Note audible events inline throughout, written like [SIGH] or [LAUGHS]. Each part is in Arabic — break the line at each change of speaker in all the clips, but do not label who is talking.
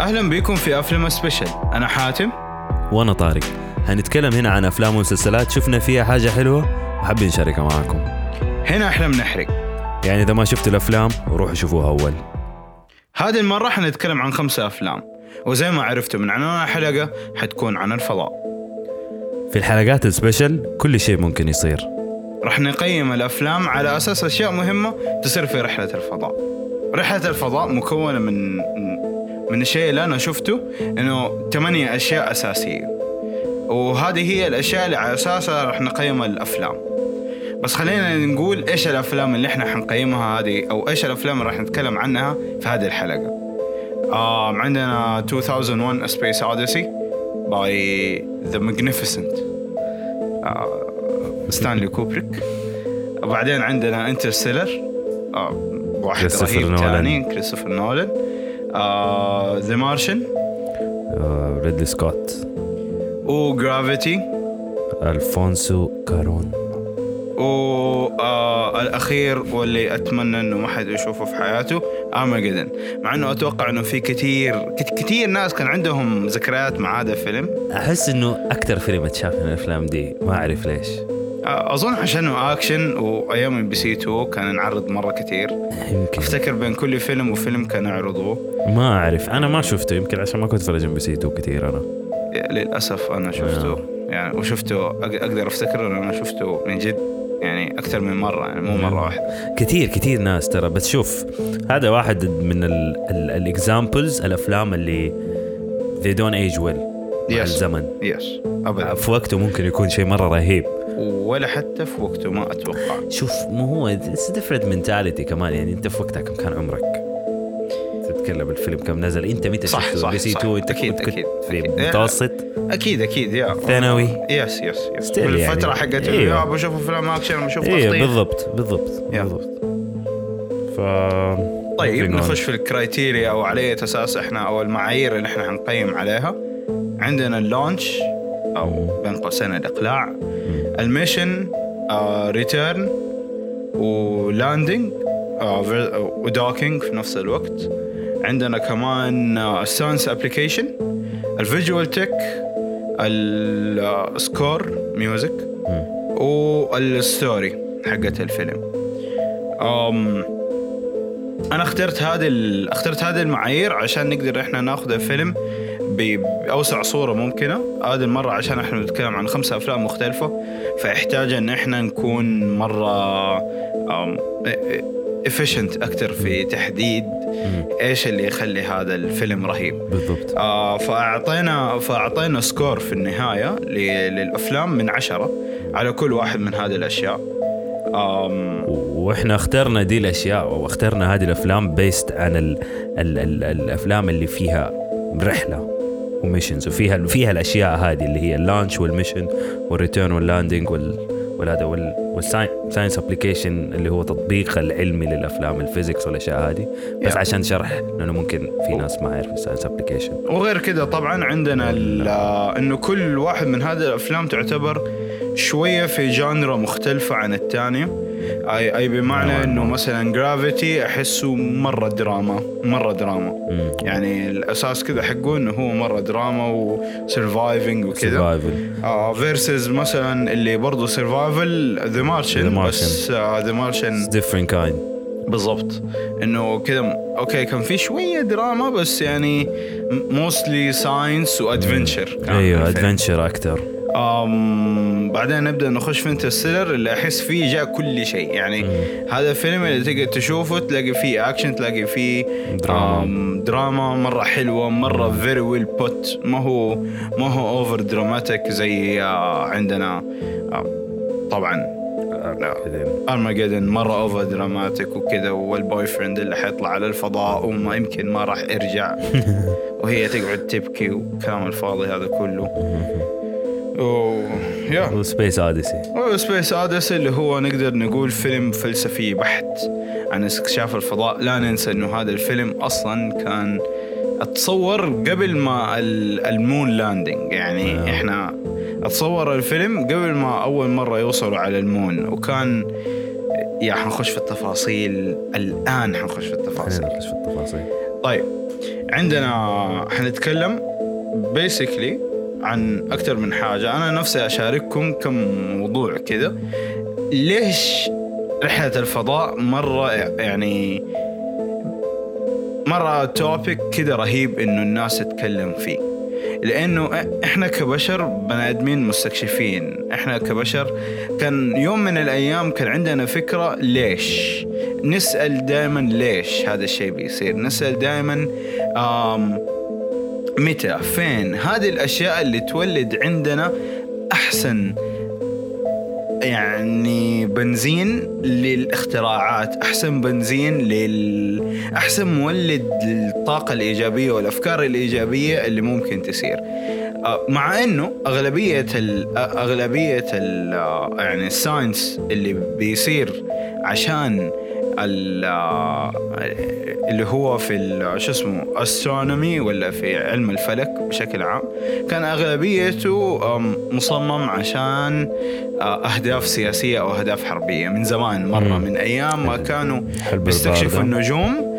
اهلا بكم في افلام سبيشل انا حاتم
وانا طارق هنتكلم هنا عن افلام ومسلسلات شفنا فيها حاجه حلوه وحابين نشاركها معاكم
هنا احنا بنحرق
يعني اذا ما شفتوا الافلام روحوا شوفوها اول
هذه المره حنتكلم عن خمسة افلام وزي ما عرفتوا من عنوان الحلقه حتكون عن الفضاء
في الحلقات السبيشل كل شيء ممكن يصير
رح نقيم الافلام على اساس اشياء مهمه تصير في رحله الفضاء رحله الفضاء مكونه من من الشيء اللي انا شفته انه ثمانية اشياء اساسيه وهذه هي الاشياء اللي على اساسها رح نقيم الافلام بس خلينا نقول ايش الافلام اللي احنا حنقيمها هذه او ايش الافلام اللي راح نتكلم عنها في هذه الحلقه آم عندنا 2001 A Space Odyssey by The Magnificent آه، ستانلي كوبريك وبعدين عندنا انترستيلر آه، واحد
كريستوفر
رهيب
نولان.
تاني كريستوفر نولان ذا مارشن
آه، ريدلي سكوت
وجرافيتي
الفونسو كارون
والاخير آه، واللي اتمنى انه ما حد يشوفه في حياته ارماجدن مع انه اتوقع انه في كثير كت- كثير ناس كان عندهم ذكريات مع هذا الفيلم
احس انه اكثر فيلم اتشاف من الافلام دي ما اعرف ليش
آه، اظن عشانه اكشن وايام ام بي سي 2 كان نعرض مره كثير
يمكن
افتكر بين كل فيلم وفيلم كان يعرضوه
ما اعرف انا ما شفته يمكن عشان ما كنت اتفرج ام بي سي 2 كثير انا
للاسف انا شفته يعني وشفته أق- اقدر افتكر انه انا شفته من جد يعني اكثر من مره يعني مو مره واحده
كثير كثير ناس ترى بس شوف هذا واحد من الاكزامبلز الافلام اللي they don't age well مع
Yes.
الزمن
يس ابدا
في وقته ممكن يكون شيء مره رهيب
ولا حتى في وقته ما اتوقع
شوف مو هو اتس ديفرنت منتاليتي كمان يعني انت في وقتها كم كان عمرك؟ تتكلم الفيلم كم نزل انت متى
صح،
شفته؟
صح،
بي سي
صح.
2 انت
أكيد،
كنت كنت
أكيد،
في
أكيد.
متوسط
اكيد اكيد يا
ثانوي
يس يس يس
Still يعني.
بالفتره حقت
أيوة.
أيوة. بشوف افلام اكشن بشوف
ايه
تخطيط
بالضبط بالضبط
يا.
بالضبط ف
طيب
moving on.
نخش في الكرايتيريا او على اي اساس احنا او المعايير اللي احنا حنقيم عليها عندنا اللونش او بين قوسين الاقلاع الميشن آه، ريتيرن ولاندنج آه، ودوكينج في نفس الوقت عندنا كمان الساينس ابلكيشن الفيجوال تك السكور ميوزك والستوري حقت الفيلم أم انا اخترت هذه ال... اخترت هذه المعايير عشان نقدر احنا ناخذ الفيلم ب... باوسع صوره ممكنه هذه المره عشان احنا بنتكلم عن خمسة افلام مختلفه فيحتاج ان احنا نكون مره افيشنت اكثر في تحديد ايش اللي يخلي هذا الفيلم رهيب
بالضبط
آه فاعطينا فاعطينا سكور في النهايه ل- للافلام من عشرة على كل واحد من هذه الاشياء آم
واحنا اخترنا دي الاشياء واخترنا هذه الافلام بيست عن ال ال ال الافلام اللي فيها رحله وميشنز وفيها فيها الاشياء هذه اللي هي اللانش والميشن والريتيرن واللاندنج وال والهذا وال والساينس ابلكيشن اللي هو تطبيق العلمي للافلام الفيزيكس والاشياء هذه بس
Yeah.
عشان شرح لانه ممكن في ناس ما يعرفوا الساينس ابلكيشن
وغير كذا طبعا عندنا ال- آه، انه كل واحد من هذه الافلام تعتبر شويه في جانرا مختلفه عن الثانيه اي اي بمعنى
نوعاً
انه
ما.
مثلا جرافيتي احسه مره دراما مره دراما يعني الاساس كذا حقه انه هو مره دراما وسرفايفنج وكذا
سرفايفل
فيرسز مثلا آه، اللي برضه سرفايفل ذا
The
مارشن
Martian.
بس آه، ذا مارشن
ديفرنت كايند
بالضبط انه كذا م- اوكي كان في شويه دراما بس يعني موستلي ساينس وادفنشر
ايوه ادفنشر اكثر
بعدين نبدا نخش في انترستيلر اللي احس فيه جاء كل شيء يعني هذا الفيلم اللي تقدر تشوفه تلاقي فيه اكشن تلاقي فيه
دراما.
آم، دراما مره حلوه مره فيري ويل بوت ما هو ما هو اوفر دراماتيك زي آه، عندنا آه، طبعا آه، نعم.
يعني.
ارماجيدن مره اوفر دراماتيك وكذا والبوي فريند اللي حيطلع على الفضاء وما يمكن ما راح ارجع وهي تقعد تبكي والكلام الفاضي هذا كله و... يا
وسبيس اوديسي
سبيس اوديسي اللي هو نقدر نقول فيلم فلسفي بحت عن استكشاف الفضاء لا ننسى انه هذا الفيلم اصلا كان اتصور قبل ما ال- المون لاندنج يعني احنا اتصور الفيلم قبل ما اول مره يوصلوا على المون وكان يا حنخش في التفاصيل الان حنخش في التفاصيل
خلينا نخش في التفاصيل
طيب عندنا حنتكلم بيسكلي عن اكثر من حاجه انا نفسي اشارككم كم موضوع كذا ليش رحله الفضاء مره يعني مره توبيك كذا رهيب انه الناس تتكلم فيه لانه احنا كبشر بني ادمين مستكشفين احنا كبشر كان يوم من الايام كان عندنا فكره ليش نسال دائما ليش هذا الشيء بيصير نسال دائما متى فين هذه الاشياء اللي تولد عندنا احسن يعني بنزين للاختراعات احسن بنزين لل احسن مولد للطاقه الايجابيه والافكار الايجابيه اللي ممكن تسير آه، مع انه اغلبيه ال اغلبيه ال يعني الساينس اللي بيصير عشان ال اللي هو في ال- شو اسمه استرونومي ولا في علم الفلك بشكل عام كان اغلبيته أم، مصمم عشان آه، اهداف سياسيه او اهداف حربيه من زمان مره
مم.
من ايام ما كانوا
حلب
بيستكشفوا
الباردة.
النجوم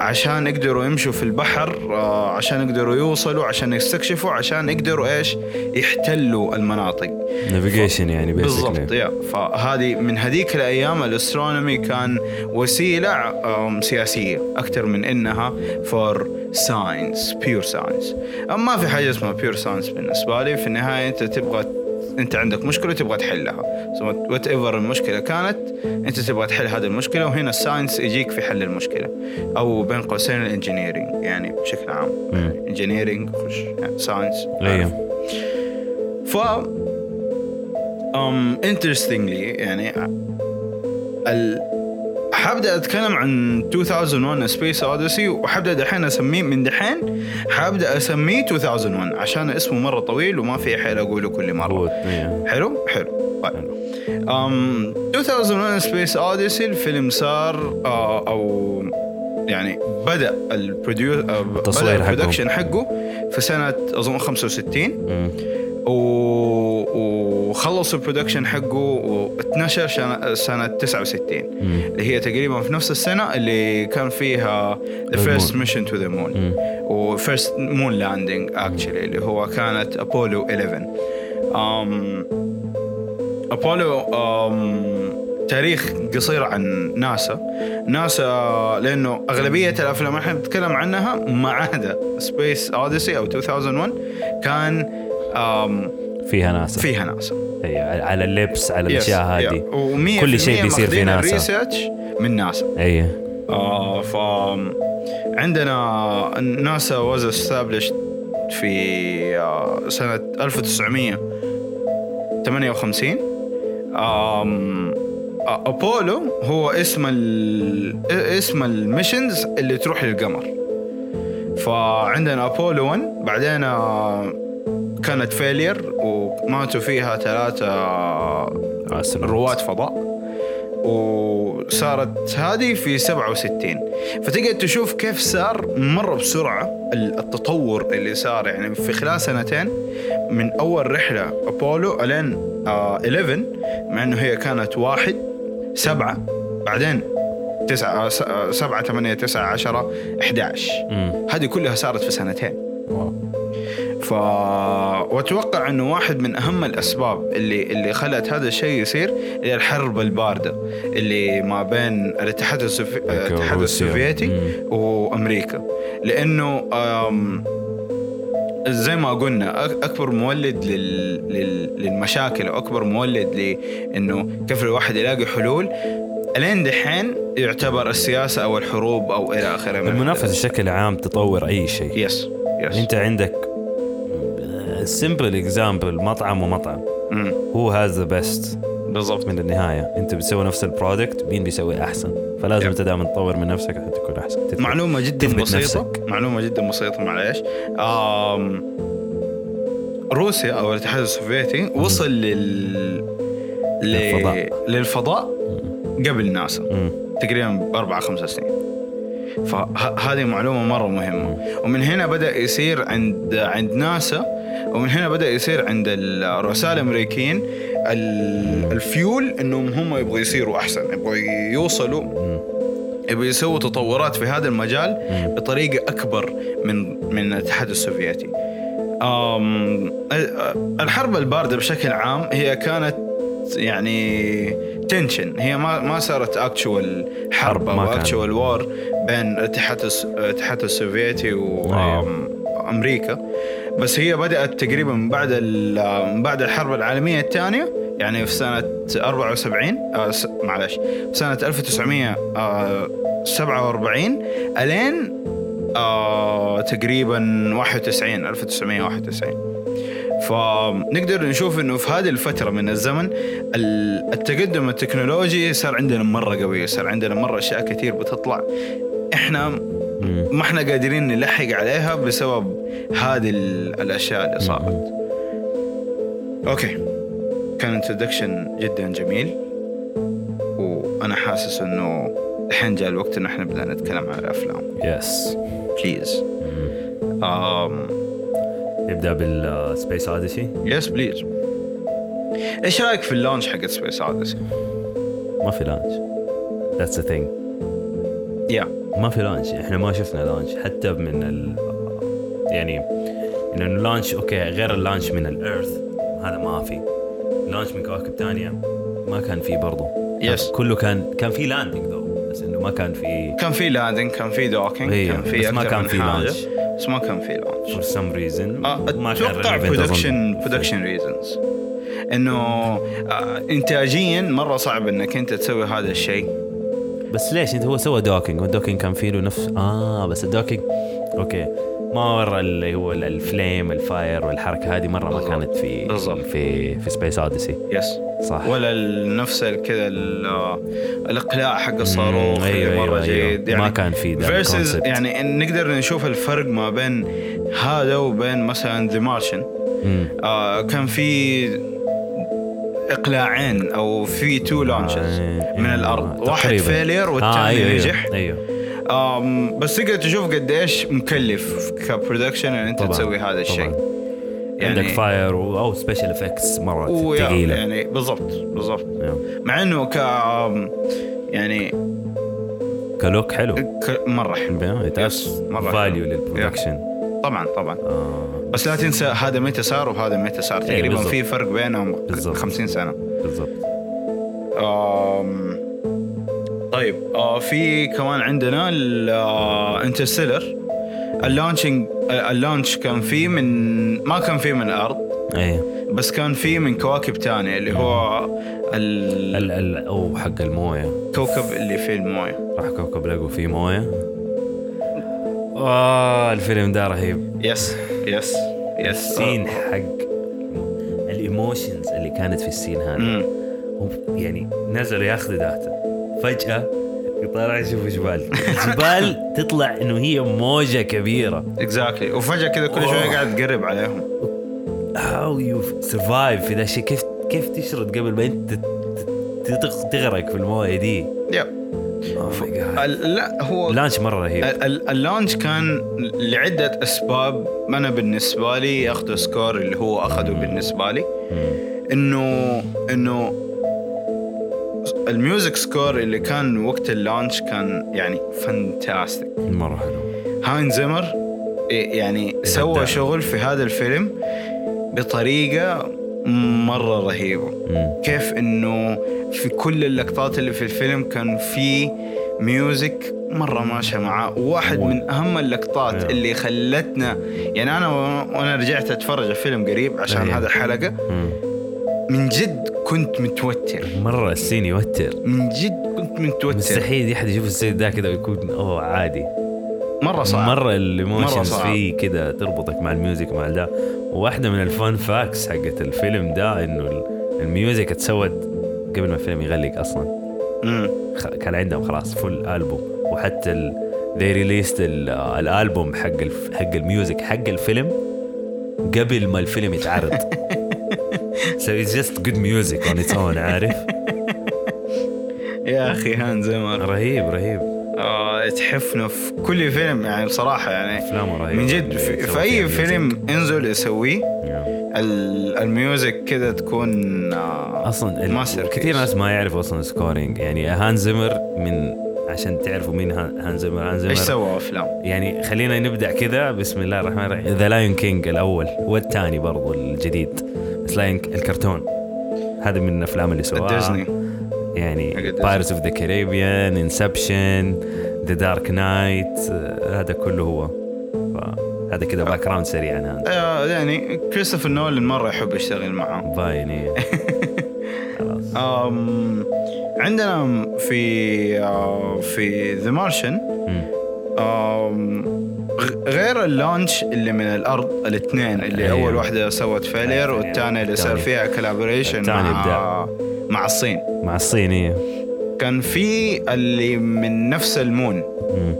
عشان يقدروا يمشوا في البحر آه، عشان يقدروا يوصلوا عشان يستكشفوا عشان يقدروا ايش يحتلوا المناطق
نافيجيشن يعني
بالضبط
بيسكلي
يا فهذه من هذيك الايام الاسترونومي كان وسيله أم، سياسيه اكثر من انها فور ساينس بيور ساينس ما في حاجه اسمها بيور ساينس بالنسبه لي في النهايه انت تبغى انت عندك مشكله تبغى تحلها وات ايفر المشكله كانت انت تبغى تحل هذه المشكله وهنا الساينس يجيك في حل المشكله او بين قوسين الانجينيرنج يعني بشكل عام
مم.
انجينيرنج ساينس
ايوه
ف ام انترستنجلي يعني ال حابدا اتكلم عن 2001 سبيس اوديسي وحابدا دحين اسميه من دحين حابدا اسميه 2001 عشان اسمه مره طويل وما في حيل اقوله كل مره
مضبوط إيه.
حلو حلو طيب أم 2001 سبيس اوديسي الفيلم صار آه، او يعني بدا البروديو آه، بدا
التصوير حقه.
البرودكشن حقه في سنه اظن 65
مم.
و- وخلصوا البرودكشن حقه واتنشر شن- سنة 69
مم.
اللي هي تقريبا في نفس السنة اللي كان فيها The First
Moon.
Mission to the Moon
مم.
و First Moon Landing actually اللي هو كانت أبولو 11 أم أبولو أم تاريخ قصير عن ناسا ناسا لأنه أغلبية الأفلام اللي احنا بنتكلم عنها ما عدا سبيس أوديسي أو 2001 كان أم
فيها ناسا
فيها ناسا
أيوة. على اللبس على الاشياء هذه
كل
كل شيء بيصير في ناسا. إيه.
ريسيرش من ناسا
اي
آه ف عندنا ناسا واز استابلش في آه، سنة 1958 آم، آه، أبولو هو اسم ال... اسم الميشنز اللي تروح للقمر فعندنا أبولو 1 بعدين آه، كانت فيلير وماتوا فيها ثلاثة رواد فضاء وصارت هذه في 67 فتقعد تشوف كيف صار مره بسرعه ال- التطور اللي صار يعني في خلال سنتين من اول رحله ابولو الين آه 11 مع انه هي كانت واحد سبعه بعدين تسعة آه، س- آه، سبعة ثمانية تسعة عشرة 11 هذه كلها صارت في سنتين ف واتوقع انه واحد من اهم الاسباب اللي اللي خلت هذا الشيء يصير هي الحرب البارده اللي ما بين الاتحاد السوفي... الاتحاد
روسيا.
السوفيتي
مم.
وامريكا لانه أم، زي ما قلنا أك- اكبر مولد لل... لل... للمشاكل واكبر مولد لانه كيف الواحد يلاقي حلول الين دحين يعتبر السياسه او الحروب او الى اخره من
المنافسه بشكل عام تطور اي شيء
يس يس
انت عندك سمبل اكزامبل مطعم ومطعم
مم.
هو هاز ذا بيست
بالضبط
من النهايه انت بتسوي نفس البرودكت مين بيسوي احسن فلازم
Yeah.
انت دائما تطور من نفسك عشان تكون احسن تثبت-
معلومة جدا
تثبت
بسيطة
نفسك.
معلومة جدا بسيطة معليش آم روسيا أو الاتحاد السوفيتي وصل لل ل...
للفضاء.
للفضاء قبل ناسا
مم.
تقريبا بأربع خمس سنين فهذه معلومة مرة مهمة ومن هنا بدأ يصير عند عند ناسا ومن هنا بدأ يصير عند الرؤساء الأمريكيين ال- الفيول إنهم هم يبغوا يصيروا أحسن يبغوا يوصلوا يبي يسووا تطورات في هذا المجال بطريقه اكبر من من الاتحاد السوفيتي. أم ال- الحرب البارده بشكل عام هي كانت يعني تنشن هي ما ما صارت اكشوال حرب
حرب ما
او
كان.
اكشوال وار بين الاتحاد الس- الاتحاد السوفيتي
آه.
وامريكا بس هي بدات تقريبا من بعد ال- من بعد الحرب العالميه الثانيه يعني في سنه 74 آه س- معلش في سنه آه، 1947 الين آه تقريبا 91 1991 فنقدر نشوف انه في هذه الفتره من الزمن ال- التقدم التكنولوجي صار عندنا مره قوي صار عندنا مره اشياء كثير بتطلع احنا
مم.
ما احنا قادرين نلحق عليها بسبب هذه ال- الاشياء اللي صارت اوكي كان انتدكشن جدا جميل وانا حاسس انه الحين جاء الوقت انه احنا بدنا نتكلم عن الافلام
يس
بليز
نبدا بالسبيس اوديسي
يس بليز ايش رايك في اللونش حق سبيس اوديسي؟
ما في لانش ذاتس ذا ثينج
يا
ما في لانش احنا ما شفنا لانش حتى من ال يعني انه اللانش اوكي غير اللانش من الارث هذا ما في لانش من كواكب ثانيه ما كان في برضه
يس
كله كان كان في لاندنج ذو بس انه ما كان في
كان في لاندنج كان في دوكينج
إيه،
كان في
بس ما
أكثر
كان
من
في
حاجة،
launch.
بس ما كان في لونش
فور سم ريزن
آه، اتوقع برودكشن برودكشن ريزنز انه آه، انتاجيا مره صعب انك انت تسوي هذا الشيء
بس ليش انت هو سوى دوكينج والدوكينج كان فيه له نفس اه بس الدوكينج اوكي ما ورا اللي هو ال- الفليم الفاير والحركه هذه مره ما
بالضبط.
كانت في
بالضبط.
في في سبيس اوديسي
يس
صح
ولا ال- نفس ال- كذا ال- آه، الاقلاع حق الصاروخ
مم، أيوة،
اللي مره
أيوة، أيوة.
جيد
ما كان في ده
فيرسز
الconcept.
يعني إن- نقدر نشوف الفرق ما بين هذا وبين مثلا ذا مارشن
مم.
آه كان في اقلاعين او في تو لانشز
آه،
من
آه،
الارض واحد
تقريباً.
فيلير
آه،
والثاني
أيوة،
نجح
أيوة. ايوه
أم بس تقدر تشوف قديش مكلف كبرودكشن ان انت
طبعاً،
تسوي هذا الشيء
طبعاً.
يعني-
عندك فاير و- او سبيشال افكتس مره
ويا-
ثقيله
يعني بالضبط بالضبط
يا.
مع انه ك أم، يعني
كلوك حلو
ك- مره حلو
يتأس
إيه. مرة
فاليو
حلو.
للبرودكشن
طبعا طبعا
آه،
بس لا تنسى هذا متى صار وهذا متى صار تقريبا
إيه، بالضبط.
في فرق بينهم
بالضبط.
50 سنه
بالضبط
أم، طيب آه، في كمان عندنا آه، الانترستيلر اللانشنج اللانش كان فيه من ما كان فيه من الارض
ايه
بس كان في من كواكب تانية اللي هو ال-
ال ال او حق المويه
الكوكب اللي فيه المويه
راح كوكب لقوا فيه مويه آه الفيلم ده رهيب
يس يس يس
السين حق الايموشنز اللي كانت في السين هذا
مم.
هم يعني نزلوا ياخذوا داتا فجأة يطلع يشوف جبال الجبال تطلع انه هي موجة كبيرة
اكزاكتلي وفجأة كذا كل شوية
أوه.
قاعد تقرب عليهم
هاو يو سرفايف في ذا الشيء كيف كيف تشرد قبل ما انت ت- ت- تغرق في المويه دي
يب
Oh my God.
ال- لا هو
لانش مره
ال-
رهيب
ال- اللونش كان لعدة أسباب أنا بالنسبة لي أخذ سكور اللي هو أخذه بالنسبة لي إنه إنه الميوزك سكور اللي كان وقت اللونش كان يعني فانتاستيك
مره حلو
هاين زيمر إيه يعني سوى شغل في هذا الفيلم بطريقة مرة رهيبة
مم.
كيف انه في كل اللقطات اللي في الفيلم كان في ميوزك مرة ماشية معاه واحد من أهم اللقطات
أيوة.
اللي خلتنا يعني أنا و- وأنا رجعت أتفرج الفيلم قريب عشان
أيوة.
هذا الحلقة
مم.
من جد كنت متوتر
مره السين يوتر
من جد كنت متوتر
مستحيل احد يشوف السيد ده كذا ويكون اوه عادي
مرة صعب
مره
مرة
الايموشنز
صعب.
فيه كذا تربطك مع الميوزك مع ده وواحده من الفان فاكس حقت الفيلم ده انه ال- الميوزك اتسود قبل ما الفيلم يغلق اصلا
مم.
خ- كان عندهم خلاص فل البوم وحتى ال they released ال- الالبوم حق الف- حق الميوزك حق الفيلم قبل ما
[LAUGHS]
الفيلم يتعرض so it's just good music on its own
[LAUGHS]
عارف
يا أخي هاين زيمر
رهيب رهيب
آه، تحفنا في كل فيلم يعني بصراحة يعني
افلامه رهيبه
من جد
يعني
في, في أي فيلم انزل يسويه ال- الميوزك كذا تكون آه،
اصلا ال-
masterpiece.
كثير ناس ما يعرفوا اصلا سكورينج يعني هان زمر من عشان تعرفوا مين هان- هانز زيمر هانز
ايش
زيمر
سوى افلام؟
يعني خلينا نبدا كذا بسم الله الرحمن الرحيم ذا لايون كينج الاول والثاني برضو الجديد بس لايون الكرتون هذا من الافلام اللي سواها
ديزني حق
يعني
ديزني.
بايرتس اوف ذا كاريبيان انسبشن ذا دارك نايت آه، هذا كله هو ف- هذا كذا باك جراوند سريع عن هذا
آه يعني كريستوفر نولان مره يحب يشتغل معاه [LAUGHS]
باين إيه. خلاص
أم عندنا في آه، في ذا مارشن
مم.
غير اللونش اللي من الارض الاثنين اللي
أيوه.
أيوه. اول واحده سوت فيلير
أيوه.
والثانيه اللي صار
الثانية.
فيها كولابوريشن
الثانية
مع مع الصين
مع إيه. الصينيه
كان في اللي من نفس المون
مم.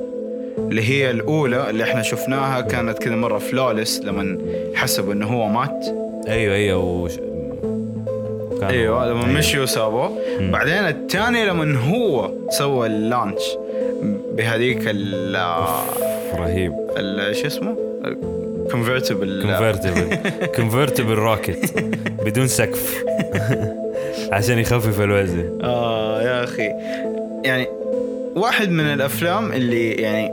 اللي هي الاولى اللي احنا شفناها كانت كذا مره فلولس لما حسبوا انه هو مات
ايوه ايوه وش... وكان-
ايوه لما مشوا سابوه
أيوه. مم.
بعدين الثاني لما هو سوى اللانش بهذيك ال
أيوة، رهيب
ال- شو اسمه؟ كونفرتبل [LAUGHS]
كونفرتبل كونفرتبل روكت بدون سقف عشان يخفف الوزن
اه يا اخي يعني واحد من الافلام اللي يعني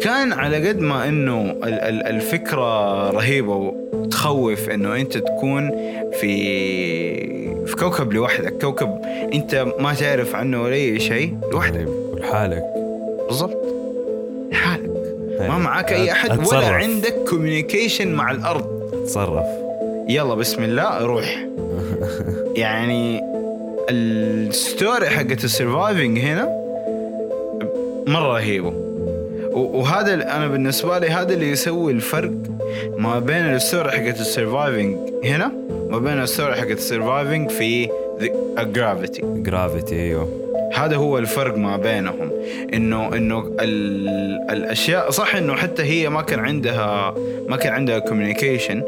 كان على قد ما انه ال- ال- الفكره رهيبه وتخوف انه انت تكون في في كوكب لوحدك كوكب انت ما تعرف عنه ولا اي شيء لوحدك
لحالك
بالضبط حالك ما معك اي احد ولا عندك كوميونيكيشن مع الارض
تصرف
يلا بسم الله روح يعني الستوري حقت السرفايفنج هنا مره رهيبه و- وهذا ال- انا بالنسبه لي هذا اللي يسوي الفرق ما بين الستوري حقت السرفايفنج هنا وما بين الستوري حقت السرفايفنج في جرافيتي
جرافيتي ايوه
هذا هو الفرق ما بينهم انه انه ال- الاشياء صح انه حتى هي ما كان عندها ما كان عندها كوميونيكيشن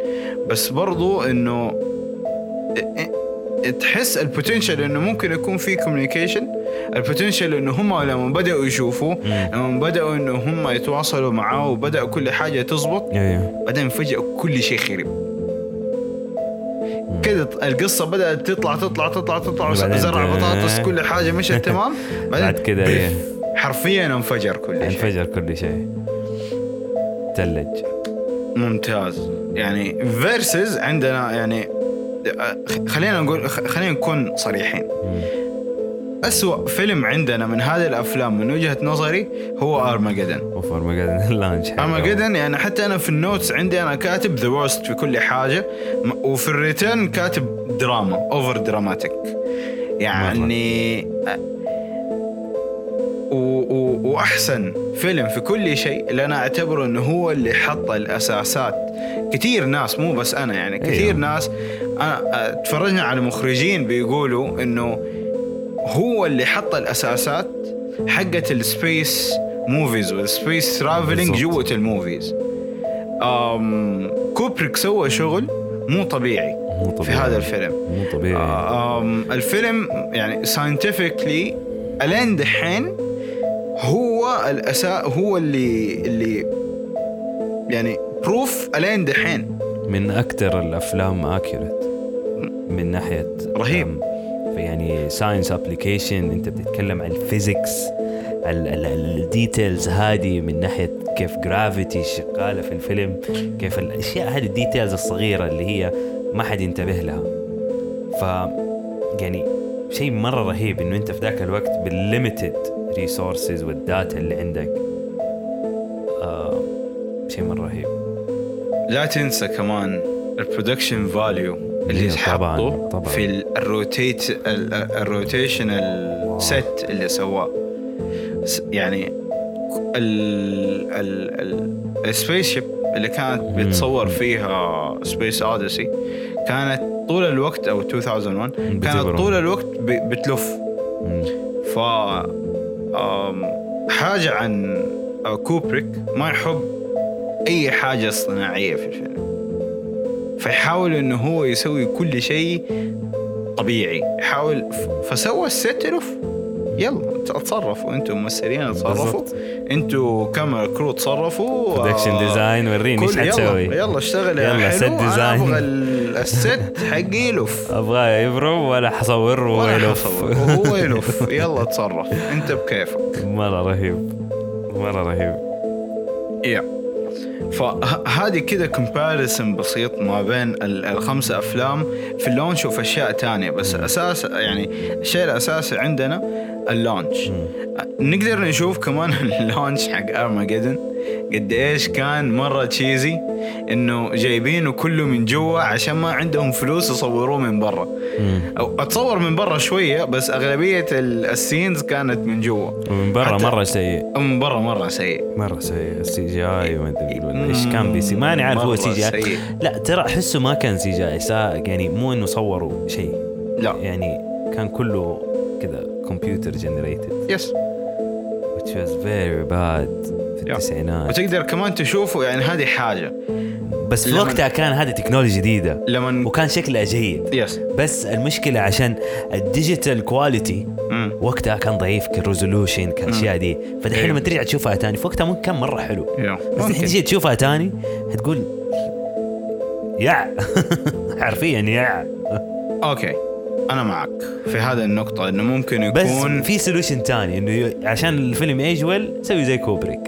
بس برضو انه ا- ا- تحس البوتنشل انه ممكن يكون في كوميونيكيشن البوتنشل انه هم لما بداوا يشوفوا
مم.
لما بداوا انه هم يتواصلوا معاه وبداوا كل حاجه تزبط
ايوه
بعدين فجأة كل شيء خرب كذا القصة بدأت تطلع تطلع تطلع تطلع
بعدين-
زرع بطاطس كل حاجة
[LAUGHS]
مشت تمام
بعد كده
بيف.
إيه.
حرفيا انفجر كل شيء
انفجر كل شيء تلج
ممتاز يعني فيرسز عندنا يعني خ- خلينا نقول خ- خلينا نكون صريحين
مم.
أسوأ فيلم عندنا من هذه الأفلام من وجهة نظري هو أرماجدن
اوف [LAUGHS] ارمجدن اللانش حقه.
اما جدا يعني حتى انا في النوتس عندي انا كاتب ذا وورست في كل حاجه م- وفي الريتيرن كاتب دراما اوفر دراماتيك يعني أ- و و واحسن فيلم في كل شيء اللي انا اعتبره انه هو اللي حط الاساسات كثير ناس مو بس انا يعني كثير
أيوه.
ناس انا تفرجنا على مخرجين بيقولوا انه هو اللي حط الاساسات حقت السبيس موفيز والسبيس ترافلينج
بالضبط.
جوة الموفيز أم كوبريك سوى شغل مو طبيعي
مو طبيعي
في
إيه.
هذا آه. الفيلم
مو طبيعي
أم الفيلم يعني ساينتفكلي الين دحين هو الاساء هو اللي اللي يعني بروف الين دحين
من اكثر الافلام اكيوريت من ناحيه
رهيب.
أم، يعني ساينس ابلكيشن انت بتتكلم عن الفيزيكس الديتيلز هذه من ناحيه كيف جرافيتي شغاله في الفيلم كيف الاشياء هذه الديتيلز الصغيره اللي هي ما حد ينتبه لها ف يعني شيء مره رهيب انه انت في ذاك الوقت بالليمتد ريسورسز والداتا اللي عندك آه شيء مره رهيب
لا تنسى كمان البرودكشن فاليو اللي
إيه، طبعاً،
حطه
طبعاً.
في ال- الروتيت ال- الروتيشنال سيت اللي سواه س- يعني ك- ال ال ال السبيس شيب اللي كانت بتصور فيها سبيس اوديسي كانت طول الوقت او 2001
بتبرم.
كانت طول الوقت ب- بتلف
مم.
ف آم، حاجة عن آه، كوبريك ما يحب أي حاجة اصطناعية في الفيلم فيحاول إنه هو يسوي كل شيء طبيعي يحاول ف- فسوى الست ألف يلا اتصرفوا انتم ممثلين تصرفوا
بالضبط.
انتوا كاميرا كرو تصرفوا
برودكشن
آه،
ديزاين وريني ايش
كل- يلا
حتسوي
يلا اشتغل يا
يلا،
حلو
set
انا
design.
ابغى ال- الست حقي
[LAUGHS]
يلف
ابغاه يبرم ولا حصور
وأنا
ويلف
حصور،
[LAUGHS]
وهو يلف يلا تصرف انت بكيفك
مره رهيب مره رهيب
يا فهذه كده كومباريسن بسيط ما بين ال- الخمسة أفلام في اللونش وفي أشياء تانية بس الأساس يعني الشيء الأساسي عندنا اللونش نقدر نشوف كمان [LAUGHS] اللونش حق ارماجيدن قد ايش كان مره تشيزي انه جايبينه كله من جوا عشان ما عندهم فلوس يصوروه من برا
مم.
او اتصور من برا شويه بس اغلبيه ال- السينز كانت من جوا
ومن برا
حتى-
مره سيء
من برا مره سيء
مره سيء السي جي اي ما ادري ولا ايش كان بيسي ماني عارف هو
مرة
سي جي اي
سيء.
لا ترى احسه ما كان سي جي اي يعني مو انه صوروا شيء
لا
يعني كان كله كذا كمبيوتر جنريتد
يس
which was very bad في
Yeah.
التسعينات
وتقدر كمان تشوفه يعني هذه حاجه
بس في
لما-
وقتها كان هذه تكنولوجيا جديده
لما
وكان شكلها جيد
يس
بس المشكله عشان الديجيتال كواليتي
مم.
وقتها كان ضعيف كالريزولوشن كالاشياء دي فدحين
إيه.
لما ترجع تشوفها تاني في وقتها ممكن كان مره حلو
يا.
بس الحين
ممكن.
تجي تشوفها تاني حتقول [LAUGHS] يع حرفيا يع
اوكي انا معك في هذه النقطه انه ممكن
بس
يكون
في سولوشن تاني انه ي- عشان الفيلم يجول سوي زي كوبريك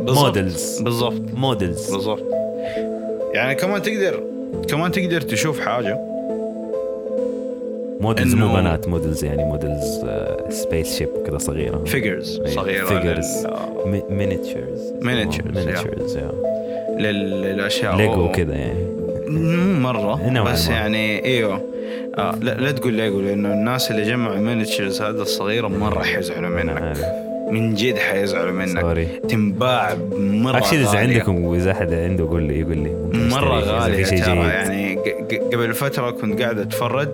بالضبط.
models.
بالضبط
مودلز
بالضبط يعني كمان تقدر كمان تقدر تشوف حاجه
مودلز مو
إنه-
بنات مودلز يعني مودلز سبيس شيب كذا صغيره
فيجرز
إيه،
صغيره
فيجرز
لل-
مينيتشرز
Miniatures،
مينيتشرز
لل- للاشياء
ليجو
أو-
كذا يعني
مو مره
نوعاً
بس
ما.
يعني ايوه آه لا, لا تقول ليجو لانه الناس اللي جمعوا مينيتشرز هذا الصغيره مره حيزعلوا
انا
منك
عارف
من جد حيزعلوا منك
سوري
تنباع مره
اكشلي اذا
غالية.
عندكم اذا احد عنده قول لي يقول لي ممكن
مره
أشتري إذا
غالية
في شيء
ترى
جيد
يعني ق- ق- قبل فتره كنت قاعد اتفرج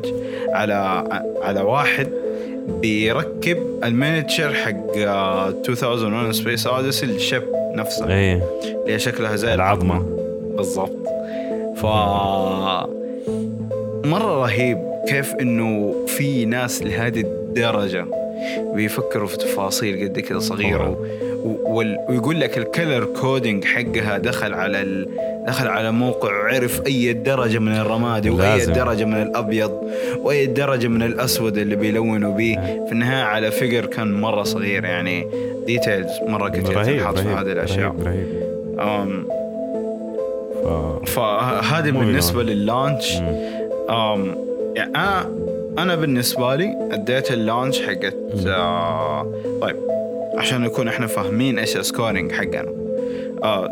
على على واحد بيركب المينيتشر حق آه، 2001 سبيس اوديسي للشيب نفسه
ايه
اللي هي شكلها زي
العظمة.
بالضبط ف مره رهيب كيف انه في ناس لهذه الدرجه بيفكروا في تفاصيل قد كذا صغيره
طبعاً.
و- وال- ويقول لك الكلر كودينج حقها دخل على ال... دخل على موقع وعرف اي درجه من الرمادي واي
لازم.
درجه من الابيض واي درجه من الاسود اللي بيلونوا بيه
نعم.
في النهايه على فيجر كان مره صغير يعني ديتيلز مره كثير
رهيب
تنحط في
رهيب
هذه الاشياء
رهيب رهيب
أم،
ف-
فهذه
Moving
بالنسبه
on. Mm.
لللانش
مم.
أم يعني انا انا بالنسبه لي اديت اللانش حقت
مم.
آه طيب عشان نكون احنا فاهمين ايش السكورينج حقنا آه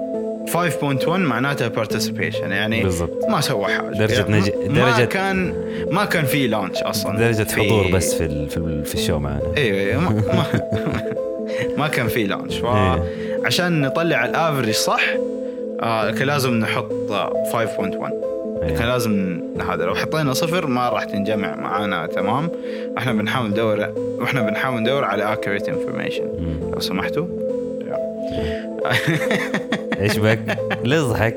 5.1 معناتها بارتيسيبيشن يعني
بالضبط.
ما سوى حاجه
درجة
يعني
نج-
ما
درجة-
كان ما كان في لانش اصلا
درجة
في-
حضور بس في ال- في ال- في الشو معنا
ايوه ايوه ما, ما, [LAUGHS] ما كان في لانش
إيه.
فعشان نطلع الافرج صح آه كان لازم نحط آه، 5.1 كان
إيه.
لازم هذا لو حطينا صفر ما راح تنجمع معانا تمام احنا بنحاول ندور واحنا بنحاول ندور على accurate information
مم.
لو سمحتوا
ايش بك؟ ليه تضحك؟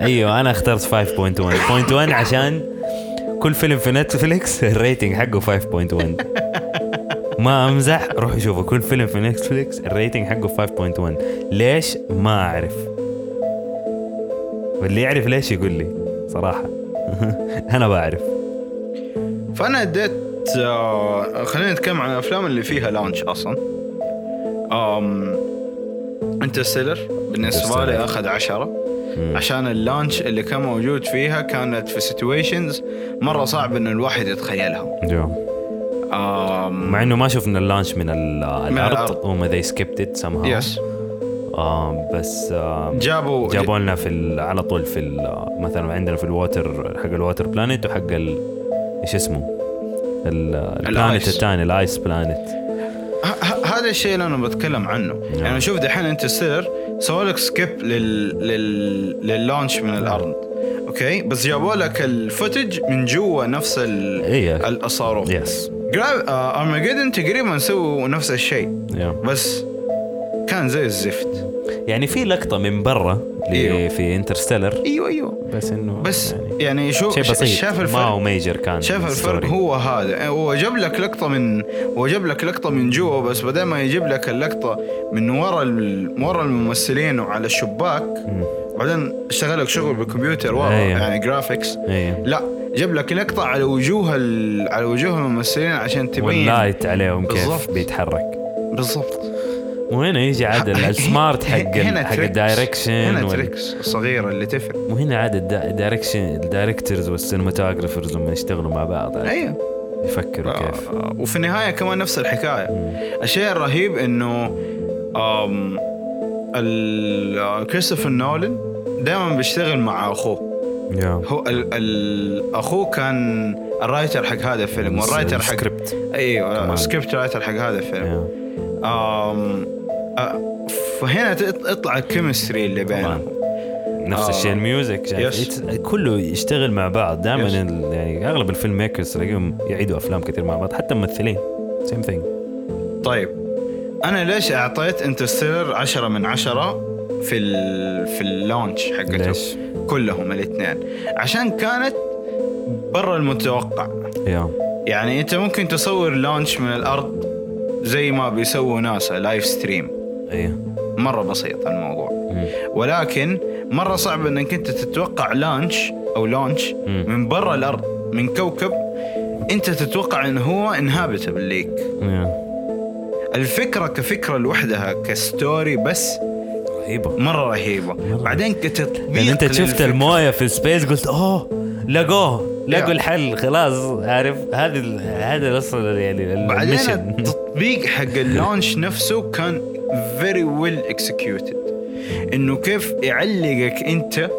ايوه انا اخترت 5.1 بوينت 1 عشان كل فيلم في نتفليكس الريتنج حقه 5.1 ما امزح روحوا شوفوا كل فيلم في نتفليكس الريتنج حقه 5.1 ليش ما اعرف واللي يعرف ليش يقول لي [LAUGHS] صراحه انا بعرف
فانا اديت آه خلينا نتكلم عن الافلام اللي فيها لانش اصلا أم انترستيلر بالنسبه لي
Interstellar.
اخذ عشرة عشان اللانش اللي كان موجود فيها كانت في سيتويشنز مره صعب انه الواحد يتخيلها
جو.
أم
مع انه ما شفنا اللانش من, ال-
الأرض.
الارض هم they skipped it somehow
يس
آه بس آه
جابوا
جابوا لنا في ال- على طول في ال- مثلا عندنا في الواتر حق الواتر بلانت وحق ال ايش اسمه؟ ال- البلانت
الآيس.
الثاني الايس بلانت
ه- ه- هذا الشيء اللي انا بتكلم عنه
نعم.
يعني شوف دحين انت ستيلر سووا لك سكيب لل... لل... لللونش من الارض اوكي بس جابوا لك الفوتج من جوا نفس ال...
ايه
الصاروخ
يس
جرا- آه، ارماجيدن تقريبا سووا نفس الشيء
يا.
بس كان زي الزفت
يعني في لقطه من برا ل-
إيوه.
في انترستيلر
ايوه ايوه
بس انه
بس
يعني
يعني شو
شيء
ش-
بسيط
شاف الفرق
ما هو ميجر كان
شاف الفرق
الستوري.
هو هذا هو جاب لك لقطة من هو جاب لك لقطة من جوا بس بدل ما يجيب لك اللقطة من ورا ال... ورا الممثلين وعلى الشباك
مم.
بعدين اشتغل لك شغل بالكمبيوتر واضح
أيوة.
يعني جرافيكس
ايه
لا جاب لك لقطة على وجوه ال... على وجوه الممثلين عشان تبين
واللايت عليهم كيف
بالضبط.
بيتحرك
بالضبط
وهنا يجي
[LAUGHS]
عاد ال-
ه-
السمارت حق ال-
هنا
حق
tricks. هنا
الدايركشن
تريكس الصغيرة اللي تفرق
وهنا عاد الدا- الدايركشن الدايركترز والسينماتوجرافرز لما يشتغلوا مع بعض عاد
ايوه
يفكروا كيف
آه، وفي النهايه كمان نفس الحكايه
مم.
الشيء الرهيب انه آم، ال- آه، كريستوفر نولان دائما بيشتغل مع اخوه
يا
هو ال ال اخوه كان الرايتر حق هذا الفيلم والرايتر حق
سكريبت
ايوه
كمان.
السكريبت رايتر حق هذا الفيلم آم، آه، فهنا تط- يطلع الكيمستري اللي بينهم
نفس
آه.
الشيء الميوزك شايف؟
يس.
يت- كله يشتغل مع بعض دائما
يس.
ال- يعني اغلب الفيلم ميكرز تلاقيهم يعيدوا افلام كثير مع بعض حتى ممثلين سيم ثينج
طيب انا ليش اعطيت انترستيلر 10 من 10 في ال في اللونش حقته
ليش؟
كلهم الاثنين عشان كانت برا المتوقع
يا
يعني انت ممكن تصور لونش من الارض زي ما بيسووا ناسا لايف ستريم
ايه
مره بسيط الموضوع
مم.
ولكن مره صعب انك انت تتوقع لانش او لونش
مم.
من برا الارض من كوكب انت تتوقع انه هو انهابتبل ليك
يا.
الفكره كفكره لوحدها كستوري بس
رهيبه
مره رهيبه بعدين كتطبيق
لان انت يعني شفت
للفكرة.
المويه في سبيس قلت اوه لقوه لقوا
يا.
الحل خلاص عارف هذا ال- هذا اصلا يعني ال-
بعدين
المشن
التطبيق حق اللونش نفسه كان فيري ويل اكسكيوتد انه كيف يعلقك انت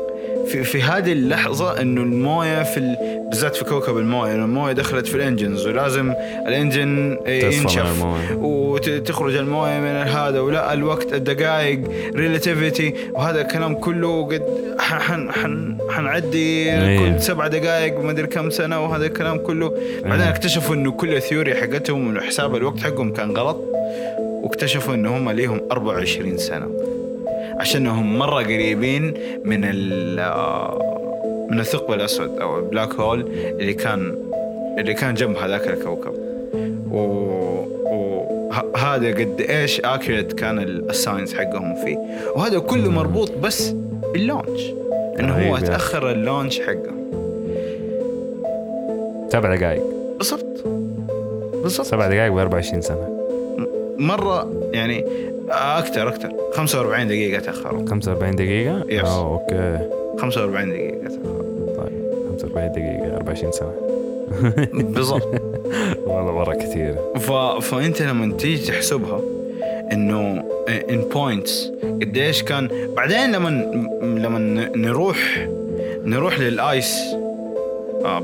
في, في هذه اللحظة انه الموية في ال... بالذات في كوكب الموية انه الموية دخلت في الانجنز ولازم الانجن
تصفى من
ينشف
الموية.
وتخرج الموية من هذا ولا الوقت الدقائق ريلاتيفيتي وهذا الكلام كله قد ح- حن حن حنعدي
أيوه.
كل سبع دقائق ومدري كم سنة وهذا الكلام كله بعدين
أيوه.
اكتشفوا انه كل الثيوري حقتهم وحساب الوقت حقهم كان غلط واكتشفوا ان هم ليهم 24 سنه عشانهم مره قريبين من ال من الثقب الاسود او البلاك هول اللي كان اللي كان جنب هذاك الكوكب و وهذا قد ايش اكيوريت كان ال- الساينس حقهم فيه وهذا كله مربوط بس باللونش انه هو
رهيب يا.
تاخر اللونش حقه
سبع دقائق
بالضبط بالضبط
سبع دقائق و 24 سنه
مره يعني اكثر اكثر 45 دقيقه تاخروا
45 دقيقه؟
يس.
اه اوكي
45 دقيقه تاخروا
طيب 45 دقيقه 24 سنه
بالضبط
[LAUGHS] والله مره كثير
ف... فانت لما تيجي تحسبها انه ان بوينتس قديش كان بعدين لما لما نروح نروح للايس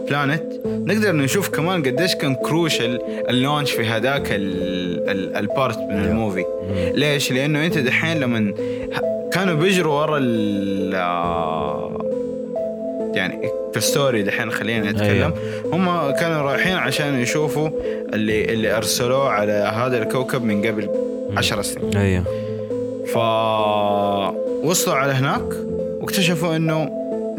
بلانت نقدر نشوف كمان قديش كان كروشل اللونش في هذاك ال- ال- البارت من
Yeah.
الموفي ليش؟ لانه انت دحين لما ه- كانوا بيجروا ورا ال آه، يعني كستوري دحين خلينا نتكلم هم كانوا رايحين عشان يشوفوا اللي اللي ارسلوه على هذا الكوكب من قبل عشر سنين
ايوه
ف وصلوا على هناك واكتشفوا انه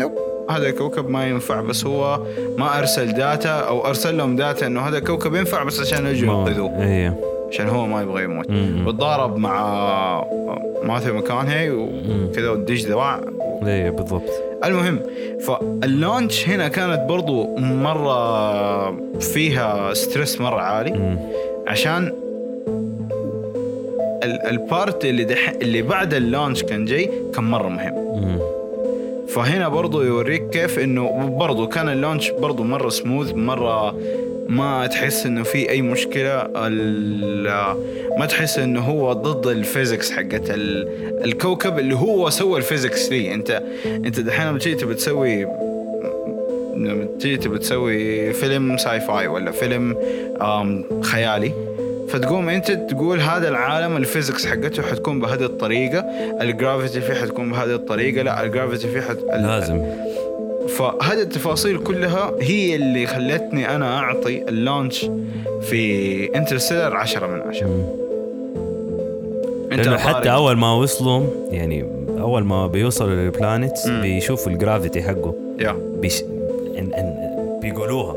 نوب هذا الكوكب ما ينفع بس هو ما ارسل داتا او ارسل لهم داتا انه هذا الكوكب ينفع بس عشان يجوا ينقذوه
ايوه
عشان هو ما يبغى يموت
مم.
وتضارب مع ماثيو مكانهي وكذا والدج ذراع
ايوه بالضبط
المهم فاللونش هنا كانت برضو مرة فيها ستريس مرة عالي
مم.
عشان ال- البارت اللي دح اللي بعد اللونش كان جاي كان مرة مهم
مم.
فهنا برضو يوريك كيف انه برضو كان اللونش برضو مرة سموث مرة ما تحس انه في اي مشكلة ال- ما تحس انه هو ضد الفيزكس حقت ال- الكوكب اللي هو سوى الفيزكس ليه انت انت دحين لما تجي تبي تسوي لما تجي يعني تبي تسوي فيلم ساي فاي ولا فيلم آم، خيالي فتقوم انت تقول هذا العالم الفيزكس حقته حتكون بهذه الطريقه الجرافيتي فيه حتكون بهذه الطريقه لا الجرافيتي فيه حت... ال-
لازم
فهذه التفاصيل كلها هي اللي خلتني انا اعطي اللونش في انترستيلر 10 من 10
مم.
انت
لانه حتى
طارق.
اول ما وصلوا يعني اول ما بيوصلوا للبلانتس بيشوفوا الجرافيتي حقه
يا
بيش... ان... ان... بيقولوها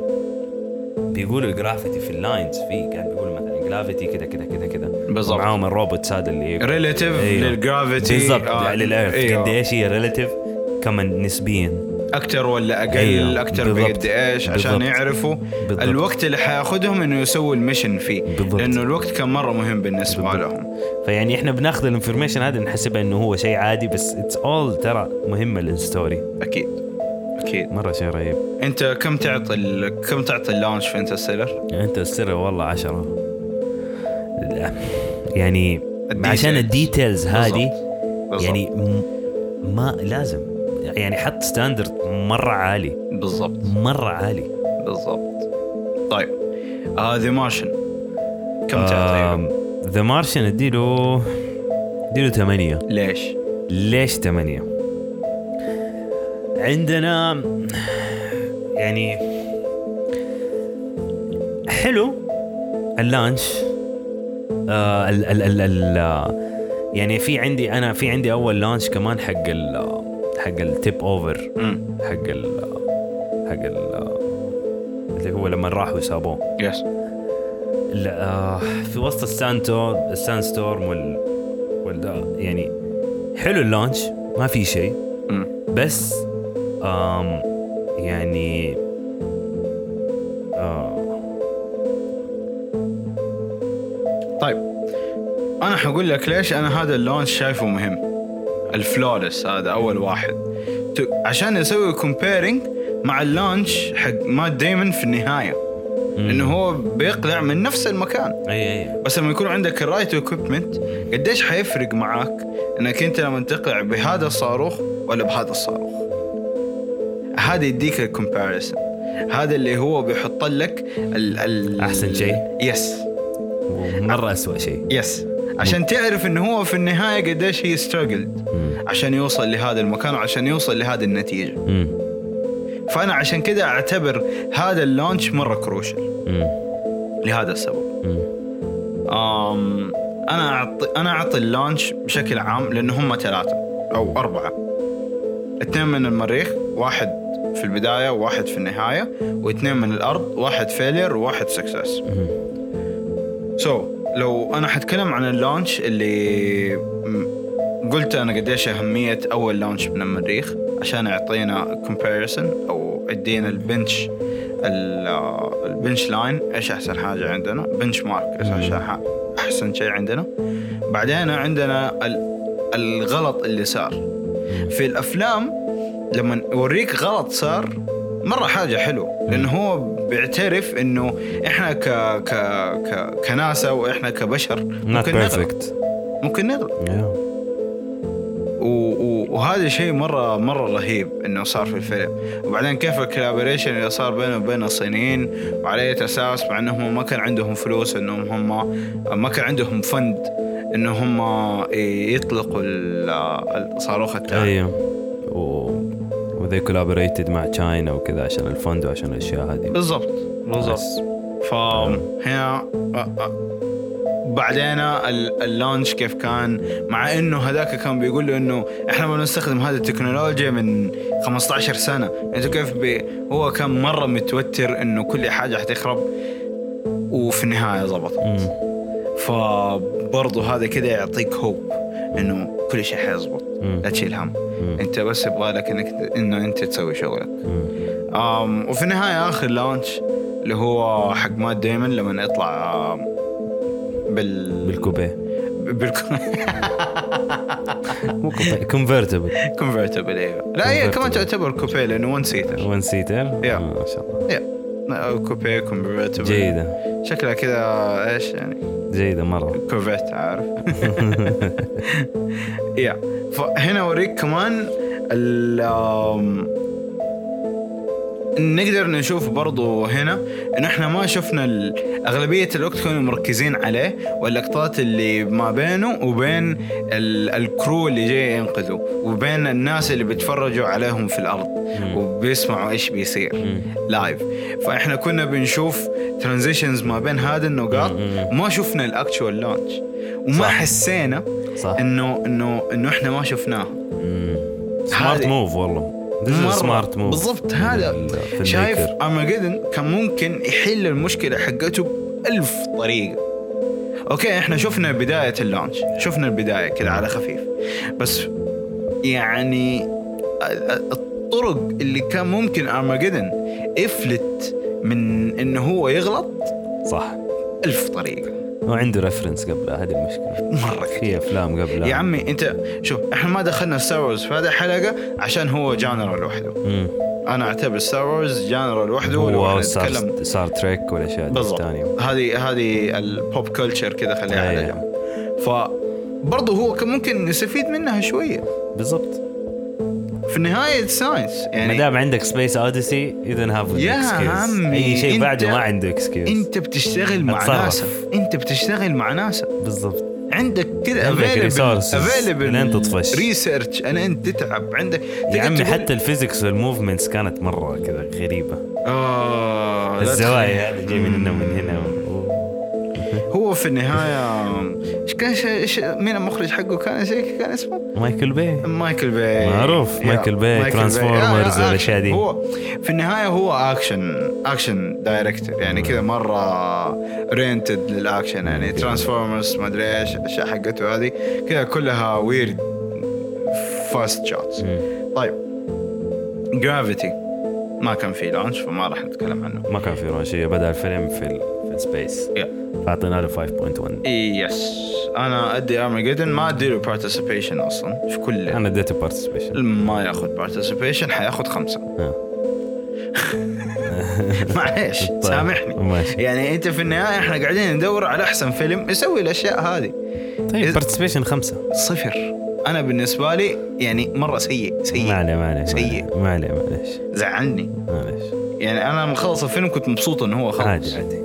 بيقولوا الجرافيتي في اللاينز في كان بيقولوا مثلا جرافيتي كذا كذا كذا كذا
بالضبط.
معاهم الروبوتس هذا اللي
ريليتيف
أيوه.
للجرافيتي
بالضبط
آه،
على الارث
أيوه.
قد ايش هي ريليتيف كمان نسبيا
اكتر ولا اقل
أيوه،
اكتر
بالضبط.
بقد ايش عشان
بالضبط.
يعرفوا
بالضبط.
الوقت اللي حياخذهم انه يسووا المشن فيه
بالضبط.
لانه الوقت كان مره مهم بالنسبه لهم
فيعني احنا بناخذ الانفورميشن هذا نحسبها انه هو شيء عادي بس اتس اول ترى مهمه الستوري
اكيد اكيد
مره شيء رهيب
انت كم تعطي ال... كم تعطي اللانش في انترستيلر؟
يعني انت السر والله عشرة لا. يعني
الديتيلز.
عشان الديتيلز هذه
بالضبط.
يعني م- ما لازم يعني حط ستاندرد مره عالي
بالضبط
مره عالي
بالضبط طيب هذه مارشن كم تعطي؟
ذا مارشن اديله اديله ثمانية
ليش؟
ليش ثمانية؟ عندنا يعني حلو اللانش آه ال ال ال ال يعني في عندي انا في عندي اول لانش كمان حق ال آه، حق التيب اوفر
امم
حق ال آه، حق ال اللي هو لما راحوا سابوه
يس
لا آه، في وسط السانتو السان ستورم وال وال يعني حلو اللونش ما في شيء
امم
بس آم يعني آه
طيب انا حقول لك ليش انا هذا اللونش شايفه مهم الفلورس هذا اول واحد ت- عشان يسوي كومبيرنج مع اللونش حق مات ديمون في النهايه
مم.
انه هو بيقلع من نفس المكان
اي اي
بس لما يكون عندك الرايت اكويبمنت قديش حيفرق معاك انك انت لما تقلع بهذا الصاروخ ولا بهذا الصاروخ هذا يديك الكومباريسون هذا اللي هو بيحط لك ال ال
أحسن شيء.
يس
مره اسوء شيء
يس عشان تعرف انه هو في النهايه قديش هي ستراجلد
مم.
عشان يوصل لهذا المكان وعشان يوصل لهذه النتيجه
مم.
فانا عشان كذا اعتبر هذا اللونش مره كروشل
مم.
لهذا السبب
مم.
أم انا اعطي انا اعطي اللانش بشكل عام لانه هم ثلاثه او اربعه اثنين من المريخ واحد في البدايه وواحد في النهايه واثنين من الارض واحد فيلير وواحد سكسس
مم.
سو so, لو انا حتكلم عن اللانش اللي م- قلت انا قديش اهميه اول لانش من المريخ عشان يعطينا كومباريسون او يدينا البنش البنش لاين ايش احسن حاجه عندنا بنش مارك ايش احسن ح- احسن شيء عندنا بعدين عندنا ال- الغلط اللي صار في الافلام لما يوريك غلط صار مره حاجه حلو لانه هو بيعترف انه احنا ك ك ك كناسا واحنا كبشر
not
ممكن نغلط
perfect
ممكن نغلط
Yeah.
و- و- وهذا شيء مره مره رهيب انه صار في الفيلم وبعدين كيف الكولابوريشن اللي صار بينه وبين الصينيين وعلى اي اساس مع انهم ما كان عندهم فلوس انهم هم ما كان عندهم فند انه هم إيه، يطلقوا ال- الصاروخ الثاني
ايوه و وذي كولابوريتد مع تشاينا وكذا عشان الفند وعشان الاشياء هذه
بالضبط بالضبط
بس.
فهنا بعدين ال- اللانش كيف كان مع انه هذاك كان بيقول له انه احنا ما نستخدم هذه التكنولوجيا من 15 سنه انتوا كيف بي هو كان مره متوتر انه كل حاجه حتخرب وفي النهايه ظبطت
مم.
فبرضه هذا كده يعطيك هوب انه كل شيء حيظبط
مم.
لا تشيل هم
مم.
انت بس يبغى لك انك انه انت تسوي شغلك
مم.
أم وفي النهاية آخر لانش اللي هو حق مات ديمون لما يطلع أم، بال إيه.
بالكوبيه
[LAUGHS] بال
كونفرتبل
كونفرتبل ايوه لا هي كمان
Convertible.
تعتبر كوبيه لانه ون سيتر
ون سيتر
Yeah.
ما شاء الله
كوبيه كونفرتبل
جيدة
شكلها كذا ايش يعني
جيدة مرة
كوفيت عارف يا فهنا اوريك كمان ال أم، نقدر نشوف برضو هنا ان احنا ما شفنا ال- اغلبيه الوقت كانوا مركزين عليه واللقطات اللي ما بينه وبين ال- الكرو اللي جاي ينقذه وبين الناس اللي بيتفرجوا عليهم في الارض وبيسمعوا ايش بيصير لايف فاحنا كنا بنشوف ترانزيشنز ما بين هذه النقاط
مم.
ما شفنا الاكتشوال لانش وما
صح.
حسينا
صح.
انه انه انه احنا ما شفناه
سمارت
هذه-
موف والله ذيس سمارت موف
بالضبط هذا شايف ارماجدن كان ممكن يحل المشكله حقته بألف طريقه اوكي احنا شفنا بدايه اللانش شفنا البدايه كذا على خفيف بس يعني ال- ال- الطرق اللي كان ممكن ارماجدن يفلت من انه هو يغلط
صح
ألف طريقه
ما عنده ريفرنس قبلها هذه المشكله
مره كثير
في افلام قبلها
يا عمي انت شوف احنا ما دخلنا ستار وورز في هذه الحلقه عشان هو جانر لوحده
مم.
انا اعتبر ستار وورز جانر لوحده لو
هو
احنا
صار
نتكلم
صار تريك والاشياء دي
بالضبط
الثانيه
هذه هذه البوب كلتشر كذا خليها على
أيوة.
جنب ف برضه هو كان ممكن نستفيد منها شويه
بالضبط
في النهايه ساينس
يعني ما
يعني
دام عندك سبيس اوديسي اذا هاف
يا عمي،
اي شيء
أنت-
بعده ما عنده اكسكيوز
انت بتشتغل مع
أتصرف.
ناسا انت بتشتغل مع ناسا
بالضبط
عندك كذا
عندك resources لين تطفش.
ريسيرش انا انت تتعب عندك
يا عمي حتى الفيزكس والموفمنتس كانت مره كذا غريبه
اه لا
الزوايا
تخيل.
هذه جاي من هنا ومن هنا و-
هو في النهايه ايش كان ايش مين المخرج حقه كان ايش كان اسمه؟
مايكل بي
مايكل باي
معروف،
يا،
مايكل باي،
مايكل
ترانسفورمرز
آه، آه،
والأشياء دي.
هو في النهايه هو اكشن اكشن دايركتور يعني كذا مره اورينتد للاكشن يعني ترانسفورمرز ما ادري ايش الاشياء حقته هذه كذا كلها ويرد فاست شوتس
مم.
طيب جرافيتي ما كان في لانش فما راح نتكلم عنه
ما كان في روشيه بدا الفيلم في ال- في السبيس
يا.
فاعطينا له 5.1
يس انا ادي ارمجدن ما ادي له بارتيسيبيشن اصلا في كل
انا اديته بارتيسيبيشن
ما ياخذ بارتيسيبيشن حياخذ خمسه
آه.
[LAUGHS] معليش سامحني
طيب، ماشي
يعني انت في النهايه احنا قاعدين ندور على احسن فيلم يسوي الاشياء هذه
طيب
إذا-
بارتيسيبيشن خمسه
صفر انا بالنسبه لي يعني مره سيء
ما
سيء
عليه ما عليه
سيء.
ما عليه معليش
زعلني
معليش
يعني انا لما خلص الفيلم كنت مبسوط انه هو خلص
عادي عادي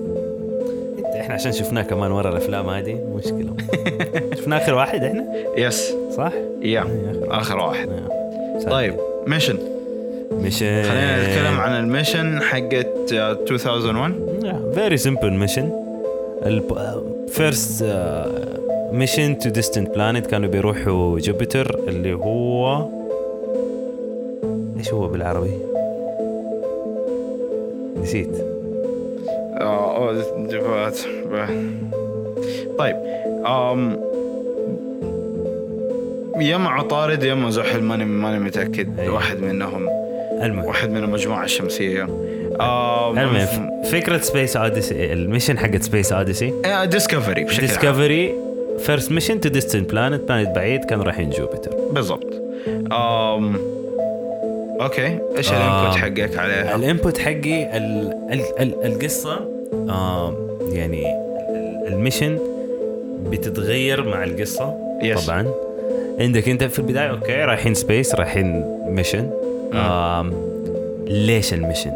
انت احنا عشان شفناه كمان ورا الافلام هذه
[LAUGHS]
مشكله شفنا اخر واحد احنا
يس
صح؟ نعم.
يا اخر واحد طيب ميشن
ميشن
خلينا
إيه.
نتكلم عن الميشن حقت آه، 2001
فيري سمبل ميشن فيرست ميشن تو ديستنت بلانيت كانوا بيروحوا جوبيتر اللي هو ايش هو بالعربي؟ نسيت
آه، أوه، جبات. طيب أم يا مع عطارد يا مع زحل ماني ماني متاكد
أيوة.
واحد منهم
المهم
واحد من المجموعة الشمسية آم،
المهم ف- فكره سبيس اوديسي الميشن حقت سبيس اوديسي
آه، ديسكفري بشكل عام
ديسكفري فيرست ميشن تو ديستنت بلانت بلانت بعيد كانوا رايحين جوبيتر
بالضبط آم، اوكي ايش الانبوت
آم.
حقك عليها؟
الانبوت حقي ال ال ال القصه آه يعني ال- الميشن بتتغير مع القصه
Yes.
طبعا عندك انت في البدايه اوكي رايحين سبيس رايحين ميشن آم، ليش الميشن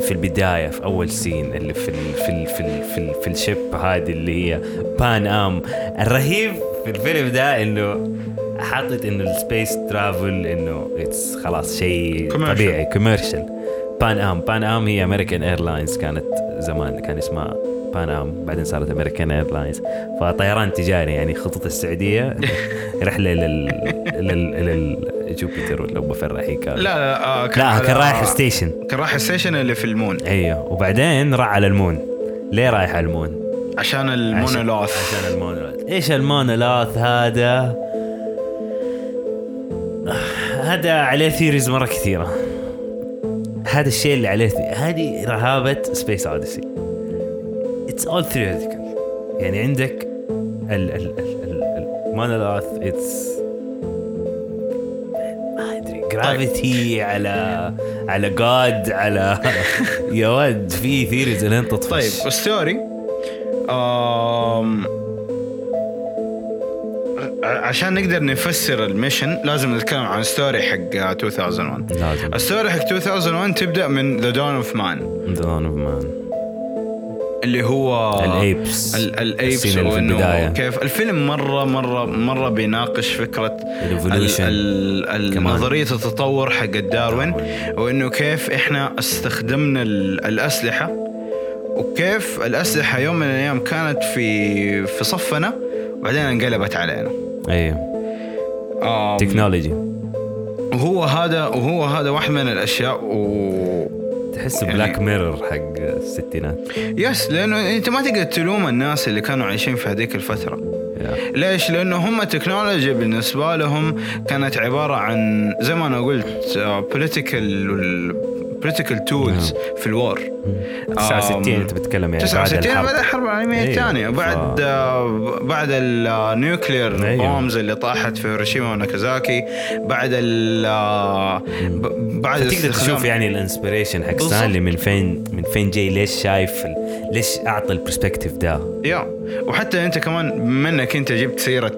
في البدايه في اول سين اللي في ال في ال في ال في, ال في الشيب هذه اللي هي بان ام الرهيب في الفيلم ده انه حاطط انه السبيس ترافل انه اتس خلاص شيء
Commercial.
طبيعي كوميرشال بان ام بان ام هي امريكان ايرلاينز كانت زمان كان اسمها بان ام بعدين صارت امريكان ايرلاينز فطيران تجاري يعني خطوط
[LAUGHS]
السعوديه رحله لل لل لل جوبيتر ولا وين رايحين كانوا
لا لا آه،
لا
على-
كان رايح ستيشن
كان رايح الستيشن اللي في المون
ايوه وبعدين راح على المون ليه رايح على المون؟
عشان
عشان-
المونولوث
عشان المونولوث ايش المونولوث هذا هذا عليه ثيريز مره كثيره هذا الشيء اللي عليه ثي- هذه رهابه سبيس اوديسي اتس اول ثيوريتيكال يعني عندك ال ال ال المونولوث اتس ما ادري جرافيتي على على جاد على يا ود في ثيريز لين تطفش
طيب ستوري آم... ع- عشان نقدر نفسر الميشن لازم نتكلم عن ستوري حق آه، 2001
لازم
الستوري حق 2001 تبدا من ذا دون اوف مان
دون اوف مان
اللي هو
الايبس
آه. ال- الايبس
السين اللي في البدايه
وانه كيف الفيلم مره مره مره بيناقش فكره
Evolution.
ال- ال-
كمان.
نظريه التطور حق داروين
داروين.
وانه كيف احنا استخدمنا ال- الاسلحه وكيف الاسلحه يوم من الايام كانت في في صفنا وبعدين انقلبت علينا
ايوه
آم،
تكنولوجي
وهو هذا وهو هذا واحد من الاشياء و
تحس
يعني-
بلاك ميرور حق الستينات
يس لانه انت ما تقدر تلوم الناس اللي كانوا عايشين في هذيك الفتره
يا.
ليش لانه هم التكنولوجيا بالنسبه لهم كانت عباره عن زي ما انا قلت آه، بوليتيكال بوليتيكال تولز في الوار
69 انت بتتكلم نعم. يعني
69 بعد
بعد الحرب
الحرب العالميه
أيوه.
الثانيه بعد
ف-
آه، بعد النيوكلير
أيوه.
بومز اللي طاحت في هيروشيما وناكازاكي بعد ال آه، ب- بعد
تقدر
استخدام-
تشوف يعني الانسبريشن حق
بالضبط.
ستانلي من فين من فين جاي ليش شايف ال- ليش اعطى البرسبكتيف ده
يا وحتى انت كمان بما انك انت جبت آه، سيره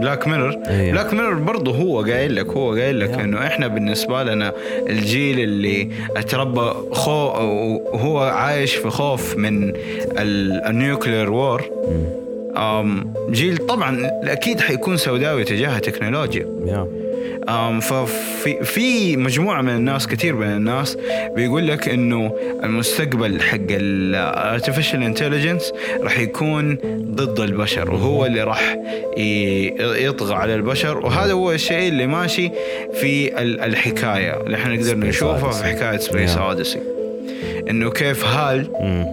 بلاك ميرور
أيوة.
بلاك ميرور برضه هو قايل لك هو قايل لك
يا.
انه احنا بالنسبه لنا الجيل اللي تربى خو وهو عايش في خوف من ال- النيوكلير وور أم، جيل طبعا اكيد حيكون سوداوي تجاه التكنولوجيا
يا
أم، ففي في مجموعه من الناس كثير من الناس بيقول لك انه المستقبل حق الارتفيشال انتليجنس راح يكون ضد البشر وهو اللي راح ي- يطغى على البشر وهذا هو الشيء اللي ماشي في ال- الحكايه اللي احنا نقدر
Space
نشوفها في
Odyssey.
حكايه سبيس
Yeah.
اوديسي انه كيف هال
مم.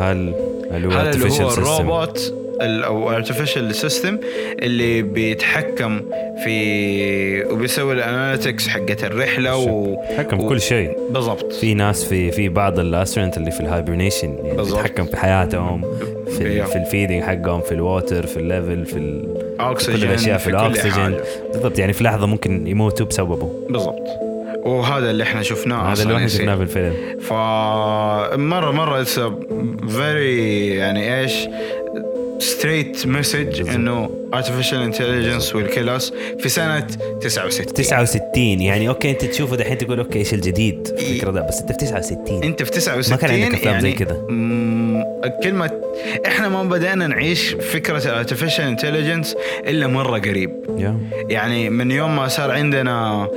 هل هل هو
هذا اللي هو
artificial system؟
الروبوت ال- او ارتفيشال سيستم اللي بيتحكم في وبيسوي الاناليتكس حقت الرحله و
حكم كل شيء
بالضبط
في ناس في في بعض الاسترنت اللي في الهايبرنيشن يعني
بالضبط.
بيتحكم في حياتهم في
إيه.
ال- في الفيدنج حقهم في الووتر في الليفل في ال- في كل
أوكسجين،
الاشياء في
في كل
الاكسجين
حاجة.
بالضبط يعني في لحظه ممكن يموتوا بسببه
بالضبط وهذا اللي احنا شفناه
هذا اللي
أصلاً
احنا
يصير.
شفناه في الفيلم
فمره مره اتس فيري يعني ايش ستريت مسج
بالضبط.
انه ارتفيشال انتليجنس ويل كيل اس في سنه 69
69 يعني اوكي انت تشوفه دحين تقول اوكي ايش الجديد في
إيه.
الفكره ده بس انت في 69
انت في 69
ما كان عندك أفلام
يعني
زي كده.
مم، كلمة احنا ما بدأنا نعيش فكرة الارتفيشال انتليجنس الا مرة قريب
يا
يعني من يوم ما صار عندنا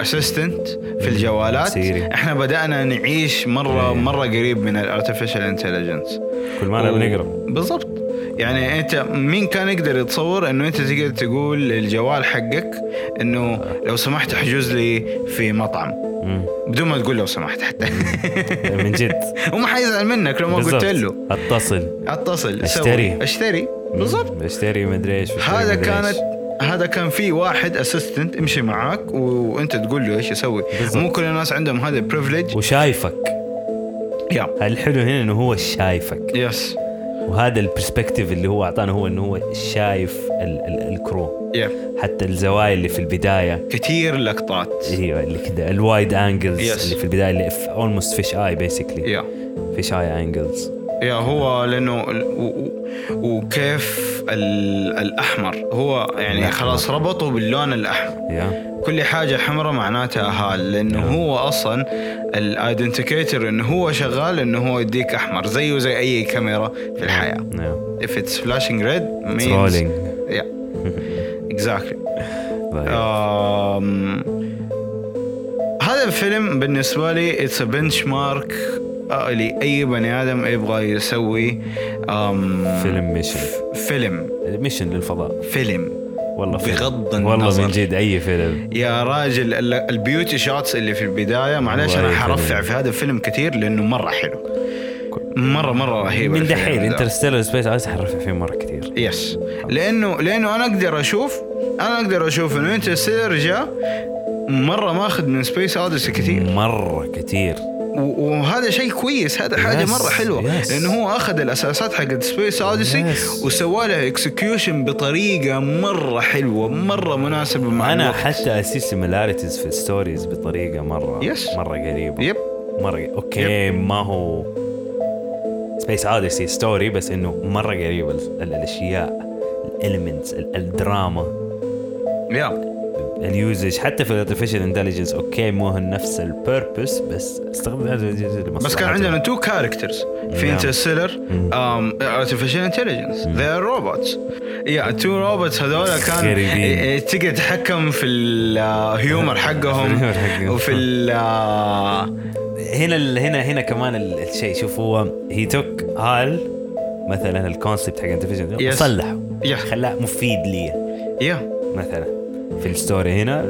اسيستنت في الجوالات
سيري.
احنا بدأنا نعيش مرة
إيه.
مرة قريب من الارتفيشال انتليجنس
كل ما
و-
بنقرب
بالضبط يعني انت مين كان يقدر يتصور انه انت تقدر تقول للجوال حقك انه لو سمحت احجز لي في مطعم
مم.
بدون ما تقول لو سمحت حتى [LAUGHS]
من جد
وما حيزعل منك لو ما قلت
بالضبط.
له
اتصل
اتصل سوي.
اشتري.
اشتري بالضبط
مم. اشتري مدري ايش اشتري
هذا
مدري إيش.
كانت هذا كان في واحد اسيستنت يمشي معاك و- وانت تقول له ايش يسوي
بالضبط.
مو كل الناس عندهم هذا البريفليج
وشايفك
يا
الحلو هنا انه هو شايفك
يس
وهذا البرسبكتيف اللي هو اعطانا هو انه هو شايف ال ال الكرو
يا
حتى الزوايا اللي في البدايه
كثير لقطات
ايوه اللي كده الوايد انجلز
Yes.
اللي في البدايه اللي اولموست فيش اي بيسكلي
يا
فيش اي انجلز
يا هو لانه ال- و- و- وكيف ال- الاحمر هو يعني
الأحمر.
خلاص ربطوا باللون الاحمر
يا
كل حاجة حمراء معناتها هال لأنه هو أصلا الايدنتيكيتر إنه هو شغال إنه هو يديك أحمر زيه زي أي كاميرا في الحياة.
يا
If it's flashing red means [LAUGHS]
ترولينج
Yeah, exactly. آه. Um, هذا الفيلم بالنسبة لي it's a benchmark آه، لأي بني آدم يبغى يسوي um,
فيلم ميشن
فيلم
ميشن للفضاء
فيلم
والله فيلم.
بغض
والله
النظر.
من جد اي فيلم
يا راجل ال- البيوتي شوتس اللي في البدايه معلش
والله
انا
يا
حرفع
فيلم.
في هذا الفيلم كثير لانه مره حلو مره مره رهيب
من
الفيلم
دحين
ده.
انترستيلر سبيس عايز حرفع فيه مره كثير
يس لانه لانه انا اقدر اشوف انا اقدر اشوف انه انترستيلر جاء مره ماخذ من سبيس اوديسي كثير
مره كثير
و- وهذا شيء كويس هذا حاجه
Yes,
مره حلوه
yes.
لانه هو اخذ الاساسات حقت سبيس اوديسي
Yes.
وسوى لها اكسكيوشن بطريقه مره حلوه مره مناسبه مع
انا
الوقت.
حتى اسيب سيميلاريتيز في الستوريز بطريقه مره
Yes.
مره قريبه
يب
مره اوكي ما هو سبيس اوديسي ستوري بس انه مره قريبه ال- ال- الاشياء الاليمنتس الدراما
يا
اليوزج حتى في الارتفيشال انتليجنس اوكي مو هو نفس البيربس بس استخدم
بس كان عندنا تو كاركترز في um,
نعم.
انترستيلر
مم.
ارتفيشال انتليجنس ذي ار روبوتس يا تو روبوتس هذول كان
غريبين.
إيه، إيه، تقدر تتحكم في الهيومر
[LAUGHS]
حقهم
الهيومر حقهم.
وفي ال آه،
هنا ال- هنا هنا كمان ال- الشيء شوف هو هي توك هال مثلا الكونسبت حق انترفيجن
Yes.
صلحه
يا
خلاه مفيد لي
يا
مثلا في الستوري هنا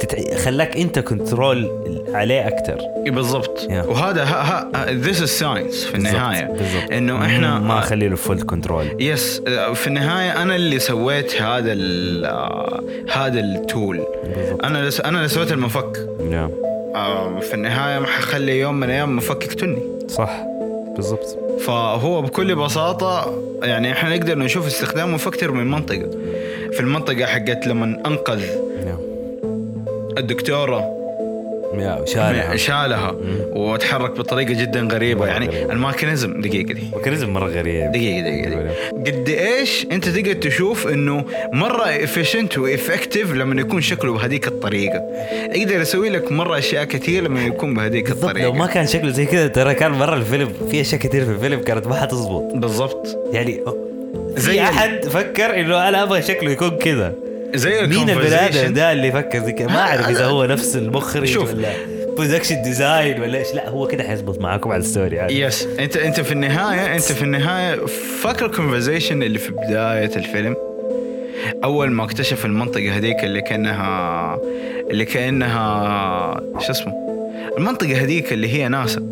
تتع... خلاك انت كنترول عليه اكثر
إيه، بالضبط
يا.
وهذا آه، ذيس از ساينس في النهايه
بالضبط.
انه احنا
ما اخلي له فول كنترول
يس آه، في النهايه انا اللي سويت هذا ال آه، هذا التول
بالضبط
انا اللي س- انا اللي سويت المفك
نعم.
آه، في النهايه ما حخلي يوم من الايام مفك يقتلني
صح بالضبط
فهو بكل بساطه يعني احنا نقدر نشوف استخدامه في اكثر من منطقه في المنطقه حقت لما انقذ
نعم.
الدكتوره
يا شارع
شالها وتحرك بطريقه جدا غريبه يعني الماكينزم دقيقه دي
ميكانيزم مره غريب
دقيقة دقيقة دقيقة قد ايش انت تقدر تشوف انه مرة افيشنت وافكتيف لما يكون شكله بهذيك الطريقة يقدر يسوي لك مرة اشياء كثير لما يكون بهذيك
بالضبط لو ما
الطريقة
كان شكله زي كذا ترى كان مره الفيلم في اشياء كثير في الفيلم كانت ما حتزبط
بالضبط
يعني
زي
زي
ال-
احد فكر انه انا ابغى شكله يكون كذا
زي
مين البني ادم
الكونفرزيشن
ده اللي فكر زي كذا ما اعرف اذا هو نفس المخرج
شوف.
ولا برودكشن ديزاين ولا ايش لا هو كده حيزبط معاكم على الستوري يعني
يس انت انت في النهاية انت في النهاية فاكر الكونفرزيشن اللي في بداية الفيلم اول ما اكتشف المنطقة هذيك اللي كانها اللي كانها شو اسمه المنطقة هذيك اللي هي ناسا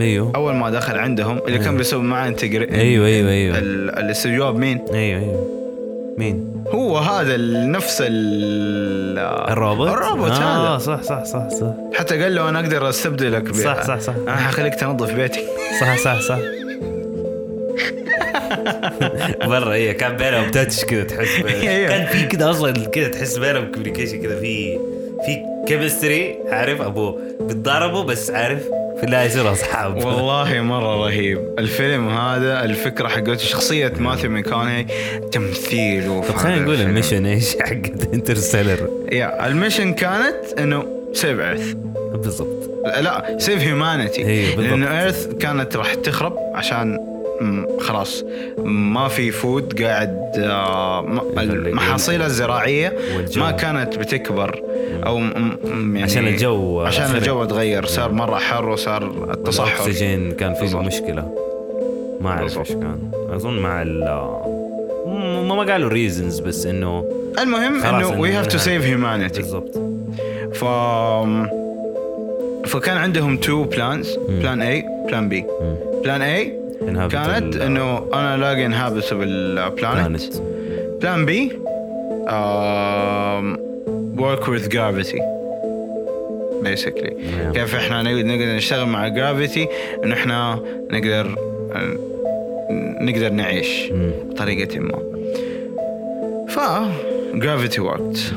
ايوه
اول ما دخل عندهم اللي
أيوه.
كان بيسوي معاه انتجر
ايوه ايوه ايوه
ال- الاستجواب مين؟
ايوه ايوه مين؟
هو هذا ال- نفس ال
الروبوت؟
الروبوت
اه
هذا
صح صح صح صح
حتى قال له انا اقدر استبدلك ب-
صح صح صح.
انا حخليك تنظف بيتي
صح صح صح مرة هي إيه، كان بينهم تاتش كذا تحس ب-
أيوة.
كان في كذا اصلا كذا تحس بينهم كوميونيكيشن كذا في في كيمستري عارف ابو بتضاربوا بس عارف في النهاية يصيروا اصحاب
والله مره رهيب الفيلم هذا الفكره حقته شخصيه ماثيو ميكاني تمثيله في
طب
هذا
خلينا نقول
الفيلم.
المشن ايش حقت انترستيلر
يا المشن كانت انه سيف ايرث
بالضبط
لا سيف هيومانيتي
أيوه، بالضبط.
لانه ايرث كانت راح تخرب عشان مم، خلاص ما في فود قاعد آه، ما- المحاصيل الزراعيه
والجو.
ما كانت بتكبر او م- م- يعني
عشان الجو
عشان
خرب.
الجو تغير صار مره حر وصار التصحر
الاكسجين كان في
بالضبط.
مشكلة ما اعرف
بالضبط.
ايش كان اظن مع ال م- ما قالوا ريزنز بس انه
المهم
خلاص
انه وي هاف تو
إنه-
سيف هيومانيتي
بالضبط
ف فكان عندهم تو بلانز بلان اي بلان بي
مم.
بلان اي
Inhabitable-
كانت انه انا الاقي انهابتبل بلانت
كانت
بلان بي um, ورك وذ جرافيتي بيسكلي
Yeah.
كيف احنا نقدر نقدر نشتغل مع جرافيتي انه احنا نقدر نقدر نعيش
مم.
بطريقة ما ف جرافيتي [LAUGHS] وركت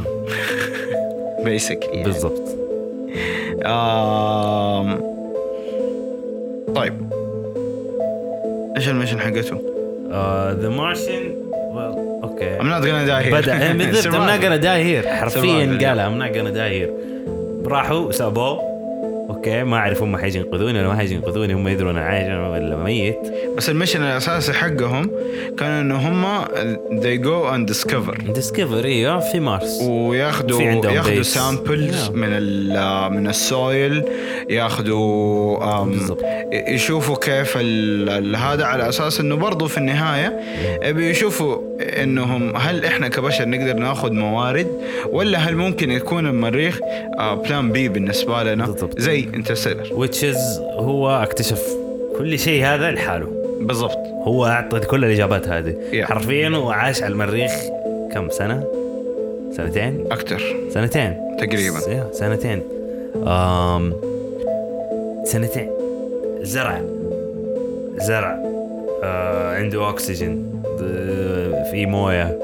بيسكلي
بالضبط
Um, طيب ايش المشن حقته؟
ذا مارشن اوكي
I'm not gonna die here. [LAUGHS]
بدا بالضبط I'm not gonna die here
Survival.
حرفيا قالها I'm not gonna die here راحوا سابوه اوكي ما اعرف هم حيجي ينقذوني ولا ما حيجي ينقذوني هم يدروا انا عايش ولا ميت
بس المشن الاساسي حقهم كان انه هم they go and discover
ديسكفري ايوه في مارس
وياخذوا
في عندهم
ياخذوا
base.
سامبلز
Yeah.
من ال من السويل ياخذوا um,
بالضبط.
ي- يشوفوا كيف ال- ال- هذا على اساس انه برضو في النهايه بيشوفوا انهم هل احنا كبشر نقدر ناخذ موارد ولا هل ممكن يكون المريخ uh, بلان بي بالنسبه لنا
بالضبط.
زي انترستيلر
ويتشز هو اكتشف كل شيء هذا لحاله
بالضبط
هو اعطى كل الاجابات هذه
Yeah.
حرفيا وعاش على المريخ كم سنه؟ سنتين؟
اكثر
سنتين
تقريباً.
س- يا، سنتين أم سنتين زرع زرع آه عنده اكسجين د- في مويه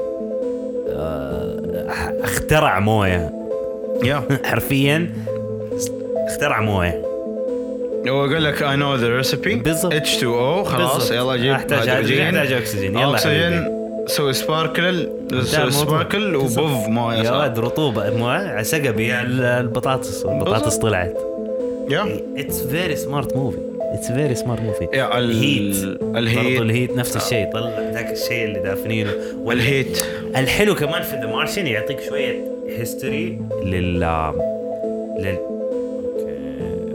آه أح- اخترع [LAUGHS] مويه
يا
حرفيا اخترع مويه
هو يقول لك اي نو ذا ريسبي
بالضبط.
H2O خلاص
بالضبط.
يلا جيب
أحتاج- أحتاج أكسجين. يلا
اكسجين
حبيبي.
سوي سباركل سوي سباركل وبوف مويه
يا
صار
ولد رطوبه مويه سقبي على البطاطس البطاطس
بالضبط.
طلعت
يا
اتس فيري سمارت موفي اتس فيري سمارت موفي
يا ال- الهيت.
برضه الهيت نفس الشيء طلع ذاك الشيء اللي دافنينه
والهيت
الحلو كمان في ذا مارشن يعطيك شويه هيستوري لل لل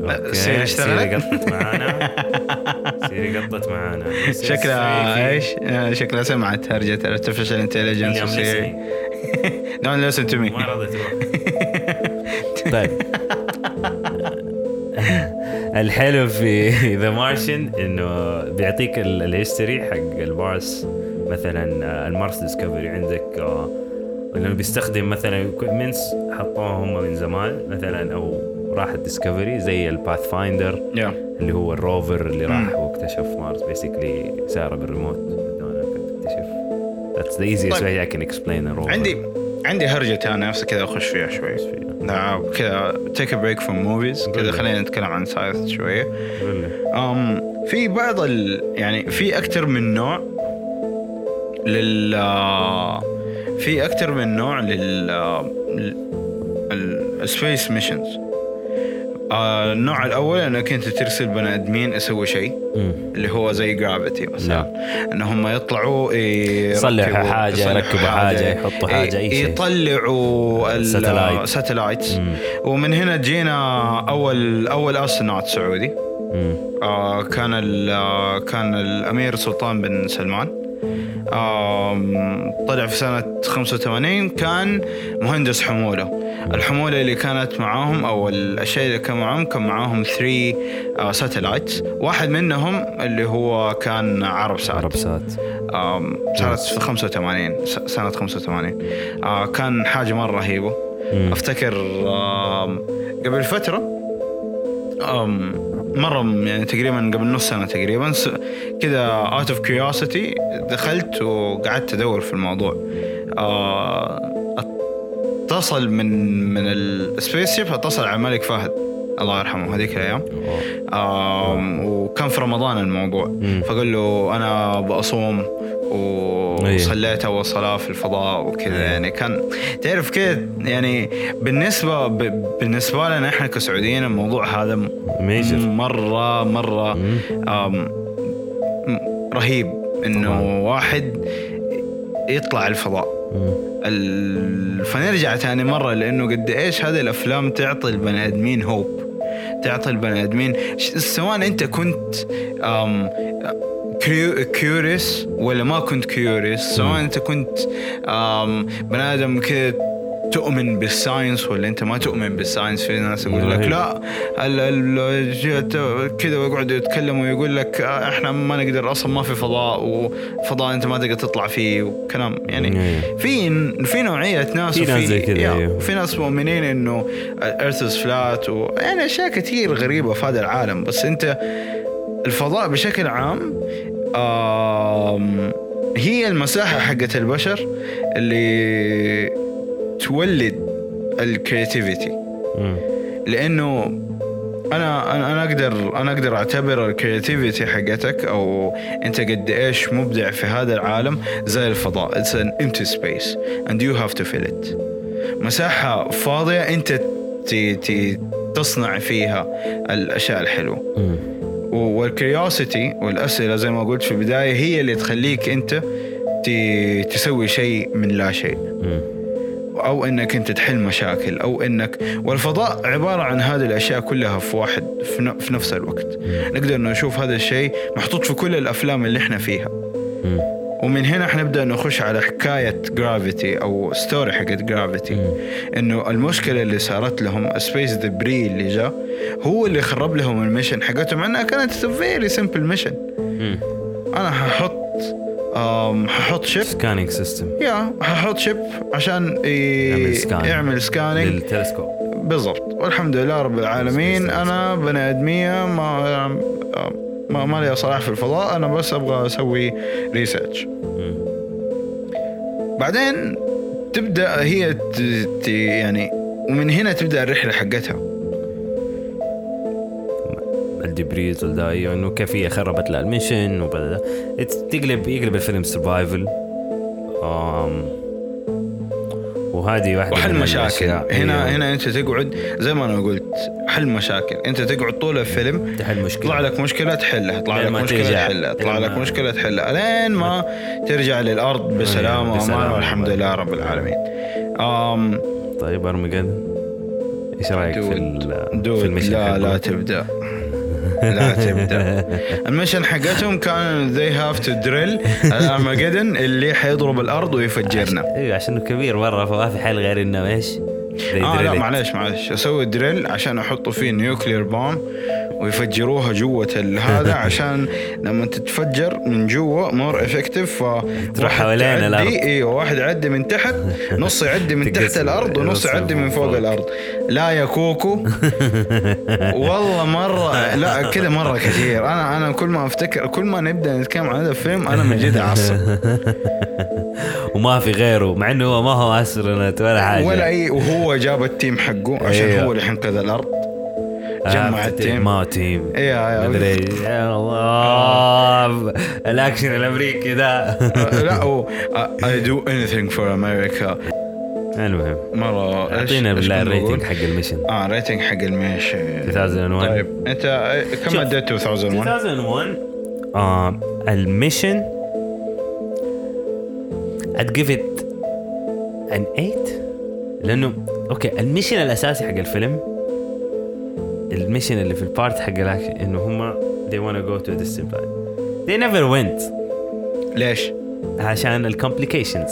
أوكي. اوكي
أه، سيري اشتغلت؟
سيري قطت
[LAUGHS]
معانا سيري قطت معانا
شكلها ايش؟ آه، شكلها سمعت هرجة ارتفيشال انتليجنس دونت ليسن تو
ما
مي
رضيت تروح [LAUGHS]
طيب
الحلو في [LAUGHS] ذا مارشن انه بيعطيك ال- الهيستوري حق المارس مثلا آه، المارس ديسكفري عندك آه، لانه بيستخدم مثلا اكويبمنتس حطوها هم من زمان مثلا او راحت ديسكفري زي الباث فايندر
يا
اللي هو الروفر اللي
مم.
راح واكتشف مارس بيسكلي ساره بالريموت بدون تكتشف That's the easiest
طيب.
way I can explain a rover.
عندي عندي هرجة انا نفسي كذا اخش فيها شوي لا كذا تيك بريك فروم موفيز كذا خلينا نتكلم عن ساينس شويه
قول لي.
أم في بعض ال... يعني في اكثر من نوع لل في اكثر من نوع لل السبيس ميشنز آه، النوع الاول انك انت ترسل بني ادمين يسوي شيء
مم.
اللي هو زي جرافيتي مثلا ان هم يطلعوا إيه، يركبوا-
يصلحوا نعم. حاجة،
يصلحوا
يركبوا حاجة، يحطوا حاجة، أي شيء.
يطلعوا
ساتلايت.
الساتلايتس
مم.
ومن هنا جينا اول اول استرونوت سعودي
مم.
آه، كان ال- آه، كان الامير سلطان بن سلمان آم، طلع في سنة 85 كان مهندس حمولة الحمولة اللي كانت معاهم أو الأشياء اللي كان معاهم كان معاهم 3 ساتلايتس واحد منهم اللي هو كان عرب سات
عربسات
آم، سنة 85 س- سنة 85 آه، كان حاجة مرة رهيبة
مم.
افتكر آم، قبل فترة آم، مرة يعني تقريبا قبل نص سنة تقريبا س- كذا اوت اوف كيوريوسيتي دخلت وقعدت ادور في الموضوع آه، اتصل من من السبيس شيب اتصل على الملك فهد الله يرحمه هذيك الايام
أوه.
آم، وكان في رمضان الموضوع
مم.
فقال له انا بصوم
أيه.
وصليت اول صلاه في الفضاء وكذا يعني كان تعرف كذا يعني بالنسبه ب... بالنسبه لنا احنا كسعوديين الموضوع هذا م...
Major.
مره مره
مم.
آم... م- رهيب انه
طبعاً.
واحد يطلع الفضاء
مم.
ال- فنرجع ثاني مره لانه قد ايش هذه الافلام تعطي البني ادمين هوب تعطي البني ادمين ش- سواء انت كنت أم كيوريس ولا ما كنت كيوريس سواء انت كنت أم بني ادم كذا تؤمن بالساينس ولا انت ما تؤمن بالساينس في ناس يقول لك
رهيب.
لا ال- ال- جت- كذا ويقعدوا يتكلموا ويقول لك آه، احنا ما نقدر اصلا ما في فضاء وفضاء انت ما تقدر تطلع فيه وكلام يعني
إيه.
في في نوعيه ناس
في ناس زي كذا،
يا،
أيوه.
وفي ناس مؤمنين انه الارث از فلات ويعني اشياء يعني كثير غريبه في هذا العالم بس انت الفضاء بشكل عام آم هي المساحه حقت البشر اللي تولد الكرياتيفيتي
مم.
لانه انا انا انا اقدر انا اقدر اعتبر الكرياتيفيتي حقتك او انت قد ايش مبدع في هذا العالم زي الفضاء اتس ان empty space and you have to fill it مساحه فاضيه انت تي تي تصنع فيها الاشياء الحلوه
مم.
والكريوسيتي والاسئله زي ما قلت في البدايه هي اللي تخليك انت تي تسوي شيء من لا شيء
مم.
او انك انت تحل مشاكل او انك والفضاء عباره عن هذه الاشياء كلها في واحد في, ن... في نفس الوقت نقدر نشوف هذا الشيء محطوط في كل الافلام اللي احنا فيها
مم.
ومن هنا احنا نبدا نخش على حكايه جرافيتي او ستوري حقت جرافيتي
مم.
انه المشكله اللي صارت لهم سبيس ذا بري اللي جاء هو اللي خرب لهم الميشن حقتهم مع انها كانت فيري سمبل ميشن
مم.
انا ححط أم، ححط شيب
سكانينج سيستم
يا ححط شيب عشان ي-
يعمل سكان.
يعمل سكاننج
للتلسكوب
بالضبط والحمد لله رب العالمين انا بني ادميه ما ما ما لي صلاح في الفضاء انا بس ابغى اسوي ريسيرش
مم.
بعدين تبدا هي ت... ت... يعني ومن هنا تبدا الرحله حقتها
الدبريز وده أيوة، انه كيف هي خربت لها الميشن وبدا تقلب يقلب الفيلم سرفايفل وهذه واحده
وحل
من
مشاكل
الأشياء.
هنا
أيوة.
هنا انت تقعد زي ما انا قلت حل مشاكل انت تقعد طول الفيلم
تحل
يطلع
مشكله
لك مشكله تحلها يطلع
لين
لك
ما
مشكله
ترجع.
تحلها يطلع
لين
لك
ما-
مشكله تحلها لين ما ترجع للارض بسلام وامان
بسلام.
والحمد لله رب العالمين أم
طيب ارمي قد ايش رايك في ال-
دود
في المشهد
لا لا
حقه؟
تبدا لا تبدا المشن حقتهم كان they have to drill الارمجدن اللي حيضرب الارض ويفجرنا
ايوه عشانه كبير مره فما في حل غير انه ايش؟
اه لا
يدرلك.
معليش معليش اسوي دريل عشان احطوا فيه نيوكلير بوم ويفجروها جوة ال-
[LAUGHS]
هذا عشان لما تتفجر من جوا مور افكتيف
تروح حوالين الأرض.
ايوه واحد يعدي من
[LAUGHS]
تحت نص يعدي من تحت
تقسم-
الارض ونص
نص
يعدي من
فوق.
فوق الارض لا يا
[LAUGHS]
كوكو والله مره لا كذا مره كثير انا انا كل ما افتكر كل ما نبدا نتكلم عن هذا الفيلم انا من جد اعصب
[LAUGHS] وما في غيره مع انه هو ما هو استرونوت ولا حاجه
ولا اي وهو جاب التيم حقه عشان
أيوه.
هو اللي حينقذ الارض
آه،
جمع
في
التيم.
ما تيم
ايوه ايوه
مدري إيش. يا الله الاكشن الامريكي ده [LAUGHS]
آه، لا هو I do anything for America
المهم
مرة إيش-
اعطينا
إيش
بالله
كنا بقول؟
الريتنج حق الميشن
اه ريتنج حق الميش
2001.
طيب انت كم
شوف.
اديت 2001
2001 آه الميشن I'd give it an 8 لانه اوكي الميشن الاساسي حق الفيلم الميشن اللي في البارت حق الاكشن انه هم they wanna go to this planet they never went
ليش؟
عشان الكومبليكيشنز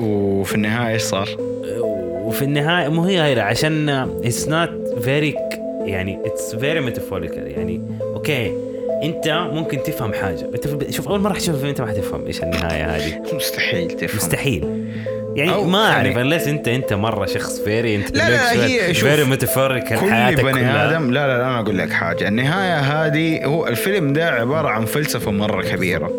وفي النهاية ايش صار؟
وفي النهايه مو هي غير عشان اتس نوت فيري يعني اتس فيري ميتافوريكال يعني اوكي انت ممكن تفهم حاجه انت في الب- شوف اول مره حتشوف الفيلم انت ما حتفهم ايش النهايه هذه
مستحيل تفهم
مستحيل يعني
أو
ما اعرف
يعني-
انليس انت انت مره شخص فيري انت
لا، لا، هي- شوف،
فيري ميتافوريكال
كل
حياتك
بني
كلها
ادم لا لا لا انا اقول لك حاجه النهايه هذه هو الفيلم ده عباره عن فلسفه مره كبيره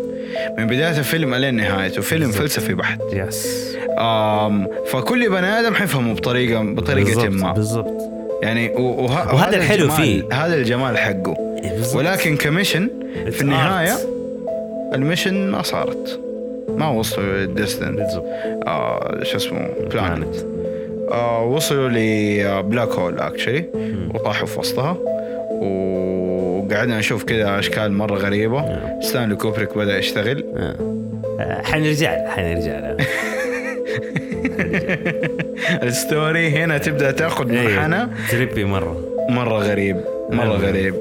من بدايه الفيلم الى نهايته فيلم
بالضبط.
فلسفي بحت
يس
آم، فكل بني ادم حيفهمه بطريقه بطريقه
بالضبط،
ما
بالضبط
يعني و- وه-
وهذا الحلو
الجمال-
فيه.
هذا الجمال حقه
بالضبط.
ولكن كميشن
It's
في النهايه
art.
الميشن ما صارت ما وصلوا للديستنت
بالضبط
آه شو اسمه بلانت
بلانت
آه وصلوا آه، لبلاك هول اكشلي وطاحوا في وسطها وقعدنا نشوف كذا اشكال مره غريبه
نعم.
ستانلي كوبريك بدا يشتغل [LAUGHS]
آه، حنرجع له، حنرجع له.
الستوري هنا تبدا تاخذ منحنى
ايوه تريبي مره
مره غريب مره
أيوه.
غريب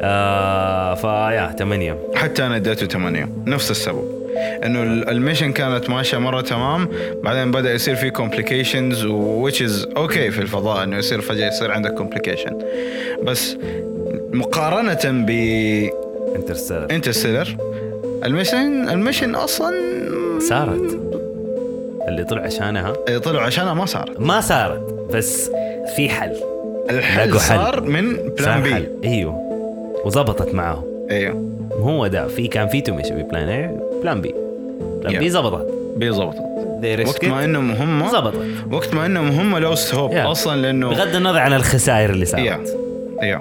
آه فيا ثمانية
حتى انا اديته 8 نفس السبب انه ال- الميشن كانت ماشيه مره تمام بعدين بدا يصير في كومبليكيشنز وتش از اوكي في الفضاء انه يصير فجاه يصير عندك كومبليكيشن بس مقارنه ب
انترستيلر
انترستيلر الميشن الميشن اصلا
صارت اللي طلع عشانها
طلعوا عشانها إيه، ما صار
ما صارت بس في حل لقوا
الحل
حل.
صار من
صار
بلان بي
حل. ايوه وظبطت معاهم
ايوه
هو ده في كان في توميش في بلان اي بلان بي بلان
Yeah.
بي ظبطت
بيظبطت
They risked
وقت ما
it.
انهم هم
ظبطت
وقت ما انهم هم لوست هوب
Yeah.
اصلا لانه
بغض النظر عن الخسائر اللي
يا
صارت
يا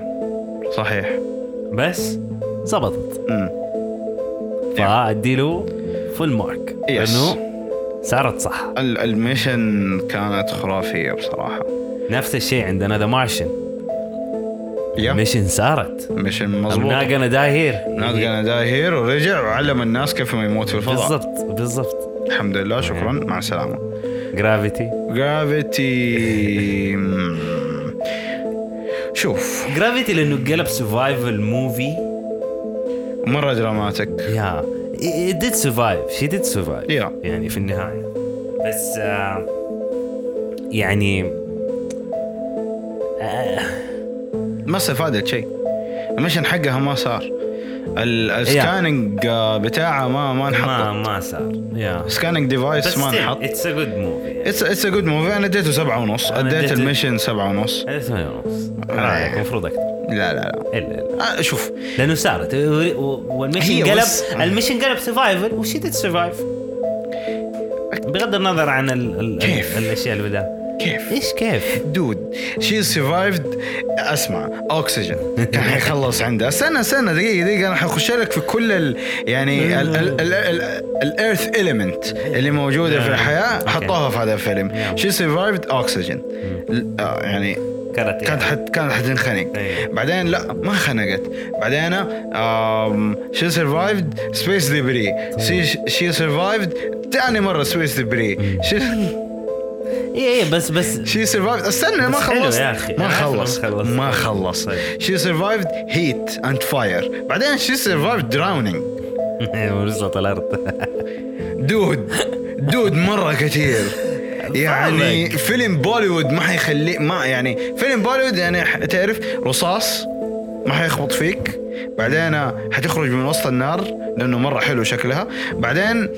صحيح
بس ظبطت
امم Yeah.
فادي له فول مارك
Yes.
لانه صارت صح
ال- الميشن كانت خرافيه بصراحه
نفس الشيء عندنا ذا مارشن
يا
ميشن صارت
ميشن
مظبوط
مظبوط
I'm not gonna die here
ناس قال داهير ورجع وعلم الناس كيف ما يموت في الفضاء بالزبط.
بالضبط بالضبط
الحمد لله شكرا مع السلامه
جرافيتي
جرافيتي شوف
جرافيتي لانه قلب سرفايفل موفي
مره دراماتيك
يا ديد سرفايف شي ديد سرفايف
Yeah.
يعني في النهايه بس آه، يعني
ما استفادت شيء الميشن حقها ما صار ال- السكاننج آه، بتاعها ما ما
ما
انحط
ما صار يا
سكاننج ديفايس
بس
ما انحط
اتس ا جود موفي
اتس اتس ا جود موفي انا اديته سبعة ونص
أنا
اديت
اديته-
الميشن سبعة ونص
هذا ثمانية ونص
آه.
رايك المفروض اكثر
لا لا لا
الا الا
آه، شوف
لانه صارت و- و- والميشن
هي
قلب
بس- آه.
الميشن قلب سرفايفل وشي ديد سرفايف بغض النظر عن ال ال
كيف؟
الاشياء اللي بدها
كيف
ايش كيف؟
دود شي سرفايفد اسمع
[LAUGHS]
اوكسجين كان حيخلص عندها استنى استنى دقيقه دقيقه انا حخش لك في كل ال يعني الايرث اليمنت اللي موجوده في الحياه
أوكي.
حطوها في هذا الفيلم
Yeah.
شي سرفايفد اوكسجين يعني
كانت
كانت حت كانت حتنخنق
إيه.
بعدين لا ما خنقت بعدين شي سرفايفد سبيس
إيه. إيه.
ديبري شي سرفايفد ثاني مره سبيس ديبري شي
اي اي إيه، بس [LAUGHS] بس
شي سرفايفد استنى ما
بس حلو
خلصت
يا أخي.
ما
أنا عارف إنه ما
خلص
خلصت.
ما خلص شي سرفايفد هيت اند فاير بعدين شي سرفايفد دراونينج
ورزت الارض
دود دود مره
[LAUGHS]
كثير يعني
فاهمك.
فيلم بوليوود ما حيخليك ما يعني فيلم بوليوود يعني ح- تعرف رصاص ما حيخبط فيك بعدين حتخرج من وسط النار لانه مره حلو شكلها بعدين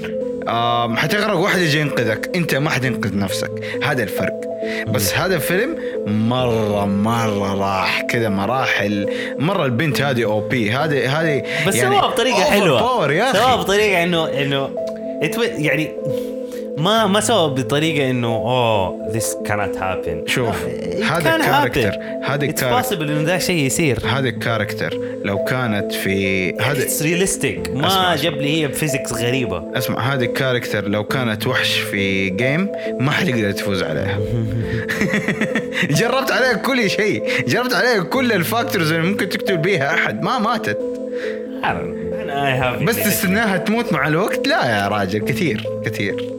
آم، حتغرق واحد يجي ينقذك انت ما حتنقذ نفسك هذا الفرق بس هذا الفيلم مره مره راح كذا مراحل مره البنت هذه او بي هذه هذه
[LAUGHS] بس
يعني
سواها بطريقه
over power
حلوه
يا
سواها
اخي
بطريقه انه انه it will- يعني ما ما سواها بطريقه انه اوه this cannot happen
شوف،
It
هذا
can
الكاركتر،
happen.
هذا
it's
الكاركتر.
possible انه ذا شيء يصير
هذه الكاركتر لو كانت في هذه
it's realistic
أسمع،
ما
أسمع.
جاب لي هي بفيزيكس غريبه
اسمع هذه الكاركتر لو كانت وحش في جيم ما حتقدر تفوز عليها [LAUGHS] جربت عليها كل شيء جربت عليها كل الفاكتورز اللي ممكن تقتل بيها احد ما ماتت
I don't know. انا I have
بس
it.
تستناها تموت مع الوقت لا يا راجل كثير كثير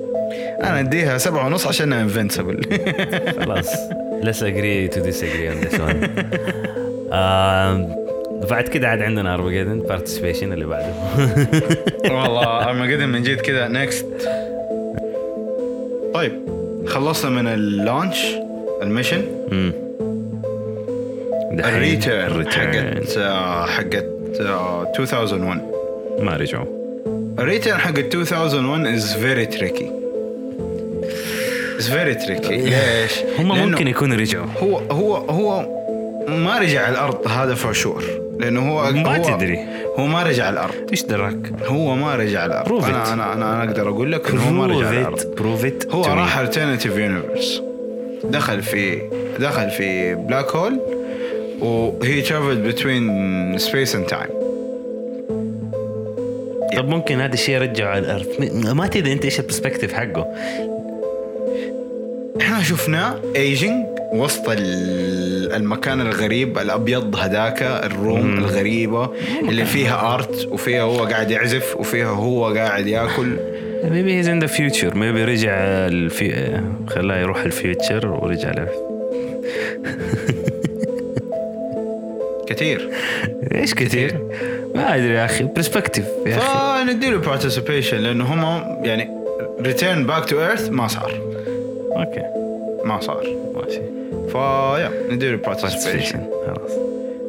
انا اديها سبعة ونص عشانها انفنسبل [LAUGHS]
خلاص let's agree to disagree on this [LAUGHS] one آم، بعد كده عاد عندنا ارمجيدن بارتيسيبيشن اللي بعده
والله اما قدم من جد كذا نكست طيب خلصنا من اللانش الميشن
مم. دحين
الريتيرن
الريتيرن.
حقت آه، حقت آه، 2001
ما رجعوا
الريتيرن حقت 2001 از فيري تريكي از فيري تريكي ليش؟
هم
لأنه
ممكن يكونوا رجعوا
هو هو هو ما رجع الارض هذا فشور لانه هو
ما
هو-
تدري.
هو ما رجع الارض
ايش دراك؟
هو ما رجع الارض
Prove it.
انا انا انا, أنا اقدر اقول لك إنه هو ما رجع الارض
بروفيت بروفيت
هو راح الترناتيف يونيفرس دخل في دخل في بلاك هول وهي ترافلد بتوين سبيس اند تايم
طب ممكن هذا الشيء يرجعه على الارض م- ما تدري انت ايش البرسبكتيف حقه
احنا شفناه ايجنج وسط ال- المكان الغريب الابيض هداك الروم مم. الغريبه اللي فيها ارت وفيها هو قاعد يعزف وفيها هو قاعد ياكل
ميبي هيز ان ذا فيوتشر ميبي رجع الفي... خلاه يروح الفيوتشر ورجع له [LAUGHS]
كثير
ايش كثير؟ ما ادري يا اخي برسبكتيف يا اخي
فنديله بارتيسيبيشن لانه هم يعني ريتيرن باك تو ايرث ما صار
اوكي
ما صار
ماشي
فيا نديله بارتيسيبيشن
Participation. خلاص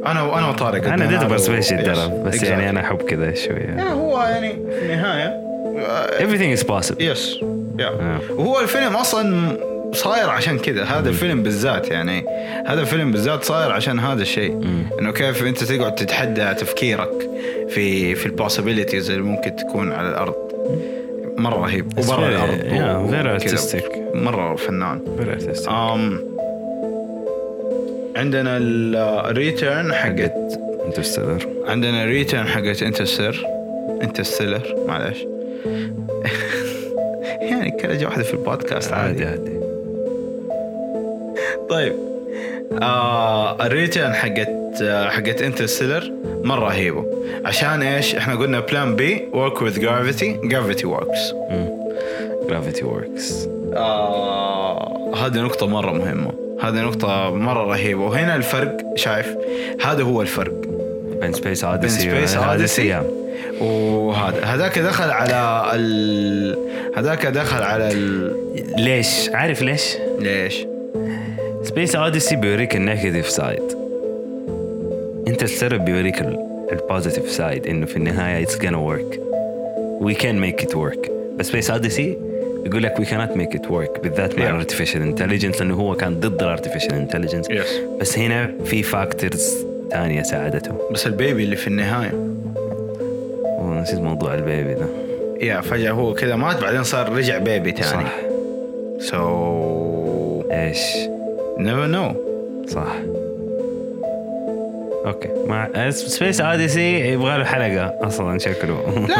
انا وانا وطارق
انا
قدنا
اديته
هذا
برسبكتيف
و-
ترى بس
Yes.
يعني
Exactly.
انا احب كذا شويه
يعني هو يعني في النهايه آه،
everything is possible
يس يا
Yeah.
وهو الفيلم اصلا صاير عشان كذا هذا الفيلم بالذات يعني هذا الفيلم بالذات صاير عشان هذا الشيء انه كيف انت تقعد تتحدى تفكيرك في في البوسيبيليتيز اللي ممكن تكون على الارض مره رهيب
It's
وبرا
very-
الارض
yeah,
و-
very
وكذا.
artistic.
مره فنان
Very artistic.
أم عندنا الريتيرن حقت
انترستيلر
عندنا ريتيرن حقت انترستيلر انترستيلر معلش [LAUGHS] يعني كلجة واحدة في البودكاست عادي
عادي عادي
طيب آه الريتيرن حقت آه، حقت انترستيلر مرة رهيبة عشان ايش؟ احنا قلنا بلان بي ورك وذ جرافيتي جرافيتي وركس
جرافيتي وركس
آه، هذه نقطة مرة مهمة هذه نقطة مرة رهيبة وهنا الفرق شايف هذا هو الفرق
بين سبيس
بين
اوديسي
سبيس اوديسي وهذا هذاك دخل على ال... هذاك دخل على ال...
ليش؟ عارف ليش؟
ليش؟
سبيس اوديسي بيوريك النيجاتيف سايد انت السر بيوريك البوزيتيف سايد انه في النهايه اتس gonna ورك وي كان ميك ات ورك بس سبيس اوديسي يقول لك وي كانت ميك ات ورك بالذات مع
Yeah.
الارتفيشال انتليجنس لانه هو كان ضد الارتفيشال انتليجنس
Yes.
بس هنا في فاكتورز ثانيه ساعدته
بس البيبي اللي في النهاية
ونسيت موضوع البيبي ده
يا فجأة هو كذا مات بعدين صار رجع بيبي تاني
صح
سو
ايش
نيفر نو
صح اوكي مع سبيس اوديسي يبغى له حلقه اصلا شكله [LAUGHS]
لا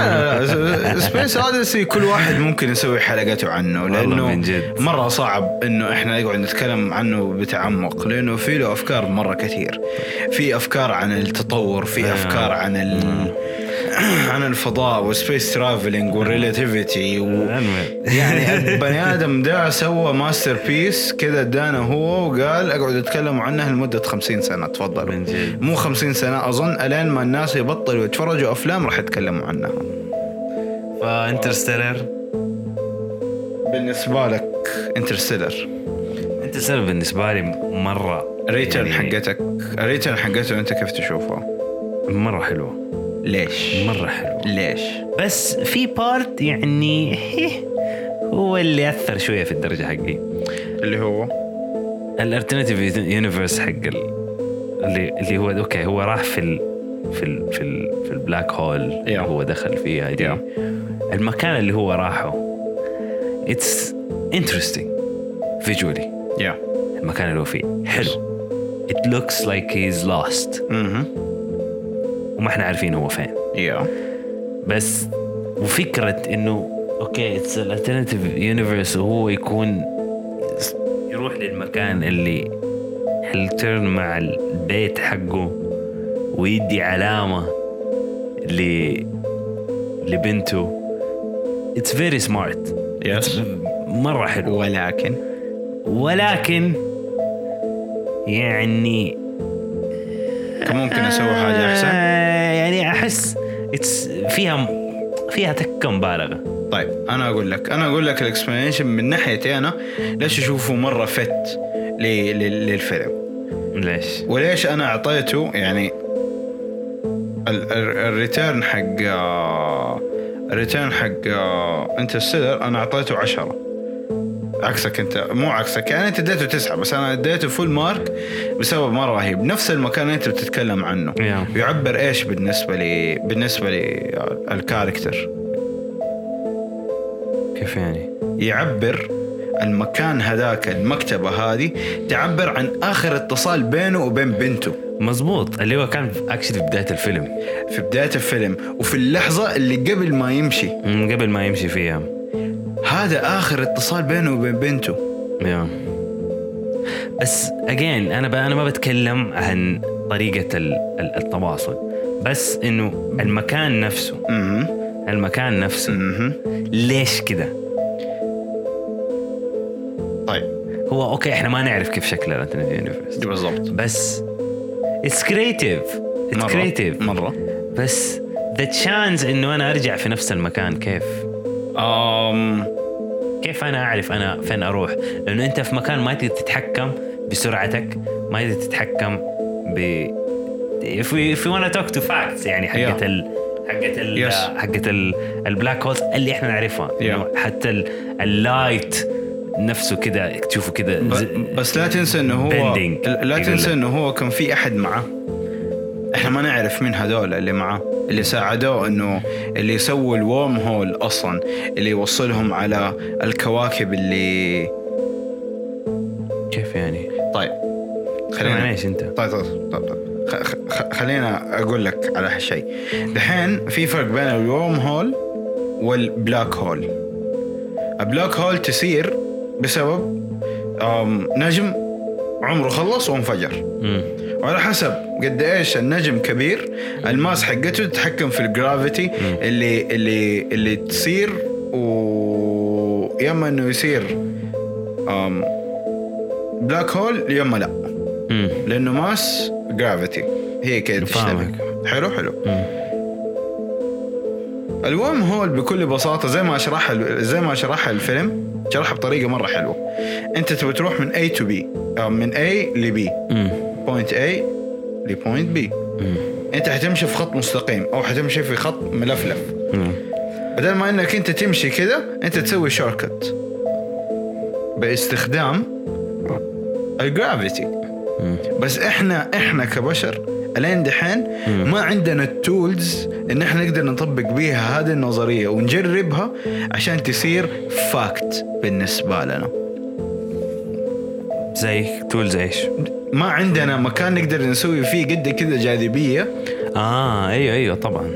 لا لا سبيس اوديسي كل واحد ممكن يسوي حلقته عنه
والله
لانه
من جد.
مره صعب انه احنا نقعد نتكلم عنه بتعمق لانه في له
آه.
افكار مره كثير في افكار عن التطور في افكار عن ال... عن الفضاء والسبيس ترافلينج والريلاتيفيتي و...
المهم.
يعني
[LAUGHS]
البني ادم ده سوى ماستر بيس كذا ادانا هو وقال اقعد اتكلموا عنها لمده 50 سنه تفضلوا
من جد.
مو 50 سنه اظن الين ما الناس يبطلوا يتفرجوا افلام راح يتكلموا عنها
فانترستيلر
بالنسبه لك انترستيلر
انترستيلر بالنسبه لي مره
ريتن
يعني
حقتك ريتن حقته انت كيف تشوفها؟
مره حلوه
ليش؟
مره حلوه
ليش؟
بس في بارت يعني [LAUGHS] هيه، هو اللي اثر شويه في الدرجه حقي
اللي هو
الالترناتيف يونيفرس حق ال- اللي اللي هو اوكي هو راح في ال في ال في, ال في البلاك هول اللي
Yeah.
هو دخل فيها دي
Yeah.
المكان اللي هو راحه اتس انترستنج فيجولي
يا
المكان اللي هو فيه حلو it looks like he's lost
اها
وما احنا عارفين هو فين
يا
بس وفكره انه اوكي اتس الالترناتيف يونيفرس وهو يكون يروح للمكان اللي الترن مع البيت حقه ويدي علامه ل لبنته اتس فيري سمارت
يس
مره حلو
ولكن
ولكن يعني
كان ممكن اسوي حاجه احسن
آه، يعني احس اتس فيها فيها تكه مبالغه
طيب انا اقول لك انا اقول لك الاكسبلانيشن من ناحيتي انا ليش اشوفه مره فت ل- ل- للفيلم
ليش؟
وليش انا اعطيته يعني ال- ال- الريتيرن حق آه، الريتيرن حق آه، انترستيلر انا اعطيته عشرة عكسك انت مو عكسك يعني انت اديته تسعة بس انا اديته فول مارك بسبب مره رهيب نفس المكان اللي انت بتتكلم عنه
Yeah.
يعبر ايش بالنسبه لي بالنسبه لي آه، الكاركتر
كيف يعني؟
يعبر المكان هذاك المكتبة هذه تعبر عن آخر اتصال بينه وبين بنته
مزبوط اللي هو كان اكشلي في بدايه الفيلم
في بداية الفيلم وفي اللحظة اللي قبل ما يمشي
من قبل ما يمشي فيها
هذا آخر اتصال بينه وبين بنته
يا بس اجين انا ب... انا ما بتكلم عن طريقه ال... ال- التواصل بس انه المكان نفسه
اها
المكان نفسه
اها
ليش كذا؟
طيب
هو اوكي احنا ما نعرف كيف شكل الانترنت يونيفرس
بالضبط
بس اتس كريتيف اتس
مرة
كريتيف
مرة
بس ذا تشانس انه انا ارجع في نفس المكان كيف؟
أم
كيف انا اعرف انا فين اروح؟ لانه انت في مكان ما تقدر تتحكم بسرعتك، ما تقدر تتحكم ب if we, if we wanna talk to facts يعني حقت
Yeah.
ال حقت ال
Yes.
حقت ال البلاك هولز اللي احنا نعرفها
Yeah.
إنه حتى ال- اللايت نفسه كده تشوفه كده
ب- بس لا تنسى انه هو
Bending.
إيه، لا
يقول
تنسى
لك.
انه هو كان في احد معاه احنا ما نعرف مين هذول اللي معاه اللي ساعدوه انه اللي يسووا الورم هول اصلا اللي يوصلهم على الكواكب اللي
كيف يعني؟
طيب خلينا
معليش انت
طيب طيب طيب, طيب. خ- خ- خلينا اقول لك على شيء دحين في فرق بين الورم هول والبلاك هول البلاك هول تسير بسبب أم، نجم عمره خلص وانفجر
مم.
وعلى حسب قد ايش النجم كبير الماس حقته تتحكم في الجرافيتي اللي اللي اللي تصير و يما انه يصير أم بلاك هول يما لا
مم.
لانه ماس جرافيتي هي كده
فاهمك.
تشتبك حلو حلو
مم.
الورم هول بكل بساطه زي ما شرح زي ما شرحها الفيلم شرحها بطريقه مره حلوه انت تبي تروح من A تو B أو من A ل B
مم.
بوينت A لبوينت B
مم.
انت حتمشي في خط مستقيم او حتمشي في خط ملفلف
مم.
بدل ما انك انت تمشي كده انت تسوي شورت كت باستخدام الجرافيتي
مم.
بس احنا احنا كبشر الين دحين ما عندنا التولز ان احنا نقدر نطبق بيها هذه النظريه ونجربها عشان تصير فاكت بالنسبه لنا
زي تولز ايش؟
ما عندنا مكان نقدر نسوي فيه قد كذا جاذبيه
آه، أيوه، اه ايوه ايوه طبعا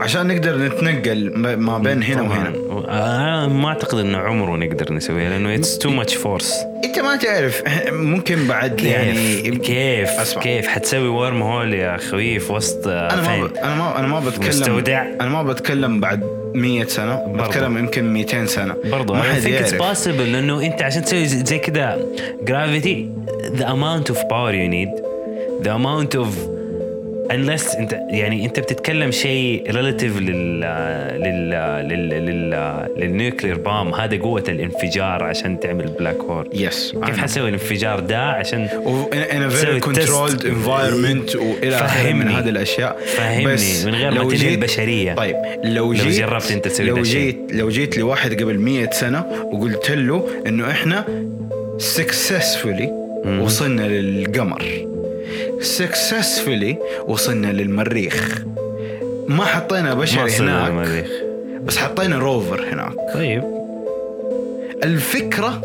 عشان نقدر نتنقل ما- ما بين هنا وهنا
طبعاً. آه، ما اعتقد انه عمره نقدر نسويها لانه اتس تو ماتش فورس
انت ما تعرف ممكن بعد يعني
كيف كيف
أسمع.
كيف حتسوي ورم هول يا خوي في وسط آه،
انا ما
فين
ب... انا ما انا ما بتكلم
مستودع.
انا ما بتكلم بعد 100 سنه
برضو.
بتكلم يمكن 200 سنه
برضه
ما
I
حد
think it's
يعرف
possible لانه انت عشان تسوي زي زي كذا gravity the amount of power you need the amount of unless انت يعني انت بتتكلم شيء relative لل لل لل لل للنيوكلير بام هذا قوة الانفجار عشان تعمل بلاك هول
يس
كيف حسوي الانفجار ده عشان
ان فيري
تسوي
كنترولد
test. إيه.
انفايرمنت والى اخره من
فهمني.
هذه الاشياء
فهمني.
بس
من غير ما
لو
تنهي
جيت-
البشرية.
طيب لو جيت
جربت أنت تسوي ده
لو
الشيء.
جيت لو جيت لواحد قبل 100 سنه وقلت له انه احنا سكسسفولي وصلنا للقمر سكسسفولي وصلنا للمريخ ما حطينا
ما
بشر
وصلنا
هناك
للمريخ.
بس حطينا روفر هناك
طيب
الفكره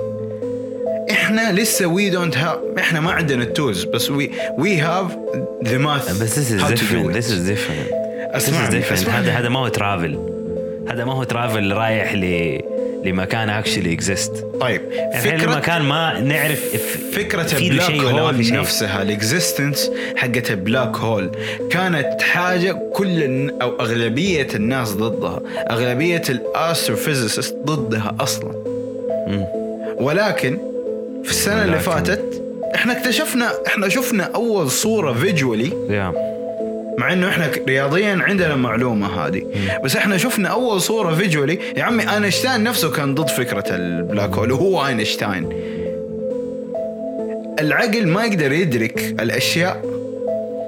احنا لسه وي دونت هاف احنا ما عندنا التولز بس وي وي هاف ذا ماث
بس this is different this is different This is
اسمعني
different.
اسمعني.
هذا هذا ما هو ترافل هذا ما هو ترافل رايح ل لمكان اكشلي اكزيست
طيب
فكرة
فكره
المكان ما نعرف if
فكرة
في له
البلاك
شيء ولا ما في
هول
شيء.
نفسها الاكزيستنس حقت البلاك هول كانت حاجة كل الن- أو أغلبية الناس ضدها أغلبية الأستروفيزيست ضدها أصلا ولكن في السنة اللي
ولكن.
فاتت احنا اكتشفنا احنا شفنا أول صورة فيجولي
يا
مع انه احنا ك- رياضيا عندنا المعلومه هذه بس احنا شفنا اول صوره فيجولي يا عمي اينشتاين نفسه كان ضد فكره البلاك هول وهو اينشتاين العقل ما يقدر يدرك الاشياء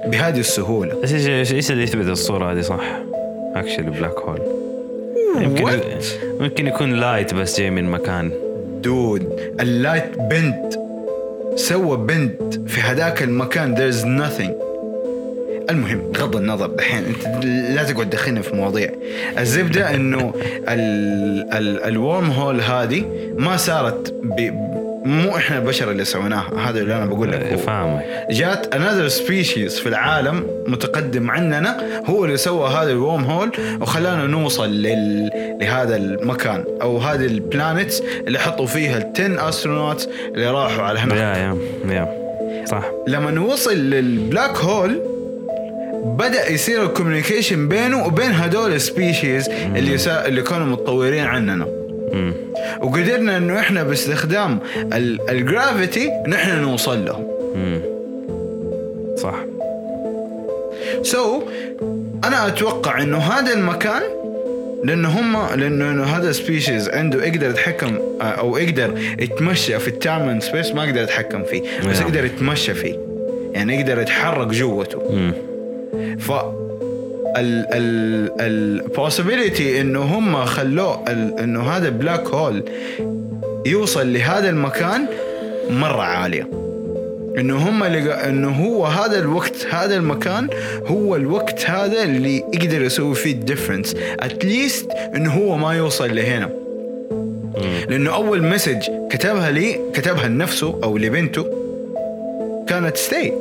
بهذه السهوله
بس ايش ايش ايش اللي يثبت الصورة هذه صح؟ اكشلي بلاك هول يمكن ممكن يكون لايت بس جاي من مكان
دود اللايت بند سوى بند في هذاك المكان there's nothing المهم غض النظر دحين انت لا تقعد تدخلنا في مواضيع الزبده انه ال ال الورم هول هذه ما صارت ب مو احنا البشر اللي سويناها هذا اللي انا بقول لك
إيه،
هو.
فاهمك
جات انذر سبيشيز في العالم متقدم عننا هو اللي سوى هذا الورم هول وخلانا نوصل لل... لهذا المكان او هذه البلانيتس اللي حطوا فيها ال 10 استرونوتس اللي راحوا على
يا
هناك
يا يا صح
لما وصل للبلاك هول بدا يصير الكوميونيكيشن بينه وبين هذول السبيشيز اللي سا... اللي كانوا متطورين عننا
مم.
وقدرنا انه احنا باستخدام ال- الجرافيتي نحن نوصل لهم
مم. صح
سو انا اتوقع انه هذا المكان لانه هم لانه إنه هذا سبيشيز عنده يقدر يتحكم آه، او يقدر يتمشى في التايم سبيس ما يقدر يتحكم فيه بس
Yeah.
يقدر يتمشى فيه يعني يقدر يتحرك جوته
مم.
ف ال ال ال possibility انه هم خلوه ال- انه هذا بلاك هول يوصل لهذا المكان مره عاليه انه هم لقى انه هو هذا الوقت هذا المكان هو الوقت هذا اللي يقدر يسوي فيه الديفرنس اتليست انه هو ما يوصل لهنا لانه اول مسج كتبها لي كتبها لنفسه او لبنته كانت ستي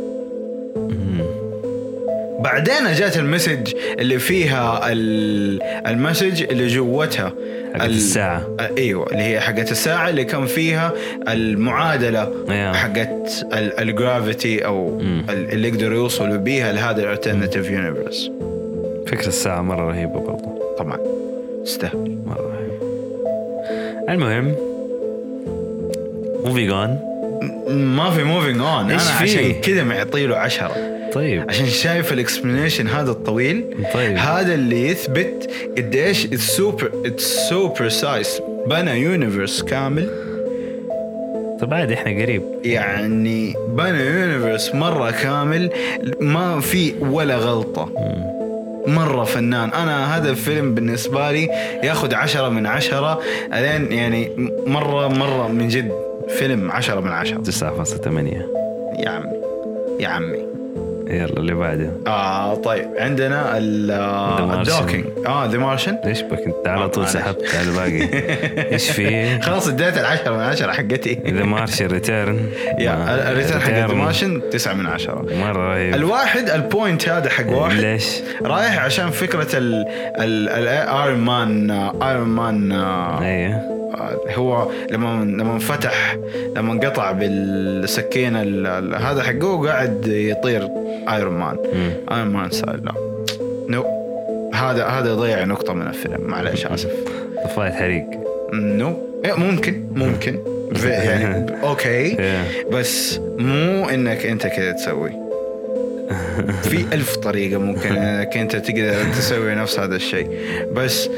بعدين جات المسج اللي فيها ال- المسج اللي جوتها
حقت
ال-
الساعة.
آه، ايوه اللي هي حقت الساعه اللي كان فيها المعادله
Yeah.
حقت ال- الجرافيتي او ال- اللي يقدروا يوصلوا بيها لهذا الالترناتيف يونيفرس
فكرة الساعة مرة رهيبة برضه
طبعا استهبل
مرة رهيب. المهم موفينج اون
ما في موفينج اون انا
إيش فيه؟
عشان كذا معطي له 10
طيب
عشان شايف الاكسبلانيشن هذا الطويل
طيب.
هذا اللي يثبت قديش السوبر السوبر سايز بنى يونيفرس كامل
طب عادي احنا طيب، قريب
يعني بنى يونيفرس مره كامل ما في ولا غلطه مره فنان انا هذا الفيلم بالنسبه لي ياخذ عشرة من عشرة الين يعني مره مره من جد فيلم عشرة من عشرة
9.8
يا عمي يا عمي
يلا اللي بعده
اه طيب عندنا ال-
The Martian.
الدوكينج اه ذا مارشن
ليش بك انت على طول
معلش.
سحبت على الباقي
[LAUGHS]
ايش في
خلاص اديت العشرة من عشرة حقتي
ذا مارشال ريتيرن
يا الريتيرن حق ذا مارشن تسعة من عشرة
مره رهيب
الواحد البوينت هذا حق واحد
يعني ليش؟
رايح عشان فكرة ال ال ايرون مان ايرون مان
ايوه
آه، هو لما لما انفتح لما انقطع بالسكينة ال- ال- هذا حقه قاعد يطير ايرون مان
مم.
ايرون مان سأل لا نو هذا هذا يضيع نقطة من الفيلم معلش اسف
طفايه حريق
نو إيه، ممكن ممكن ف- يعني اوكي
Yeah.
بس مو انك انت كذا تسوي في ألف طريقة ممكن انك انت تقدر تسوي نفس هذا الشيء بس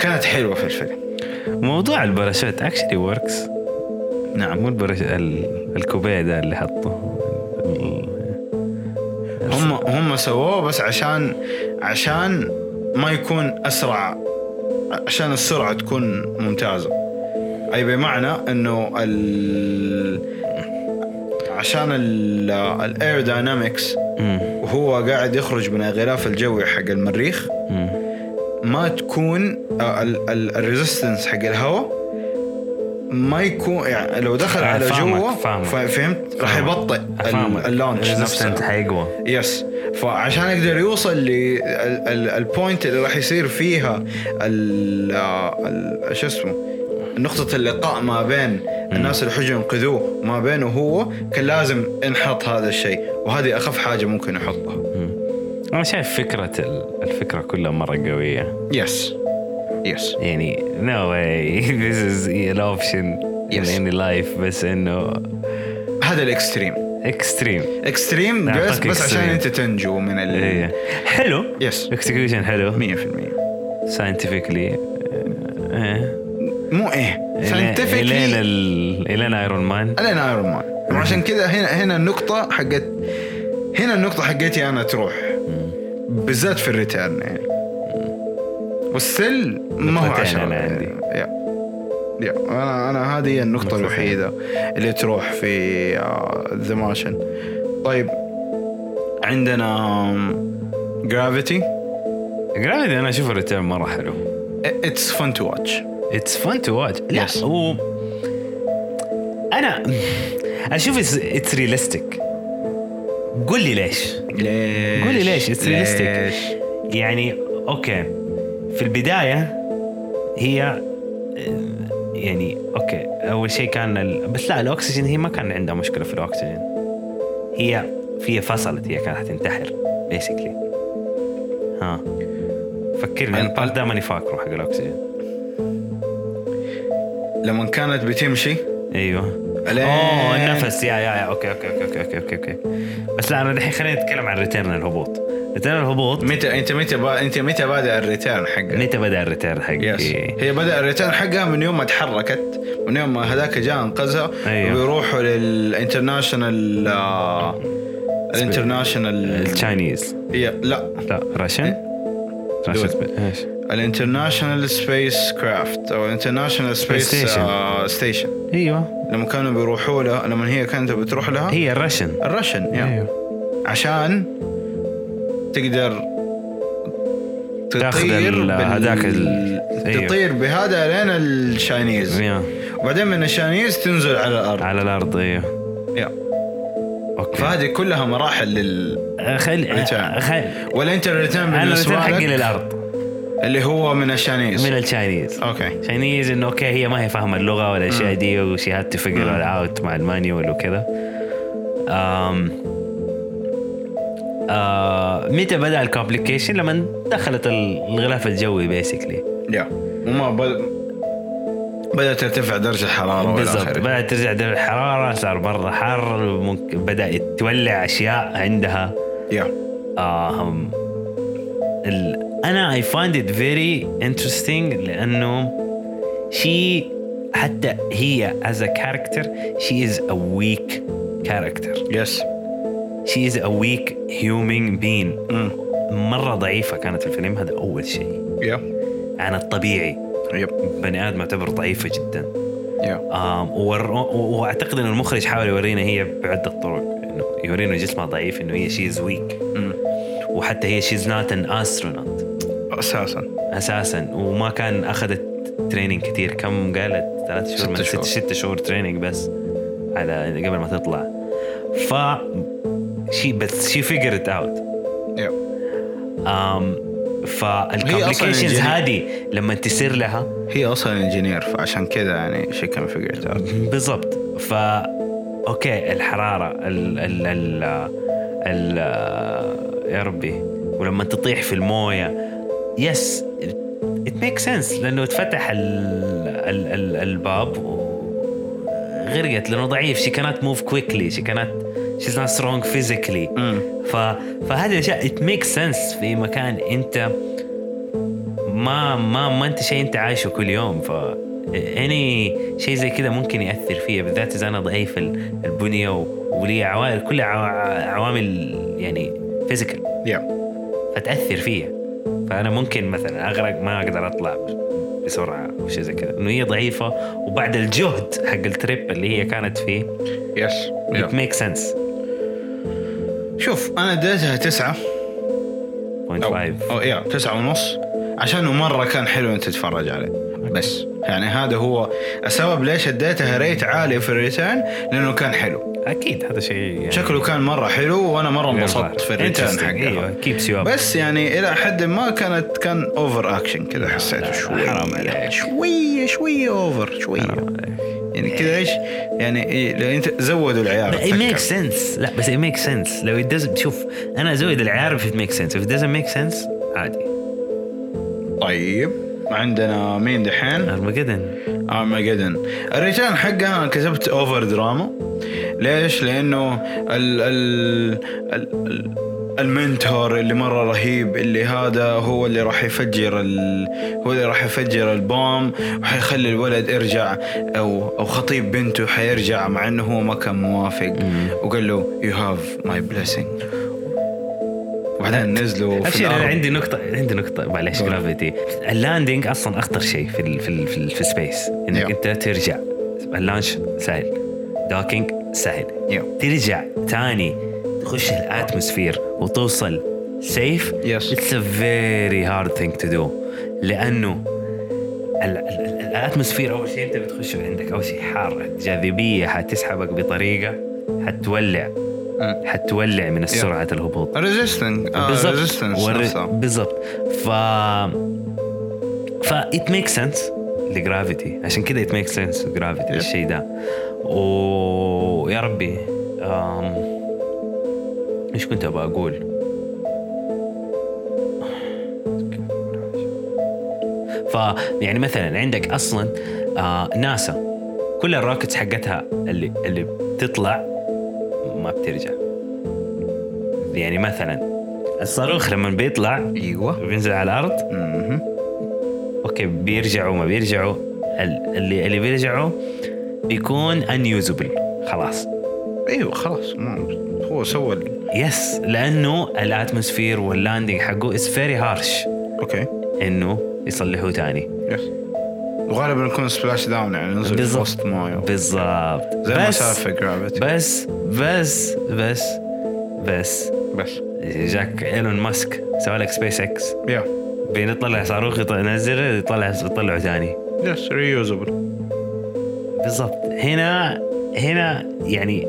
كانت حلوة في الفيلم
موضوع الباراشوت اكشلي وركس
نعم
مو الباراشوت ال- الكوبيه ده اللي حطه
هم هم سووه بس عشان عشان ما يكون اسرع عشان السرعه تكون ممتازه اي بمعنى انه ال عشان الاير داينامكس
مم.
وهو قاعد يخرج من الغلاف الجوي حق المريخ
مم.
ما تكون الريزستنس حق الهواء ما يكون يعني لو دخل
آه،
على
فاهمك،
جوا
فاهمك.
ف- فهمت راح يبطئ ال- اللونش
ريزستنت
نفسه
حيقوى
يس فعشان يقدر يوصل للبوينت اللي راح يصير فيها ال آه، ال- شو اسمه نقطة اللقاء ما بين الناس اللي حجوا ينقذوه وما بينه هو كان لازم ينحط هذا الشيء وهذه أخف حاجة ممكن يحطها
انا شايف فكره ال- الفكره كلها مره قويه
يس يس
يعني نو واي [LAUGHS] ذيس از an option in
Yes.
any life بس انه
هذا الاكستريم
اكستريم
اكستريم بس
أعطاك
بس
extreme.
عشان انت تنجو من ال
حلو
يس 100%
اكسكيوشن إيه. حلو إيه. ساينتفكلي
مو
إيه،
ايه
الين
ساينتفكلي
ال- الين ايرون مان
الين ايرون مان عشان كذا هنا هنا النقطة حقت هنا النقطة حقتي انا تروح بالذات في الريتيرن يعني والسل ما هو
نقطتين
10
أنا
يعني.
عندي.
يا يا انا انا هذه هي النقطة
نقطتين.
الوحيدة اللي تروح في ذا ماشن طيب عندنا جرافيتي
جرافيتي انا اشوف الريتيرن مره حلو
اتس فن تو واتش
اتس فان تو واتش لا
Yes.
هو [LAUGHS] انا اشوف اتس ريالستيك قول لي ليش
ليش
قولي ليش؟ It's realistic. يعني اوكي في البدايه هي آه، يعني اوكي اول شيء كان ال... بس لا الاكسجين هي ما كان عندها مشكله في الاكسجين هي في فصلت هي كانت حتنتحر بيسكلي ها فكرني انا البارت ده ماني فاكره حق الاكسجين
لما كانت بتمشي
ايوه
لين-
اوه النفس يا يا يا اوكي اوكي اوكي اوكي اوكي, أوكي, أوكي. بس لا انا الحين خلينا نتكلم عن ريتيرن الهبوط ريتيرن الهبوط
متى انت متى با... انت متى بادئ الريتيرن حقها؟
متى إيه. بدا الريتيرن حقي؟
يس هي بدأ الريتيرن حقها من يوم ما تحركت من يوم ما هذاك جاء انقذها
أيوه.
ويروحوا للانترناشنال آه، الانترناشنال
التشاينيز
يا- لا
لا راشن
دول.
راشن ايش
الانترناشنال سبيس كرافت او الانترناشنال سبيس
Station.
ستيشن
ايوه
لما كانوا بيروحوا لها لما هي كانت بتروح لها
هي الراشن
الرشن يا
إيه.
عشان تقدر
تاخذ ال- هذاك ال- إيه. أيوه.
تطير بهذا لين الشاينيز
يا
وبعدين من الشاينيز تنزل على الارض
على الارض ايوه
يا.
اوكي
فهذه كلها مراحل لل
خل
Return.
خل
ولا انت الريتيرن
انا إيه. الريتيرن
بالنسبه
حقي
لك
للارض
اللي هو من الشاينيز
من التشاينيز
اوكي
تشاينيز انه اوكي هي ما هي فاهمه اللغه ولا الاشياء دي وشي هاد تو فيجر اوت مع المانيوال وكذا أم آه متى بدا الكومبليكيشن لما دخلت الغلاف الجوي بيسكلي
يا وما بد... بدات ترتفع درجه الحراره والى
بالضبط
اخره
بدأت ترجع درجة الحرارة صار برا حر ممكن بدأت تولع أشياء عندها
يا
آم ال... أنا I find it very interesting لأنه she حتى هي as a character she is a weak character
يس
she is a weak human being مرة ضعيفة كانت في الفيلم هذا أول شيء
يا
عن الطبيعي
يب
بني آدم تعتبر ضعيفة جداً
يا
آم، ور- و- واعتقد ان المخرج حاول يورينا هي بعده طرق انه يورينا جسمها ضعيف انه هي شي از ويك
مم.
وحتى هي شي از نوت ان استرونوت
اساسا
اساسا وما كان اخذت تريننج كثير كم قالت ثلاث شهور
ست
من ست,
شهور.
ست شهور تريننج بس على قبل ما تطلع ف شي بس شي فيجرت اوت
يب. هي أصلاً
فالكومبليكيشنز
engineer.
هذه لما تصير لها
هي اصلا انجينير فعشان كذا يعني شي كان فيجرت اوت
بالضبط ف اوكي الحراره ال ال ال ال يا ربي ولما تطيح في المويه يس ات ميك سنس لانه اتفتح ال ال ال الباب وغرقت لانه ضعيف شي كانت موف كويكلي شي كانت شيز نوت سترونج فيزيكلي ف فهذه الاشياء ات ميك سنس في مكان انت ما ما ما انت شيء انت عايشه كل يوم ف اني شيء زي كذا ممكن ياثر فيا بالذات اذا انا ضعيف ال- البنيه و- ولي عوامل كلها عوا- عوامل يعني فيزيكال
يا
فتاثر فيا فانا ممكن مثلا اغرق ما اقدر اطلع ب- بسرعه او شيء زي كذا انه هي ضعيفه وبعد الجهد حق التريب اللي هي كانت فيه
يس
ات
يب.
ميك سنس
شوف انا اديتها تسعة او
0.5
او يا Oh. تسعة ونص عشانه مرة كان حلو انت تتفرج عليه بس يعني هذا هو السبب ليش اديتها ريت عالي في الريتيرن لانه كان حلو
اكيد هذا شيء يعني
شكله كان مرة حلو وانا مرة انبسطت في الريتيرن حقها
كيبس يو اب
بس يعني الى حد ما كانت كان اوفر اكشن كذا حسيته شوية
حرام عليك.
شوية شوية اوفر شوية يعني كذا ايش يعني إيه، لو انت زودوا العيار
it
أتذكر.
makes sense لا بس it makes sense لو it doesn't شوف انا ازود العيار if it makes sense if it doesn't make sense عادي
طيب عندنا مين دحين؟
ارمجدن
ارمجدن الريتيرن حقها انا كتبت اوفر دراما ليش؟ لانه ال ال ال ال المنتور اللي مره رهيب اللي هذا هو اللي راح يفجر ال... هو اللي راح يفجر البوم وحيخلي الولد يرجع او او خطيب بنته حيرجع مع انه هو ما كان موافق وقال له يو هاف ماي بليسنج وبعدين نزلوا في
ابشر انا
الأرض.
عندي نقطه عندي نقطه معلش
قول.
جرافيتي اللاندنج اصلا اخطر شيء في ال في ال في, ال في سبيس انك
Yeah.
انت ترجع اللانش سهل دوكينج سهل
Yeah.
ترجع تاني تخش الاتموسفير وتوصل سيف
Yes.
اتس ا فيري هارد ثينج تو دو لانه ال- ال- ال- الاتموسفير اول شيء انت بتخش عندك اول شيء حار الجاذبيه حتسحبك بطريقه حتولع
أه.
حتولع من سرعه الهبوط
resistance. آه،
بالضبط
resistance
والر-
نفسها.
بالضبط ف ف ات ميك سنس لجرافيتي عشان كده ات ميك سنس جرافيتي
Yeah.
الشيء ده ويا ربي أم... ايش كنت ابغى اقول؟ ف يعني مثلا عندك اصلا آه ناسا كل الروكتس حقتها اللي اللي بتطلع ما بترجع يعني مثلا الصاروخ لما بيطلع
ايوه
وبينزل على الارض
مهم.
اوكي بيرجعوا ما بيرجعوا ال- اللي اللي بيرجعوا بيكون انيوزبل خلاص
ايوه خلاص ما هو سوى ال-
يس لانه الاتموسفير واللاندنج حقه از فيري هارش
اوكي
انه يصلحوه تاني
يس وغالبا يكون سبلاش داون يعني ننزل في
بالظبط.
وسط مويه
بالضبط
زي ما
بس
صار في جرافيتي
بس بس بس بس
بس
جاك ايلون ماسك سوى لك سبيس اكس
يا
بيطلع صاروخ يط- ينزله يطلع يطلعه تاني
يس ريوزبل
بالضبط هنا هنا يعني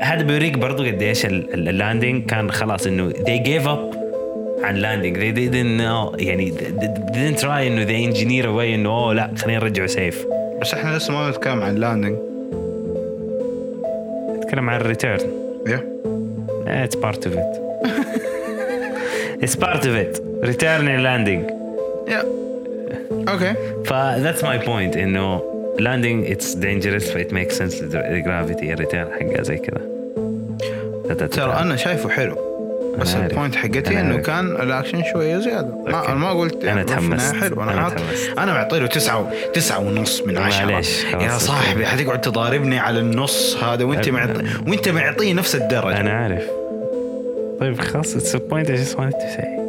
هذا بيوريك برضو قد ايش ال- ال- اللاندنج كان خلاص انه they gave up عن لاندنج they didn't know يعني they- they didn't try انه they engineer a way انه اوه لا خلينا نرجعه سيف
بس احنا لسه ما نتكلم عن لاندنج
نتكلم عن الريتيرن
يا
it's part of it it's part of it return and landing
يا اوكي
ف that's my point انه landing it's dangerous but it makes sense to the gravity الريتيرن حقها زي كذا
ترى انا شايفه حلو بس
أنا عارف.
البوينت
أنا
حقتي انه
عارف.
كان الاكشن شويه زياده ما
أوكي.
انا ما قلت يعني
أنا
إنه في النهاية
تحمست.
حلو انا
أنا
حاط-
تحمست.
انا معطي له تسعه و- تسعه ونص من عشره
معليش، خلاص،
يا
أوكي.
صاحبي حتقعد تضاربني على النص هذا وانت
أنا-
معطي وانت معطيه نفس الدرجه
انا عارف طيب خلاص اتس بوينت اي جاست wanted تو سي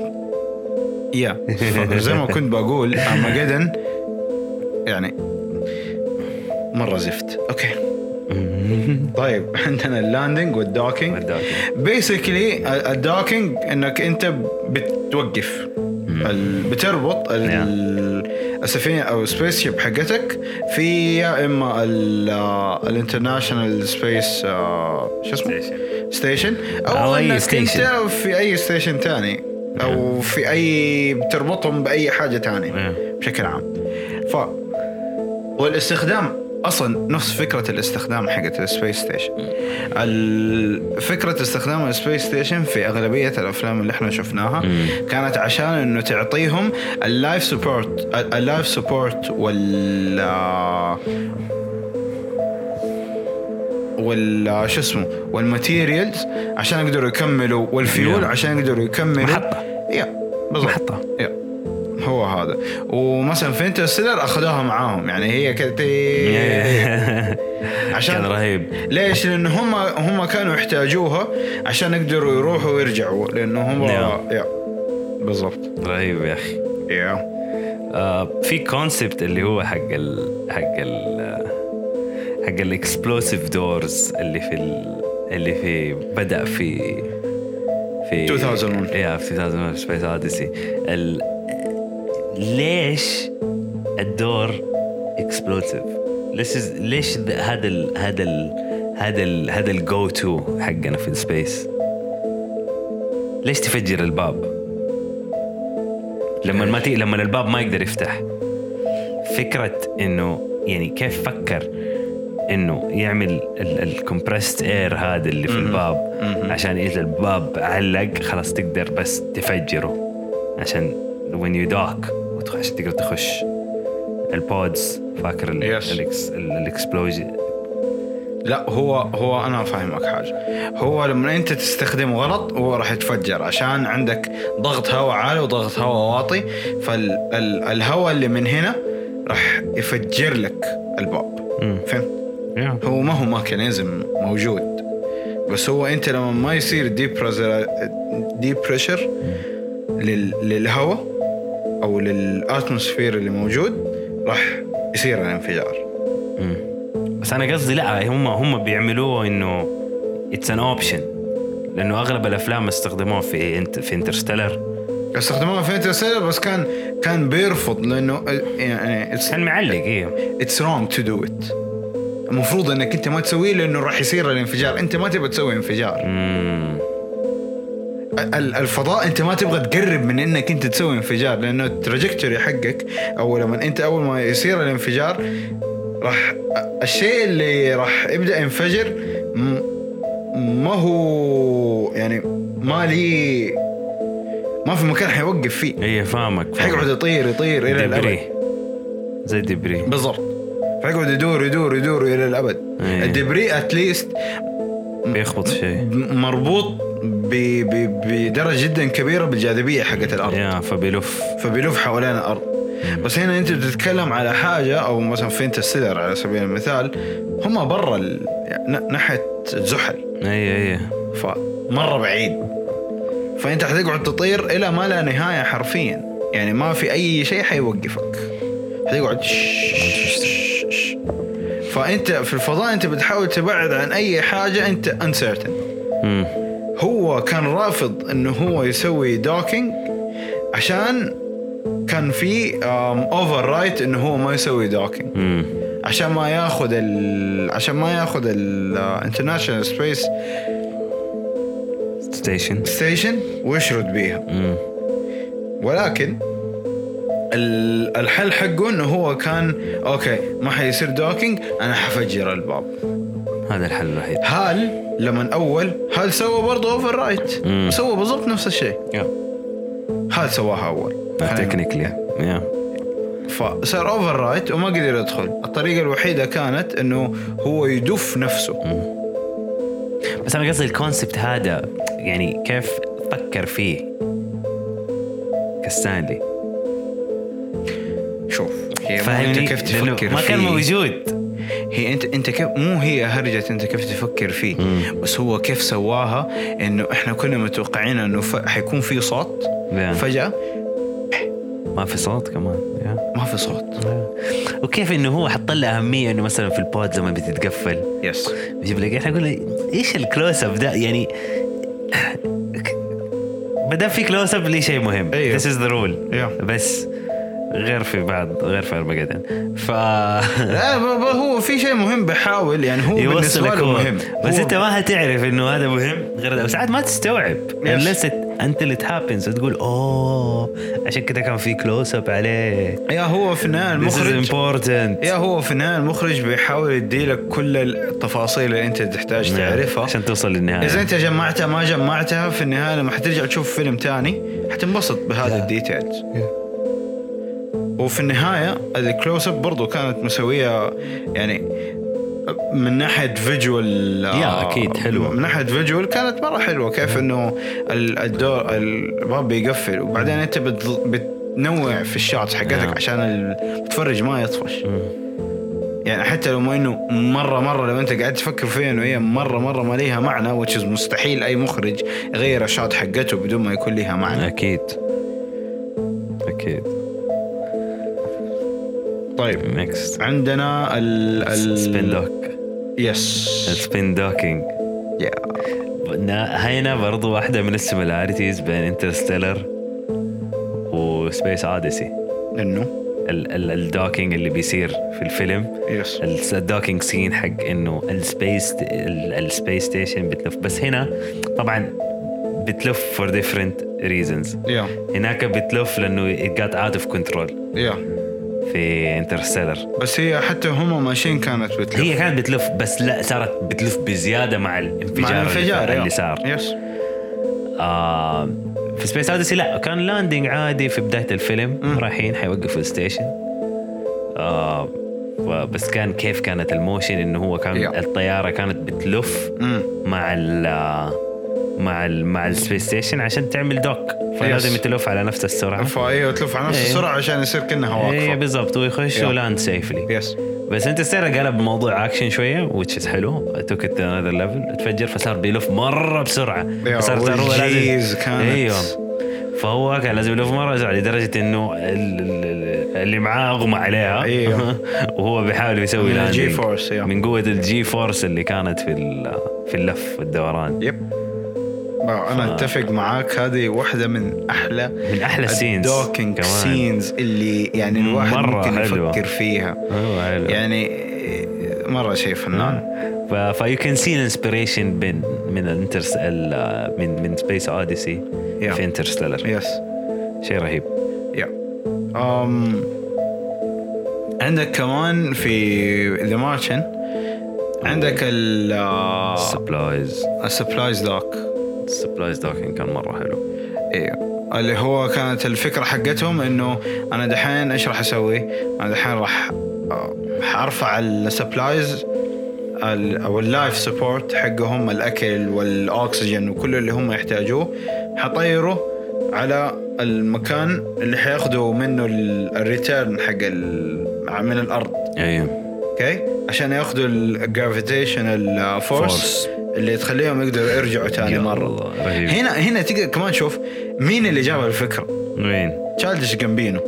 يا [LAUGHS] زي ما كنت بقول
[LAUGHS]
ارمجدن يعني مره زفت اوكي طيب عندنا اللاندنج والدوكينج
والدوكينج.
بيسكلي الدوكينج انك انت بتوقف ال- بتربط ال- السفينه او السبيس شيب حقتك في يا اما الانترناشونال سبيس آه، شو اسمه؟ ستيشن او,
أو أي
انك
station.
انت في اي ستيشن ثاني او في اي بتربطهم باي حاجه ثانيه
Yeah.
بشكل عام ف والاستخدام اصلا نفس فكره الاستخدام حقت السبيس ستيشن ال- فكره استخدام السبيس ستيشن في اغلبيه الافلام اللي احنا شفناها كانت عشان انه تعطيهم اللايف سبورت اللايف سبورت وال وال شو اسمه والماتيريالز عشان يقدروا يكملوا والفيول
Yeah.
عشان يقدروا يكملوا
محطة.
يا بالضبط
محطة.
يا هو هذا ومثلا في انترستيلر اخذوها معاهم يعني هي كانت
[LAUGHS]
عشان
إيه. كان رهيب
ليش؟ لان هم هم كانوا يحتاجوها عشان يقدروا يروحوا ويرجعوا لانه هم
نعم.
يا بالضبط
رهيب يا اخي
يا
آه، في كونسبت اللي هو حق ال حق ال آه، حق الاكسبلوسيف دورز اللي في ال اللي في بدا في في
2001.
يا في 2001 سبيس اوديسي ال ليش الدور اكسبلوسيف ليش ليش ذا- هذا ال هذا ال هذا ال هذا الجو تو حقنا في السبيس ليش تفجر الباب؟ لما ما تي... لما الباب ما يقدر يفتح فكره انه يعني كيف فكر انه يعمل الكومبرست اير هذا اللي في الباب عشان اذا الباب علق خلاص تقدر بس تفجره عشان وين يو دوك عشان تقدر تخش البودز فاكر ال-
Yes.
الإكس- ال- الاكسبلوجن
لا هو هو انا فاهمك حاجه هو لما انت تستخدمه غلط هو راح يتفجر عشان عندك ضغط هواء عالي وضغط هواء واطي فالهواء اللي من هنا راح يفجر لك الباب فهمت؟ هو ما هو ميكانيزم موجود بس هو انت لما ما يصير دي بريشر للهواء او للاتموسفير اللي موجود راح يصير الانفجار
بس انا قصدي لا هم هم بيعملوه انه اتس ان اوبشن لانه اغلب الافلام استخدموه في انت في انترستيلر
استخدموها في انترستيلر بس كان كان بيرفض لانه يعني اتس
كان معلق ايوه
اتس رونج تو دو ات المفروض انك انت ما تسويه لانه راح يصير الانفجار انت ما تبغى تسوي انفجار
أمم.
ال- الفضاء انت ما تبغى تقرب من انك انت تسوي انفجار لانه التراجكتوري حقك او لما انت اول ما يصير الانفجار راح الشيء اللي راح يبدا ينفجر م- ما هو يعني ما لي ما في مكان حيوقف فيه
ايه فاهمك فاهمك.
حيقعد يطير يطير الى الابد
دبري زي دبري
بالضبط فيقعد يدور يدور يدور الى الابد
إيه.
الدبري اتليست
بيخبط شيء
مربوط ب- ب- بدرجه جدا كبيره بالجاذبيه حقت الارض
يا فبيلف
فبيلف حوالين الارض بس هنا انت بتتكلم على حاجه او مثلا في انترستيلر على سبيل المثال هم برا ال- ن- ناحيه زحل
اي اي
فمره بعيد فانت حتقعد تطير الى ما لا نهايه حرفيا يعني ما في اي شيء حيوقفك حتقعد فانت في الفضاء انت بتحاول تبعد عن اي حاجه انت انسرتن
أمم.
هو كان رافض انه هو يسوي دوكينج عشان كان في اوفر رايت انه هو ما يسوي دوكينج
أمم.
عشان ما ياخذ ال... عشان ما ياخذ uh, الانترناشونال سبيس
ستيشن
ستيشن ويشرد بيها
أمم.
ولكن ال- الحل حقه انه هو كان اوكي ما حيصير دوكينج انا حفجر الباب
هذا الحل الوحيد
هال لما اول هال سوى برضه اوفر رايت
مم.
سوى بالضبط نفس الشيء هال سواها اول
تكنيكلي آه، يا
فصار اوفر رايت وما قدر يدخل الطريقه الوحيده كانت انه هو يدف نفسه
بس انا قصدي الكونسبت هذا يعني كيف فكر فيه كستانلي
شوف هي إيه، مو انت
فاهمني
كيف
لأنه
تفكر
ما كان
فيه.
موجود
هي انت انت كيف مو هي هرجه انت كيف تفكر فيه بس هو كيف سواها انه احنا كنا متوقعين انه ف- حيكون في صوت
نعم.
فجاه
ما في صوت كمان yeah.
ما في صوت
وكيف انه هو حط له اهميه انه مثلا في البود لما بتتقفل
يس
بجيب لك احنا اقول له، ايش الكلوز اب ده يعني ما دام في كلوز اب ليه شيء مهم
أيوه.
ذس از ذا رول
Yeah.
بس غير في بعض غير في ارمجدن ف [LAUGHS]
لا ب- ب- [LAUGHS] هو في شيء مهم بحاول يعني هو بالنسبه
يوصلك
له
هو
مهم
بس
هو-
انت ما هتعرف انه هذا مهم غير ساعات ما تستوعب unless it- until it happens تقول اوه عشان كده كان في كلوز اب عليه
يا هو في النهايه
This is
المخرج
important
يا هو في النهايه المخرج بيحاول يديلك كل التفاصيل اللي انت تحتاج
نعم،
تعرفها
عشان توصل للنهايه
اذا انت جمعتها ما جمعتها في النهايه لما حترجع تشوف فيلم تاني حتنبسط بهذا الديتيلز وفي النهايه الكلوز اب برضه كانت مسويه يعني من ناحيه فيجوال
يا، أكيد، حلوة.
من ناحيه فيجوال كانت مره حلوه كيف انه ال- الدور الباب بيقفل وبعدين انت بت- بتنوع في الشوتس حقتك
يا.
عشان المتفرج ما
Mm.
يطفش يعني حتى لو ما انه مره مره لو انت قاعد تفكر فيها انه هي مره مره ما ليها معنى وتش مستحيل اي مخرج يغير الشوت حقته بدون ما يكون ليها معنى
اكيد اكيد
طيب
نكست
عندنا ال ال
سبين دوك
يس
سبين دوكينج
يا.
هنا برضو واحدة من السيميلاريتيز بين انترستيلر وسبيس اوديسي
انه
الدوكينج اللي بيصير في الفيلم
يس
الدوكينج سين حق انه السبيس السبيس ستيشن بتلف بس هنا طبعا بتلف فور ديفرنت ريزونز
يا
هناك بتلف لانه it got out of control
يا
في انترستيلر
بس هي حتى هم ماشيين كانت بتلف
هي كانت بتلف بس لا صارت بتلف بزياده مع
مع
الانفجار
الانفجار
اللي,
يا.
اللي صار
يس
آه في سبيس اوديسي لا كان لاندنج عادي في بدايه الفيلم
مم.
رايحين حيوقفوا الستيشن آه و- بس كان كيف كانت الموشن انه هو كان
يا.
الطياره كانت بتلف
امم
مع ال آه، مع ال مع السبيس ستيشن عشان تعمل دوك فلازم تلف على نفس السرعه
فايوه تلف على نفس
إيه.
السرعه عشان يصير كانها
ايه
واقفه
بالضبط ويخش
يا.
ولاند سيفلي
يس
بس انت سيرة قلب موضوع اكشن شويه which is حلو توك ات انذر ليفل تفجر فصار بيلف مره بسرعه فصار صار هو
والجيز
لازم
كانت.
ايوه فهو كان لازم يلف مره بسرعه لدرجه انه ال- ال- اللي معاه اغمى عليها
ايوه.
[LAUGHS] وهو بيحاول يسوي
من الجي
landing.
فورس، ايوه.
من قوه الجي فورس اللي كانت في ال- في اللف والدوران
يب انا اتفق معاك هذه واحده من احلى
من احلى سينز
الدوكينج سينز اللي يعني الواحد
مرة
ممكن
حلوة.
يفكر فيها
ايوه حلو.
يعني مره شيء فنان
فيو كان سي الانسبريشن من من الانترس ال- من من سبيس اوديسي
Yeah.
في انترستيلر
يس
شيء رهيب
يا أم Um، عندك كمان في ذا مارشن عندك ال آه،
سبلايز
السبلايز دوك
سبلايز دوكينج كان مره حلو
ايوه اللي هو كانت الفكره حقتهم انه انا دحين ايش راح اسوي؟ انا دحين راح آه، حارفع السبلايز ال- او اللايف سبورت حقهم الاكل والاكسجين وكل اللي هم يحتاجوه حطيره على المكان اللي حياخذوا منه ال- الريتيرن حق ال- من الارض
ايوه
اوكي عشان ياخذوا الجرافيتيشنال فورس
Force. يعني
اللي تخليهم يقدروا يرجعوا ثاني
يا
مره
الله، رهيب.
هنا هنا تقدر كمان شوف مين اللي جاب الفكره
وين؟
تشالدش جنبينه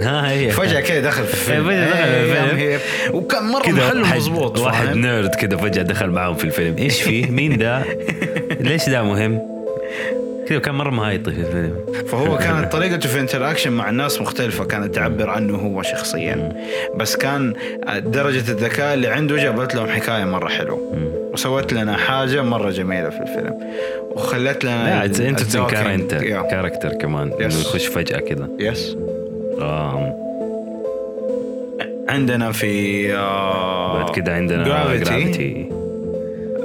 ها هي
فجاه كذا دخل في الفيلم
فجأة دخل في
إيه،
الفيلم.
إيه، وكان مره
كذا
محله
واحد-
مضبوط
واحد
فاهم؟
نيرد كذا فجاه دخل معاهم في الفيلم ايش فيه؟
[LAUGHS]
مين ده؟ ليش ده مهم؟ كذا كان مره مهايطي في الفيلم
فهو كانت طريقته في الانتراكشن مع الناس مختلفة كانت تعبر عنه هو شخصيا بس كان درجة الذكاء اللي عنده جابت لهم حكاية مرة حلوة وسوت لنا حاجة مرة جميلة في الفيلم وخلت لنا
لا
ال-
اتس انترستنج
الدوكينج.
كاركتر
Yeah.
كاركتر كمان انه يخش آه، فجاه كذا
يس
آم.
عندنا في آه،
بعد كده عندنا
جرافيتي
جرافيتي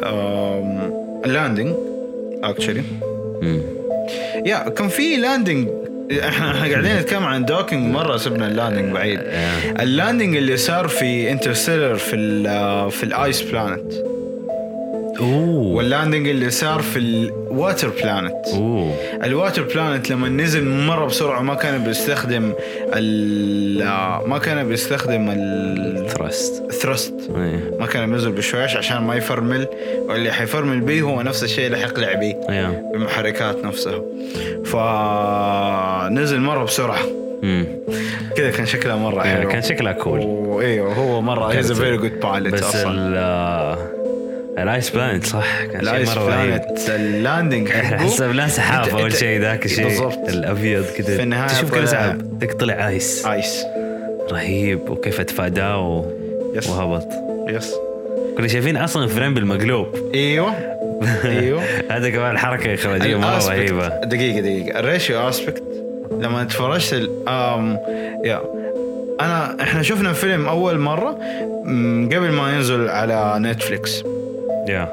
Um, لاندنج اكشلي Hmm. يا كان في لاندنج احنا احنا [LAUGHS] قاعدين نتكلم عن دوكينج مره سبنا اللاندنج بعيد
آه.
اللاندنج اللي صار في انترستيلر في ال uh, في الايس بلانت
اوه
واللاندنج اللي صار في الواتر بلانت
اوه
الواتر بلانت لما نزل مره بسرعه ما كان بيستخدم ال uh, ما كان بيستخدم
ثرست
الثرست
إيه.
ما كان بينزل بالشويش عشان ما يفرمل واللي حيفرمل بيه هو نفس الشيء اللي حيقلع بيه
ايوه
بالمحركات نفسها فنزل مره بسرعه
مم.
كذا كان شكلها مره حلو
إيه، كان شكلها كول
وايوه هو مره هيز
كانت-
فيري جود بايلوت
بس
اصلا
ال آه، الايس بلانت صح كان شيء
الايس
مره رهيب [LAUGHS]
بلانت اللاندنج حقه
حسب
[LAUGHS]
لا
أنت-
سحاب اول
أنت- إيه،
شيء
[LAUGHS]
ذاك الشيء
بالضبط.
الابيض كذا
في النهاية آه.
تشوف
طلع-
كذا سحاب ذاك طلع ايس
ايس
رهيب وكيف اتفاداه و...
يس.
وهبط
يس
كنا شايفين اصلا فريم بالمقلوب [LAUGHS]
ايوه ايوه
هذا كمان حركه اخراجيه مره
الآسبكت-
رهيبه
دقيقه دقيقه الريشيو اسبكت لما تفرجت ال- um, آم، يا انا احنا شفنا الفيلم اول مره م، قبل ما ينزل على نتفليكس
يا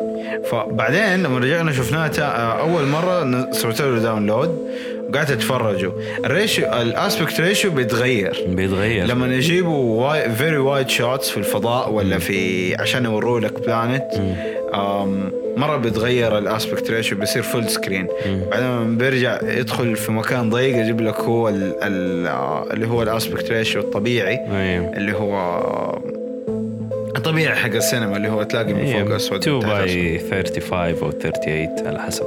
فبعدين لما رجعنا شفناه تا- اول مره ن- سويت له داونلود وقعدت اتفرجه الريشيو الاسبكت ريشيو بيتغير
بيتغير
لما يجيبوا واي فيري وايد شوتس في الفضاء ولا في عشان يوروا لك بلانت مره بيتغير الاسبكت ريشيو بيصير فول سكرين بعدين لما بيرجع يدخل في مكان ضيق يجيب لك هو ال ال اللي هو الاسبكت ريشيو الطبيعي
ايوه
اللي هو الطبيعي حق السينما اللي هو تلاقي من فوق اسود
2
من تحت أسود.
باي 35 او 38 على حسب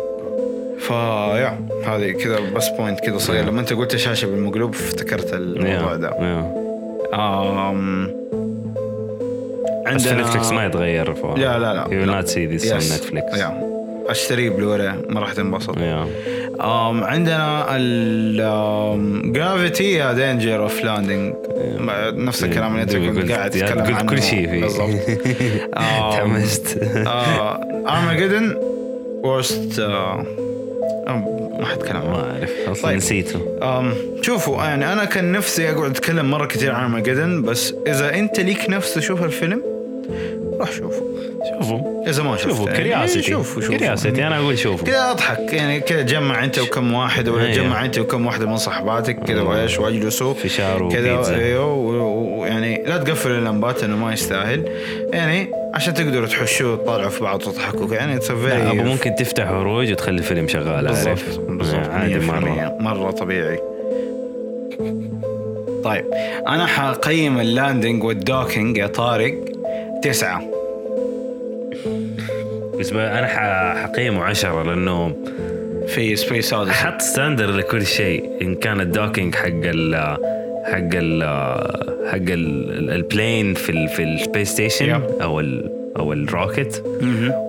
فيا هذه كذا بس بوينت كذا صغير لما انت قلت شاشه بالمقلوب افتكرت الموضوع
يا-
ده
يا.
أم...
بس في
عندنا-
نتفلكس ما يتغير فوق.
لا لا لا
يو نوت سي ذيس اون
Yes.
نتفلكس
يا. اشتري بلوري ما راح تنبسط
يا
أم عندنا ال جرافيتي يا دينجر اوف لاندنج نفس الكلام اللي انت كنت قاعد تتكلم
قلت
عنه
كل شيء فيه
بالضبط
[LAUGHS]
آه.
تحمست
ارماجدن ورست آه، ما حتكلم عنه
[LAUGHS] ما اعرف اصلا
طيب.
نسيته
أم شوفوا يعني انا كان نفسي اقعد اتكلم مره كثير عن ماجدن بس اذا انت ليك نفس تشوف الفيلم روح شوفه
شوفوا
اذا ما شفته
شوفوا
يعني.
كرياسيتي
شوفوا شوفوا
كرياسيتي انا اقول شوفوا
كذا اضحك يعني كذا جمع انت وكم واحد ولا
أيوة.
جمع انت وكم واحده من صحباتك كذا وايش واجلسوا
فشار
كذا
وبيتزا.
ايوه و- ويعني لا تقفل اللمبات انه ما يستاهل يعني عشان تقدروا تحشوا وتطالعوا في بعض وتضحكوا يعني
لا، ابو
تسفي
ممكن تفتح عروج وتخلي الفيلم شغال عارف
بالضبط بالضبط
عادي مره
مره مره طبيعي طيب انا حقيم اللاندنج والدوكينج يا طارق تسعة
بالنسبه انا ح- حقيمه عشرة لانه
في سبيس اوديسي
حط ستاندر لكل شيء ان كان الدوكينج حق ال حق ال حق ال- البلين في ال في السبيس ستيشن
يب.
او ال او الروكت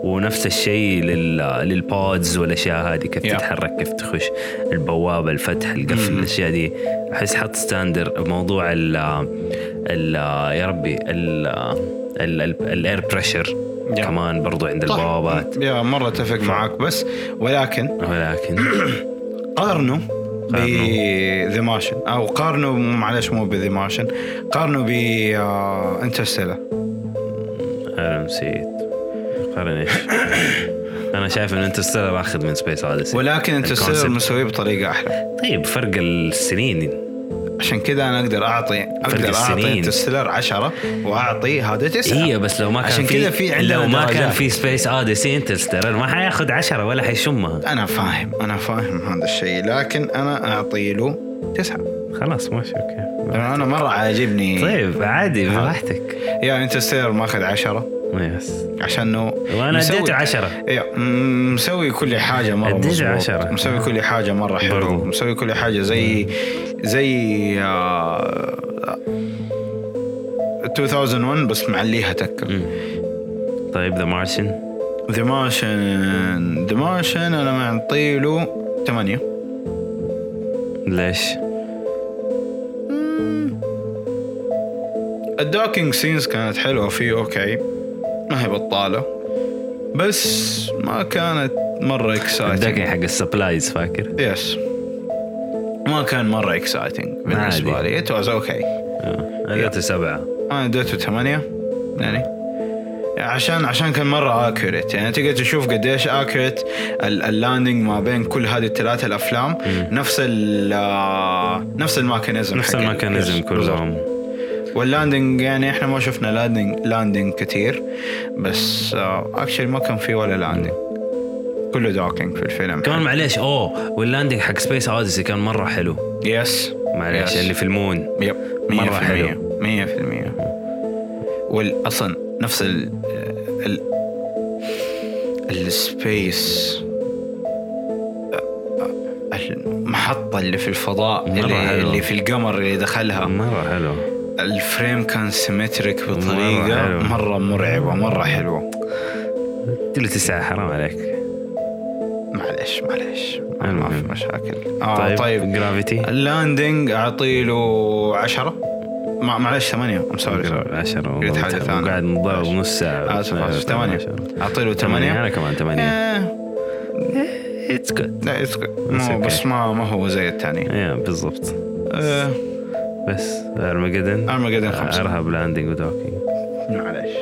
ونفس الشيء لل للبودز والاشياء هذه كيف
يب.
تتحرك كيف تخش البوابه الفتح القفل الاشياء دي احس حط ستاندر موضوع ال ال يا ربي ال الاير بريشر
يب.
كمان برضو عند البوابات
يا مرة اتفق معاك بس ولكن
ولكن
قارنوا ب ذا ماشن او قارنوا معلش مو بذا ماشن قارنوا ب آه، انترستيلر
انا نسيت قارن [COUGHS] ايش انا شايف ان انترستيلر اخذ من سبيس اوديسي
ولكن انترستيلر مسويه بطريقه احلى
طيب فرق السنين
عشان كذا انا اقدر اعطي اقدر اعطي
السنين.
انترستيلر 10 واعطي هذا 9
هي إيه، بس لو ما كان
عشان
في
كذا في عندنا
لو ما كان
درجات.
في سبيس اوديسي انترستيلر ما حياخذ عشرة ولا حيشمها
انا فاهم انا فاهم هذا الشيء لكن انا اعطي له تسعه
خلاص ماشي اوكي
لأنه انا مره عاجبني
طيب عادي براحتك
يا انترستيلر ماخذ عشرة
يس
عشان انه
وأنا
مسوي-
اديته عشرة.
إيه، م- مسوي كل حاجه مره
اديته
مظبوط.
عشرة.
مسوي كل حاجه مره حلو
برضو.
مسوي كل حاجه زي زي آه، 2001 بس معليها تكه
طيب ذا مارشن
ذا ماشن ذا ماشن انا معطي له 8
ليش؟
الدوكينج سينز كانت حلوة فيه اوكي ما هي بطالة بس ما كانت مرة اكسايتنج
الدقي حق السبلايز فاكر؟
يس ما كان مرة اكسايتنج بالنسبة
عادي.
لي ات واز اوكي
آه. اديته سبعة
انا اديته ثمانية يعني عشان عشان كان مرة اكيوريت يعني تقدر تشوف قديش اكيوريت اللاندنج ما بين كل هذه الثلاثة الافلام نفس ال آه، نفس الميكانيزم
نفس
حق ال-
الميكانيزم
يس، بالضبط.
كلهم
واللاندنج يعني احنا ما شفنا لاندنج لاندنج كثير بس اكشلي ما كان في ولا لاندنج كله دوكينج في الفيلم
كمان معليش اوه واللاندنج حق سبيس اوديسي كان مره حلو
يس
معليش
يس.
اللي في المون
يب
مرة
100%
حلو.
100% والاصلا نفس ال ال السبيس ما المحطه اللي في الفضاء
مرة
اللي,
حلوة.
اللي في القمر اللي دخلها
مره آه، حلو
الفريم كان سيمتريك
مرة
بطريقه
حلوة.
مره مرعبه مره حلوه
قلت له تسعه حرام عليك
معليش معليش ما- ما
المهم.
في مشاكل اه
طيب,
طيب, طيب.
جرافيتي
اللاندنج اعطي له 10 ما معلش 8 ام سوري
10
قلت حاجة ثانية.
وقاعد نضارب نص ساعه
اسف اسف 8 اعطي له
8
8
انا كمان 8
إيه،
اتس جود
لا يسكت. مو-
okay.
بس ما ما هو زي الثاني آه،
ايه بالضبط بس آه، ارمجدن
ارمجدن 5
ارهب لاندنج ودوكينج
معلش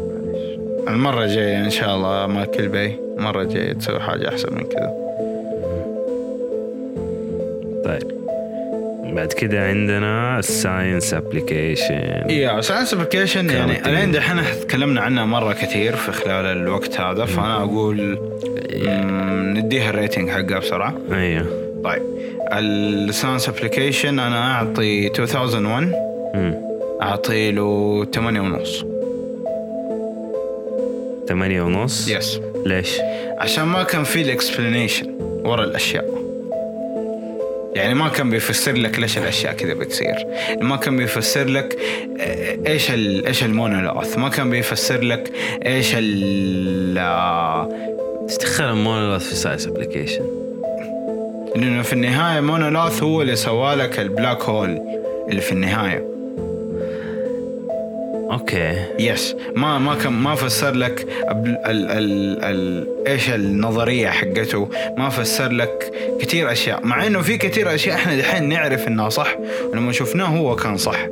معلش. المرة الجاية إن شاء الله ما كل بي المرة الجاية تسوي حاجة أحسن من كذا
طيب بعد كده عندنا الساينس ابلكيشن
يا ساينس ابلكيشن يعني
كرامتين.
الين دحين إحنا تكلمنا عنها مرة كثير في خلال الوقت هذا
Mm-hmm.
فأنا أقول مم، نديها الريتنج حقها بسرعة
ايوه
طيب الساينس ابلكيشن أنا أعطي 2001
مم.
أعطي له 8 ونص
ثمانية ونص
يس
ليش؟
عشان ما كان في الاكسبلانيشن ورا الاشياء يعني ما كان بيفسر لك ليش الاشياء كذا بتصير ما كان بيفسر لك آه، ايش ال ايش المونولوث ما كان بيفسر لك ايش ال آه،
استخدام مونولوث في ساينس ابلكيشن
لانه في النهايه مونولوث هو اللي سوالك البلاك هول اللي في النهايه
اوكي
يس ما ما كان ما فسر لك ال ال ال ال ايش النظريه حقته ما فسر لك كثير اشياء مع انه في كثير اشياء احنا دحين نعرف انها صح ولما شفناه هو كان صح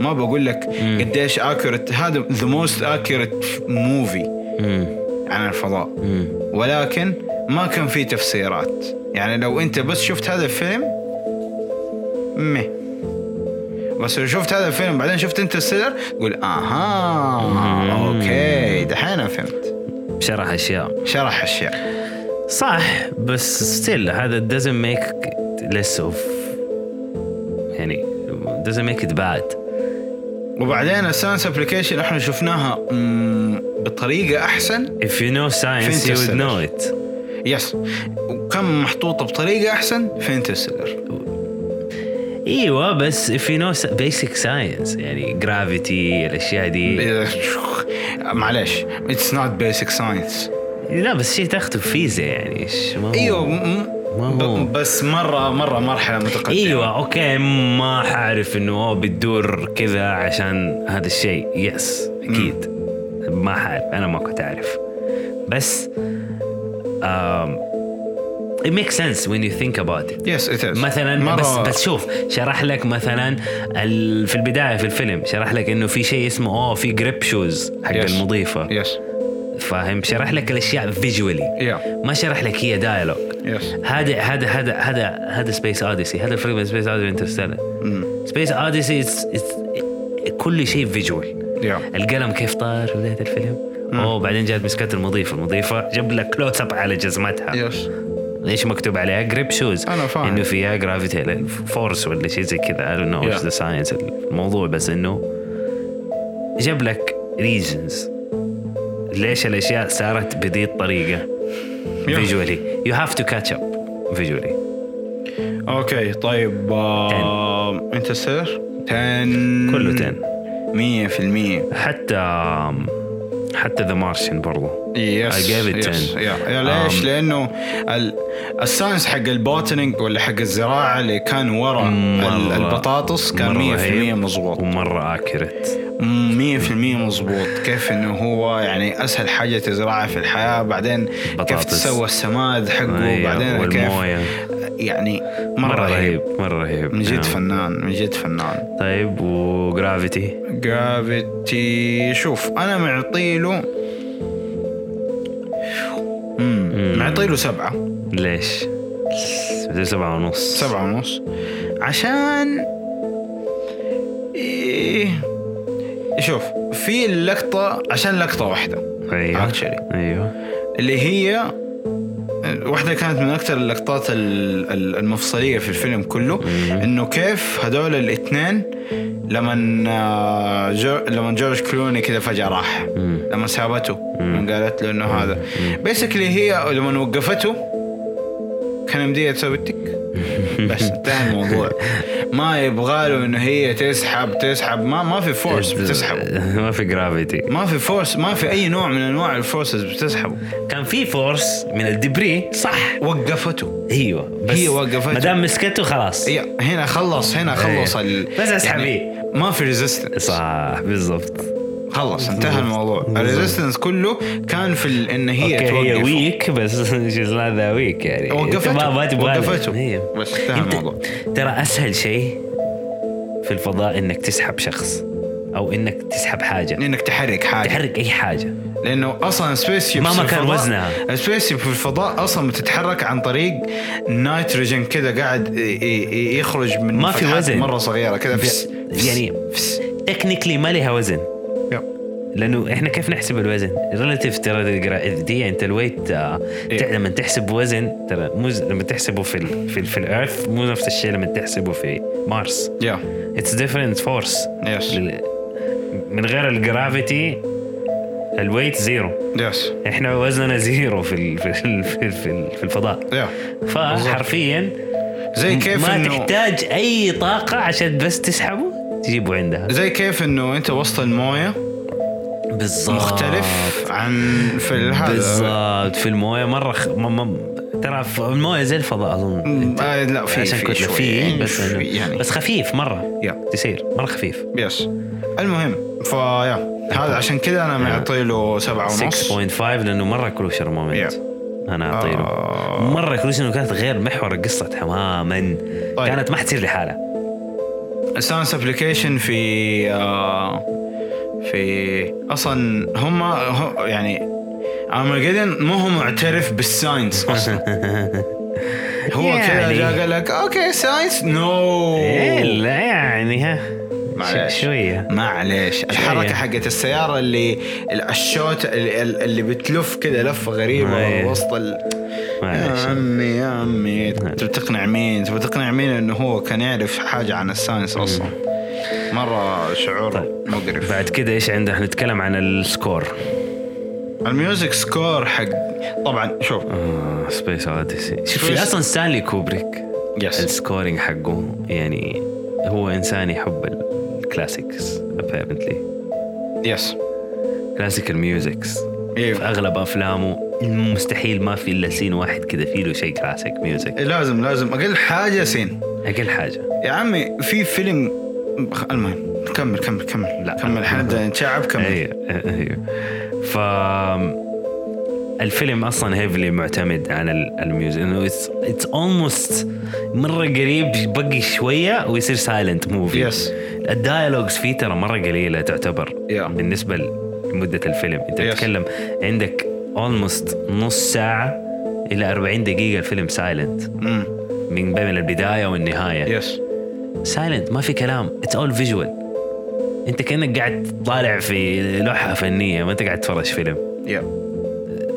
ما بقول لك قديش اكيوريت هذا ذا موست اكيوريت موفي
مم.
عن الفضاء
مم.
ولكن ما كان في تفسيرات يعني لو انت بس شفت هذا الفيلم مه بس لو شفت هذا الفيلم بعدين شفت انت السيلر قول اها اوكي دحين فهمت
شرح اشياء
شرح اشياء
صح بس ستيل هذا doesn't make less of يعني doesn't make it bad
وبعدين الساينس ابلكيشن احنا شفناها مم، بطريقه احسن
if you know science you would
Interstellar.
know it
يس وكان محطوطه بطريقه احسن في انترستيلر
ايوه بس ah, if you know s- basic science يعني جرافيتي الاشياء دي
معليش اتس نوت بيسك ساينس
لا بس شيء تاخذه فيزا يعني إيش ما هو-
ايوه م-
ما
ب-
هو.
بس مره مره مرحله متقدمه
ايوه اوكي ما حعرف انه اوه بتدور كذا عشان هذا الشيء يس اكيد ما حعرف انا ما كنت اعرف بس um, it makes sense when you think about it
يس ات
مثلا بس بس شوف شرح لك مثلا ال- في البدايه في الفيلم شرح لك انه في شيء اسمه اوه في جريب شوز حق
Yes.
المضيفه
يس
فاهم شرح لك الاشياء فيجولي
يا
ما شرح لك هي دايلوج
يس
هذا هذا هذا هذا هذا سبيس اوديسي هذا الفرق بين سبيس اوديسي وانترستيلر سبيس اوديسي كل شيء فيجوال
يا
القلم كيف طار في بدايه الفيلم اوه بعدين جات مسكات المضيفه المضيفه جاب لك كلوز اب على جزمتها
يس
ايش مكتوب عليها جريب شوز
أنا فاهم.
انه فيها جرافيتي فورس ولا شيء زي كذا I don't know
Yeah.
yeah. the science الموضوع بس انه جاب لك ريزنز ليش الاشياء صارت بذي الطريقه فيجولي يو هاف تو كاتش اب فيجولي
اوكي طيب انت سير 10
كله
10 100%
حتى حتى ذا مارشن برضو
يس
I gave it 10.
يا ليش؟
Um,
لانه ال- الساينس حق البوتنينج ولا حق الزراعه اللي كان ورا ال-
مرة-
البطاطس
مرة
كان 100%
رهيب
مضبوط
ومره اكيرت
100% مظبوط كيف انه هو يعني اسهل حاجه تزرعها في الحياه بعدين كيف
بطاطس.
تسوى السماد حقه
أيوة،
بعدين كيف
والموية.
يعني مره
مره
رهيب
رهيب مره رهيب
من جد
نعم.
فنان من جد فنان
طيب وجرافيتي
جرافيتي شوف انا معطيله امم معطيله سبعه
ليش؟ زي سبعة ونص
سبعه ونص عشان إيه شوف في اللقطه عشان لقطه واحده
ايوه
Actually.
ايوه
اللي هي واحدة كانت من أكثر اللقطات ال- ال- المفصلية في الفيلم كله إنه كيف هذول الاثنين لمن آه، جو لمن جورج كلوني كذا فجأة راح لما سابته لما قالت له إنه هذا بيسكلي هي لما وقفته كان يمديها تسوي التك بس انتهى الموضوع ما يبغى له انه هي تسحب تسحب ما ما في فورس بتسحبه
[LAUGHS] ما في جرافيتي
ما في فورس ما في اي نوع من انواع الفورسز بتسحبه
كان في فورس من الدبري صح
وقفته
ايوه بس
هي وقفته.
ما دام مسكته خلاص
هي إيه، هنا خلص هنا خلص
إيه.
ال...
بس اسحب
يعني
إيه.
ما في ريزيستنس
صح بالضبط
خلص انتهى الموضوع الريزيستنس كله كان في ال... ان هي
اوكي هي
توقفه.
ويك بس [LAUGHS] شيز لا ذا ويك يعني
وقفته
أنت ما ما تبغى لها.
وقفته
إيه.
بس انتهى
أنت-
الموضوع
ترى اسهل شيء في الفضاء انك تسحب شخص او انك تسحب حاجه
انك تحرك حاجه
تحرك اي حاجه
لانه اصلا سبيس شيبس
مهما
في
كان
الفضاء-
وزنها.
السبيس شيب في الفضاء اصلا بتتحرك عن طريق نيتروجين كذا قاعد ي- ي- يخرج من
ما في
فتحات
وزن.
مره صغيره كذا فس- فس-
يعني
فس.
تكنيكلي ما لها وزن
يب.
لانه احنا كيف نحسب الوزن؟ ريلاتيف ترى دي انت الويت آه،
إيه.
تع- لما تحسب وزن ترى مو ز- لما تحسبه في ال في, ال في الارث مو نفس الشيء لما تحسبه في مارس
يا
اتس ديفرنت فورس
Yes.
من غير الجرافيتي الويت زيرو
يس
احنا وزننا زيرو في ال- في ال- في ال- في ال- في الفضاء
يا
فحرفيا
زي إيه، كيف
ما
انه
تحتاج اي طاقه عشان بس تسحبه تجيبه عندها
زي كيف انه انت وسط المويه
بالظبط
مختلف
آه.
عن في الهذا
بالظبط في المويه مره خ... ما ما ترى في المويه زي الفضاء اظن
م- آه، لا في
عشان
في
كتله
شوي،
في
يعني
بس
شوي، يعني
يعني بس خفيف مره
يا.
تسير مره خفيف
يس المهم فيا هذا عشان كذا انا معطي له سبعة ونص
6.5 لانه مره كروشر مومنت
Yeah.
انا اعطيله
آه.
مره كروشر إنه كانت غير محور القصه تماما
طيب.
كانت ما حتصير لحالها
سانس ابلكيشن في آه في اصلا هم هو- يعني ارمجيدن مو هو معترف بالساينس
[LAUGHS]
اصلا هو كذا
يعني. إيه،
جا قال لك اوكي ساينس نو
الا يعني ها
معلش.
ش- شويه
معليش الحركه
شوية.
حقت السياره اللي الشوت اللي, اللي بتلف كذا لفه
أيه.
غريبه وسط ال... يا
معلش
عمي يا عمي تبي تقنع مين؟ تبي تقنع مين انه هو كان يعرف حاجه عن الساينس اصلا؟ مره شعور
طيب.
مقرف
بعد كده ايش عندنا نتكلم عن السكور
الميوزك سكور حق طبعا شوف
سبيس اوديسي شوف
Space-
اصلا ستانلي كوبريك
يس
السكورينج حقه يعني هو انسان يحب الكلاسيكس ابيرنتلي
يس
كلاسيكال ميوزكس في
ايوه
اغلب افلامه مستحيل ما في الا سين واحد كذا فيه له شيء كلاسيك ميوزك
لازم لازم اقل حاجه سين
اقل حاجه
يا عمي في فيلم المهم كمل كمل كمل
لا.
كمل حنبدا نتشعب كمل
ايوه ايوه ف الفيلم اصلا هيفلي معتمد على ال- الميوزك انه اتس اولموست مره قريب بقي شويه ويصير سايلنت موفي
Yes.
الدايلوجز فيه ترى مره قليله تعتبر
Yeah.
بالنسبه لمده الفيلم انت
Yes.
تتكلم عندك اولموست نص ساعه الى 40 دقيقه الفيلم سايلنت
امم
من بين البدايه والنهايه
يس
سايلنت ما في كلام اتس اول فيجوال انت كانك قاعد طالع في لوحه فنيه ما انت قاعد تتفرج فيلم
يا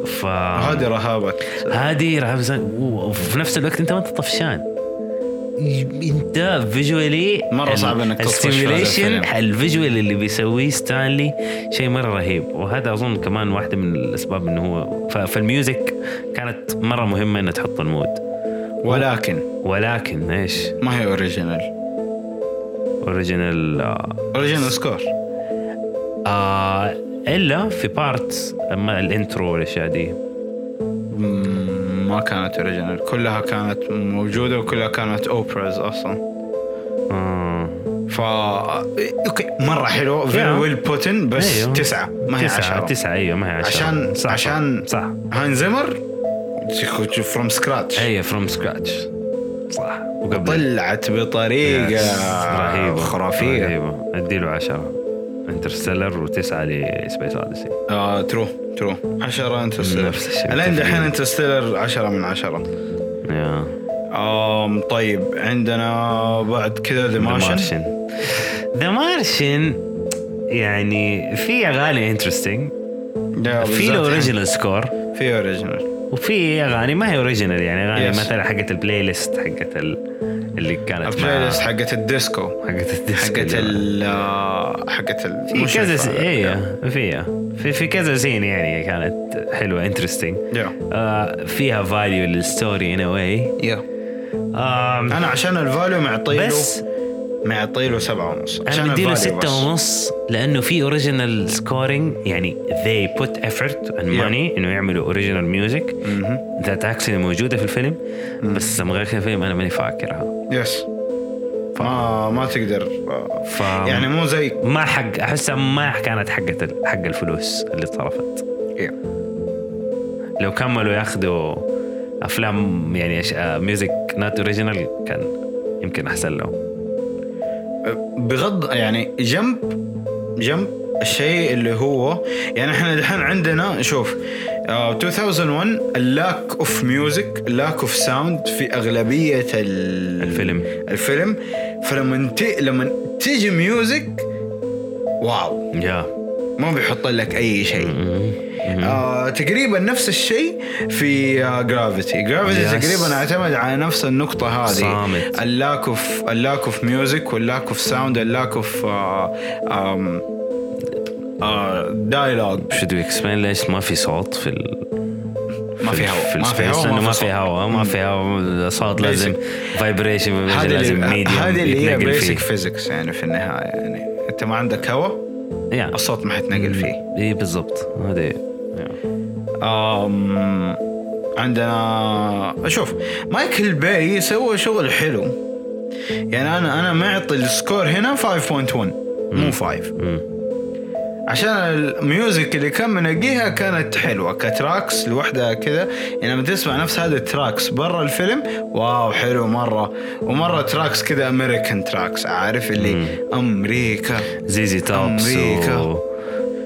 ف
هذه رهابك
هذه رهاب زين. و- وفي نفس الوقت انت ما انت طفشان ي- انت فيجوالي
مرة صعب انك تطفش في هذا الفيلم.
الفيجوال اللي بيسويه ستانلي شيء مره رهيب وهذا اظن كمان واحده من الاسباب انه هو ف- فالميوزك كانت مره مهمه انها تحط المود
ولكن
ولكن ايش
ما هي اوريجينال
اوريجينال
اوريجينال سكور
آه الا في بارت اما الانترو والاشياء دي
مم، ما كانت اوريجينال كلها كانت موجوده وكلها كانت اوبراز اصلا
آه
فا اوكي مره حلو فيري
Yeah.
ويل بوتن بس
أيوه.
تسعه ما هي
تسعة
عشرة
تسعة ايوه ما هي عشرة
عشان
صح
عشان
صح
هاين زمر فروم سكراتش
ايوه فروم سكراتش صح وقبل
طلعت بطريقه
يس، رهيبة
خرافيه
رهيبة اديله عشرة انترستيلر وتسعة لسبيس اوديسي
آه ترو ترو 10 انترستيلر
نفس الشيء.
الان دحين
تقريباً.
انترستيلر 10 من 10 آم طيب عندنا بعد كذا ذا مارشن
ذا مارشن يعني في اغاني انترستنج في
يعني.
له اوريجينال سكور
في اوريجينال
وفي اغاني ما هي اوريجينال يعني اغاني
Yes.
مثلا حقت البلاي ليست حقت ال- اللي كانت
البلاي
مع-
ليست حقت الديسكو
حقت الديسك
حقت ال
اللي-
آه، حقت ال
في
مش
كذا
الفا-
س... ايه فيها في في كذا سين يعني كانت حلوه انترستنج
يا
آه فيها فاليو للستوري ان واي
يا
آه
انا عشان الفاليو معطي له
بس
معطي له سبعة ونص
انا
الفاليو
مديله
بس.
ستة ونص لانه في اوريجينال سكورينج يعني they put effort and
Yeah.
money انه يعملوا اوريجينال ميوزك
مهم.
ذات اكشلي موجوده في الفيلم بس من غير كذا الفيلم انا ماني فاكرها
يس ما ما تقدر آه،
ف
يعني مو زي
ما حق احسها ما كانت حقت ال- حق الفلوس اللي صرفت
يا.
لو كملوا ياخذوا افلام يعني أش... ميوزك نوت اوريجينال كان يمكن احسن لهم
بغض يعني جنب جنب الشيء اللي هو يعني احنا دحين عندنا شوف آه، 2001 اللاك اوف ميوزك اللاك اوف ساوند في اغلبيه ال-
الفيلم.
الفيلم فلما ت... لما تيجي ميوزك واو
يا
ما بيحط لك اي شيء آه، تقريبا نفس الشيء في آه، جرافيتي جرافيتي
Yes.
تقريبا اعتمد على نفس النقطة هذه
صامت.
اللاك اوف اللاك اوف ميوزك واللاك اوف ساوند اللاك اوف آه، دايلوج
شو دو اكسبلين ليش ما في صوت في ال...
ما في هواء ما في هواء
ما في هواء ما في هواء صوت لازم فايبريشن
هذه
لازم
اللي-
ميديوم
هذه اللي هي
يتنقل فيه
بيسك فيزكس يعني في النهاية يعني انت ما عندك هواء
يا
الصوت ما حتنقل فيه
اي إيه، بالضبط هذه يا.
آم، عندنا شوف مايكل باي سوى شغل حلو يعني انا انا معطي السكور هنا 5.1 مو 5
مم.
عشان الميوزك اللي كان منقيها كانت حلوه كتراكس لوحدها كذا يعني لما تسمع نفس هذه التراكس برا الفيلم واو حلو مره ومره تراكس كذا امريكان تراكس عارف اللي امريكا
زيزي توبس
أمريكا.
و...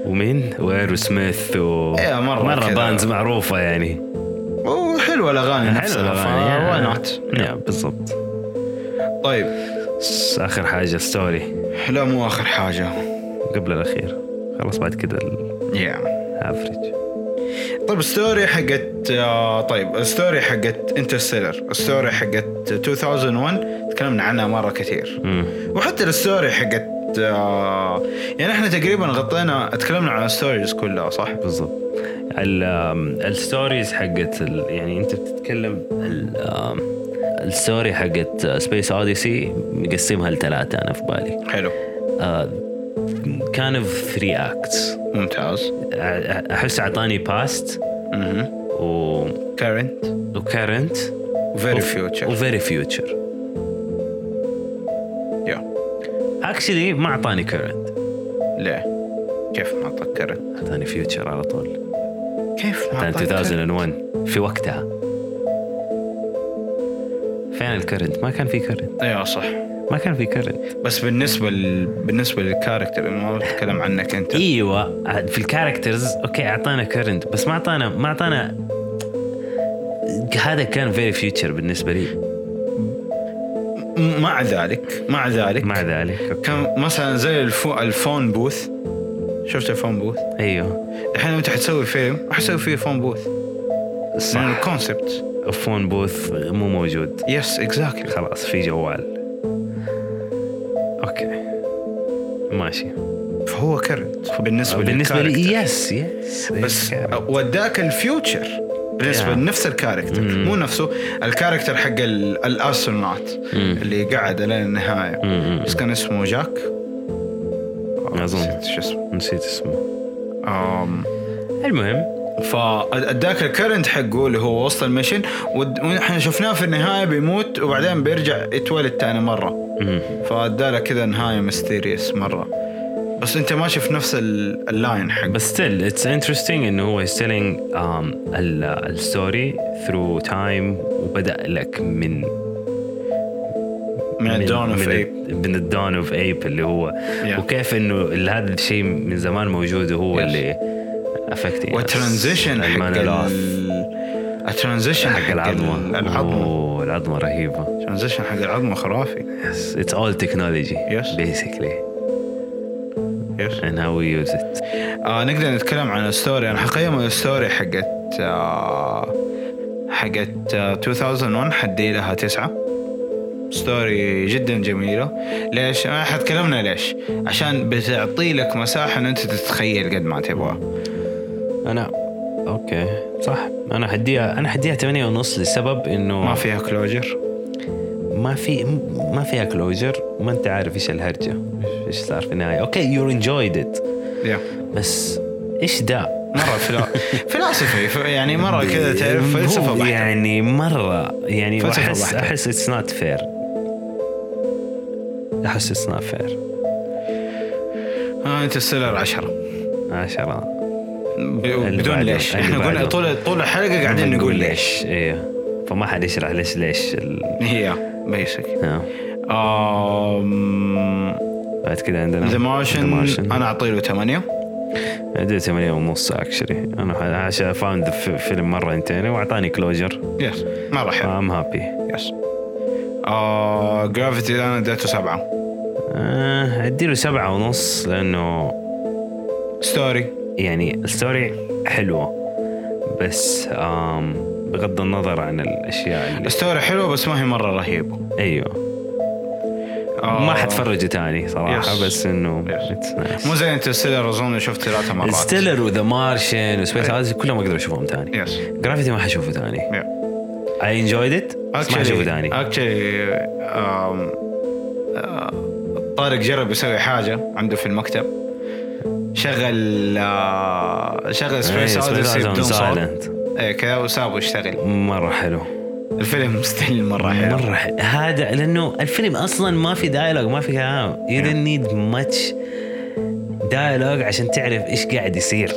ومين؟ وايرو سميث و
إيه، مرة
مرة
كده.
بانز معروفة يعني
وحلوه الاغاني نفسها
الأغاني.
فواي
يا.
نوت
يا، بالضبط
طيب
بس آخر حاجة ستوري
لا مو اخر حاجه
قبل الأخير خلاص بعد كده
يا yeah.
الافرج
طيب ستوري حقت آه طيب ستوري حقت انترستيلر ستوري حقت 2001 تكلمنا عنها مره كثير وحتى الستوري حقت آه يعني احنا تقريبا غطينا تكلمنا عن الستوريز كلها صح؟
بالضبط ال- آم، الستوريز حقت ال- يعني انت بتتكلم ال- آم، الستوري حقت سبيس اوديسي مقسمها لثلاثة انا في بالي
حلو
كان اوف ثري اكتس
ممتاز
احس اعطاني باست
اها
و
كارنت
وكارنت
وفيري فيوتشر
وفيري فيوتشر
يا
اكشلي ما اعطاني كارنت
ليه؟ كيف ما اعطاك كارنت؟
اعطاني فيوتشر على طول
كيف ما
كان
اعطاك current؟
2001 في وقتها فين الكرنت ما كان في كرنت
ايوه صح
ما كان في كرنت
بس بالنسبه ل... بالنسبه للكاركتر ما بتكلم عنك انت
ايوه في الكاركترز اوكي اعطانا كرنت بس ما اعطانا ما اعطانا هذا كان فيري فيوتشر بالنسبه لي
مع ذلك مع ذلك
مع ذلك أوكي.
كان مثلا زي الفو... الفون بوث شفت الفون بوث
ايوه
الحين انت حتسوي فيلم حتسوي فيه فون بوث لان
صح
الكونسبت
فون بوث مو موجود
يس اكزاكتلي
خلاص في جوال اوكي ماشي
فهو كرنت بالنسبه
بالنسبه لي
للكاركتر.
يس يس
بس وداك الفيوتشر بالنسبه
إيه. Yeah.
لنفس الكاركتر
مم.
مو نفسه الكاركتر حق ال- الاسترونوت اللي قعد لين النهايه
مم.
بس كان اسمه جاك
أظن.
نسيت شو اسمه Um,
نسيت اسمه
آم،
المهم
فاداك الكرنت حقه اللي هو وسط المشن ود- ونحن شفناه في النهايه بيموت وبعدين بيرجع يتولد ثاني مره
مم.
فاداله كذا نهايه ميستيريس مره بس انت ما شفت نفس ال- اللاين حق
بس ستيل اتس انترستنج انه هو ستيلينج الستوري ثرو تايم وبدا لك من
من الدون اوف
من-
ايب
من الدون اوف ايب اللي هو
Yeah.
وكيف انه ال- هذا الشيء من زمان موجود وهو
Yes.
اللي افكتنج
والترانزيشن حق ال- الترانزيشن
حق العظمه
العظمه
أوه، العظمه رهيبه
الترانزيشن حق العظمه خرافي
Yes, it's all technology,
Yes.
basically,
يس
and how we use it.
آه نقدر نتكلم عن الستوري انا حقيم الستوري حقت آه حقت آه 2001 حدي لها تسعة ستوري جدا جميله ليش انا حتكلمنا ليش عشان بتعطي لك مساحه ان انت تتخيل قد ما تبغى
انا اوكي صح انا حديها انا حديها 8 ونص لسبب انه
ما فيها كلوجر
ما في ما فيها كلوجر وما انت عارف ايش الهرجه ايش صار في النهايه اوكي يو انجويد ات بس ايش ده
مره فلا... [LAUGHS] فلاسفي ف- يعني مره كذا تعرف
[LAUGHS]
فلسفه
هو
بحته
يعني مره يعني
فلسفة
احس
بحتة.
احس اتس نوت فير احس اتس نوت فير
آه انت السيلر 10
10
بدون
بعده،
ليش
اللي
احنا [LAUGHS] قلنا
بعده.
طول طول الحلقه قاعدين نقول ليش
ايه فما حد يشرح ليش ليش ال...
هي بيسك
آه.
Um,
بعد كده عندنا
ذا مارشن
انا
انا اعطي له 8
اديته 8 ونص اكشلي انا ح- عشان فاهم فيلم مره انتين واعطاني كلوجر
يس مره حلو
ام هابي
يس Uh, جرافيتي انا اديته سبعه
اديله آه، سبعة ونص لانه
ستوري
يعني الستوري حلوه بس آم بغض النظر عن الاشياء اللي
ستوري حلوه بس ما هي مره رهيبه
ايوه
آه،
ما حتفرجه تاني صراحه
Yes.
بس انه
Yes.
it's nice.
مو زي انترستيلر اظن شفت ثلاث مرات
ستيلر وذا مارشن وسبيس
أي.
هذا كلهم ما اقدر اشوفهم تاني
يس
جرافيتي ما حشوفه تاني اي انجويد ات بس ما حشوفه تاني
اكشلي um, uh, طارق جرب يسوي حاجه عنده في المكتب شغل آه،
إيه،
شغل سبيس اوديسي بدون صوت ايه كذا وسابه يشتغل
مره حلو
الفيلم مستحيل يعني. مره حلو
مرة حلو. هذا لانه الفيلم اصلا ما في دايلوج ما في كلام يو دونت
نعم.
نيد ماتش دايلوج عشان تعرف ايش قاعد يصير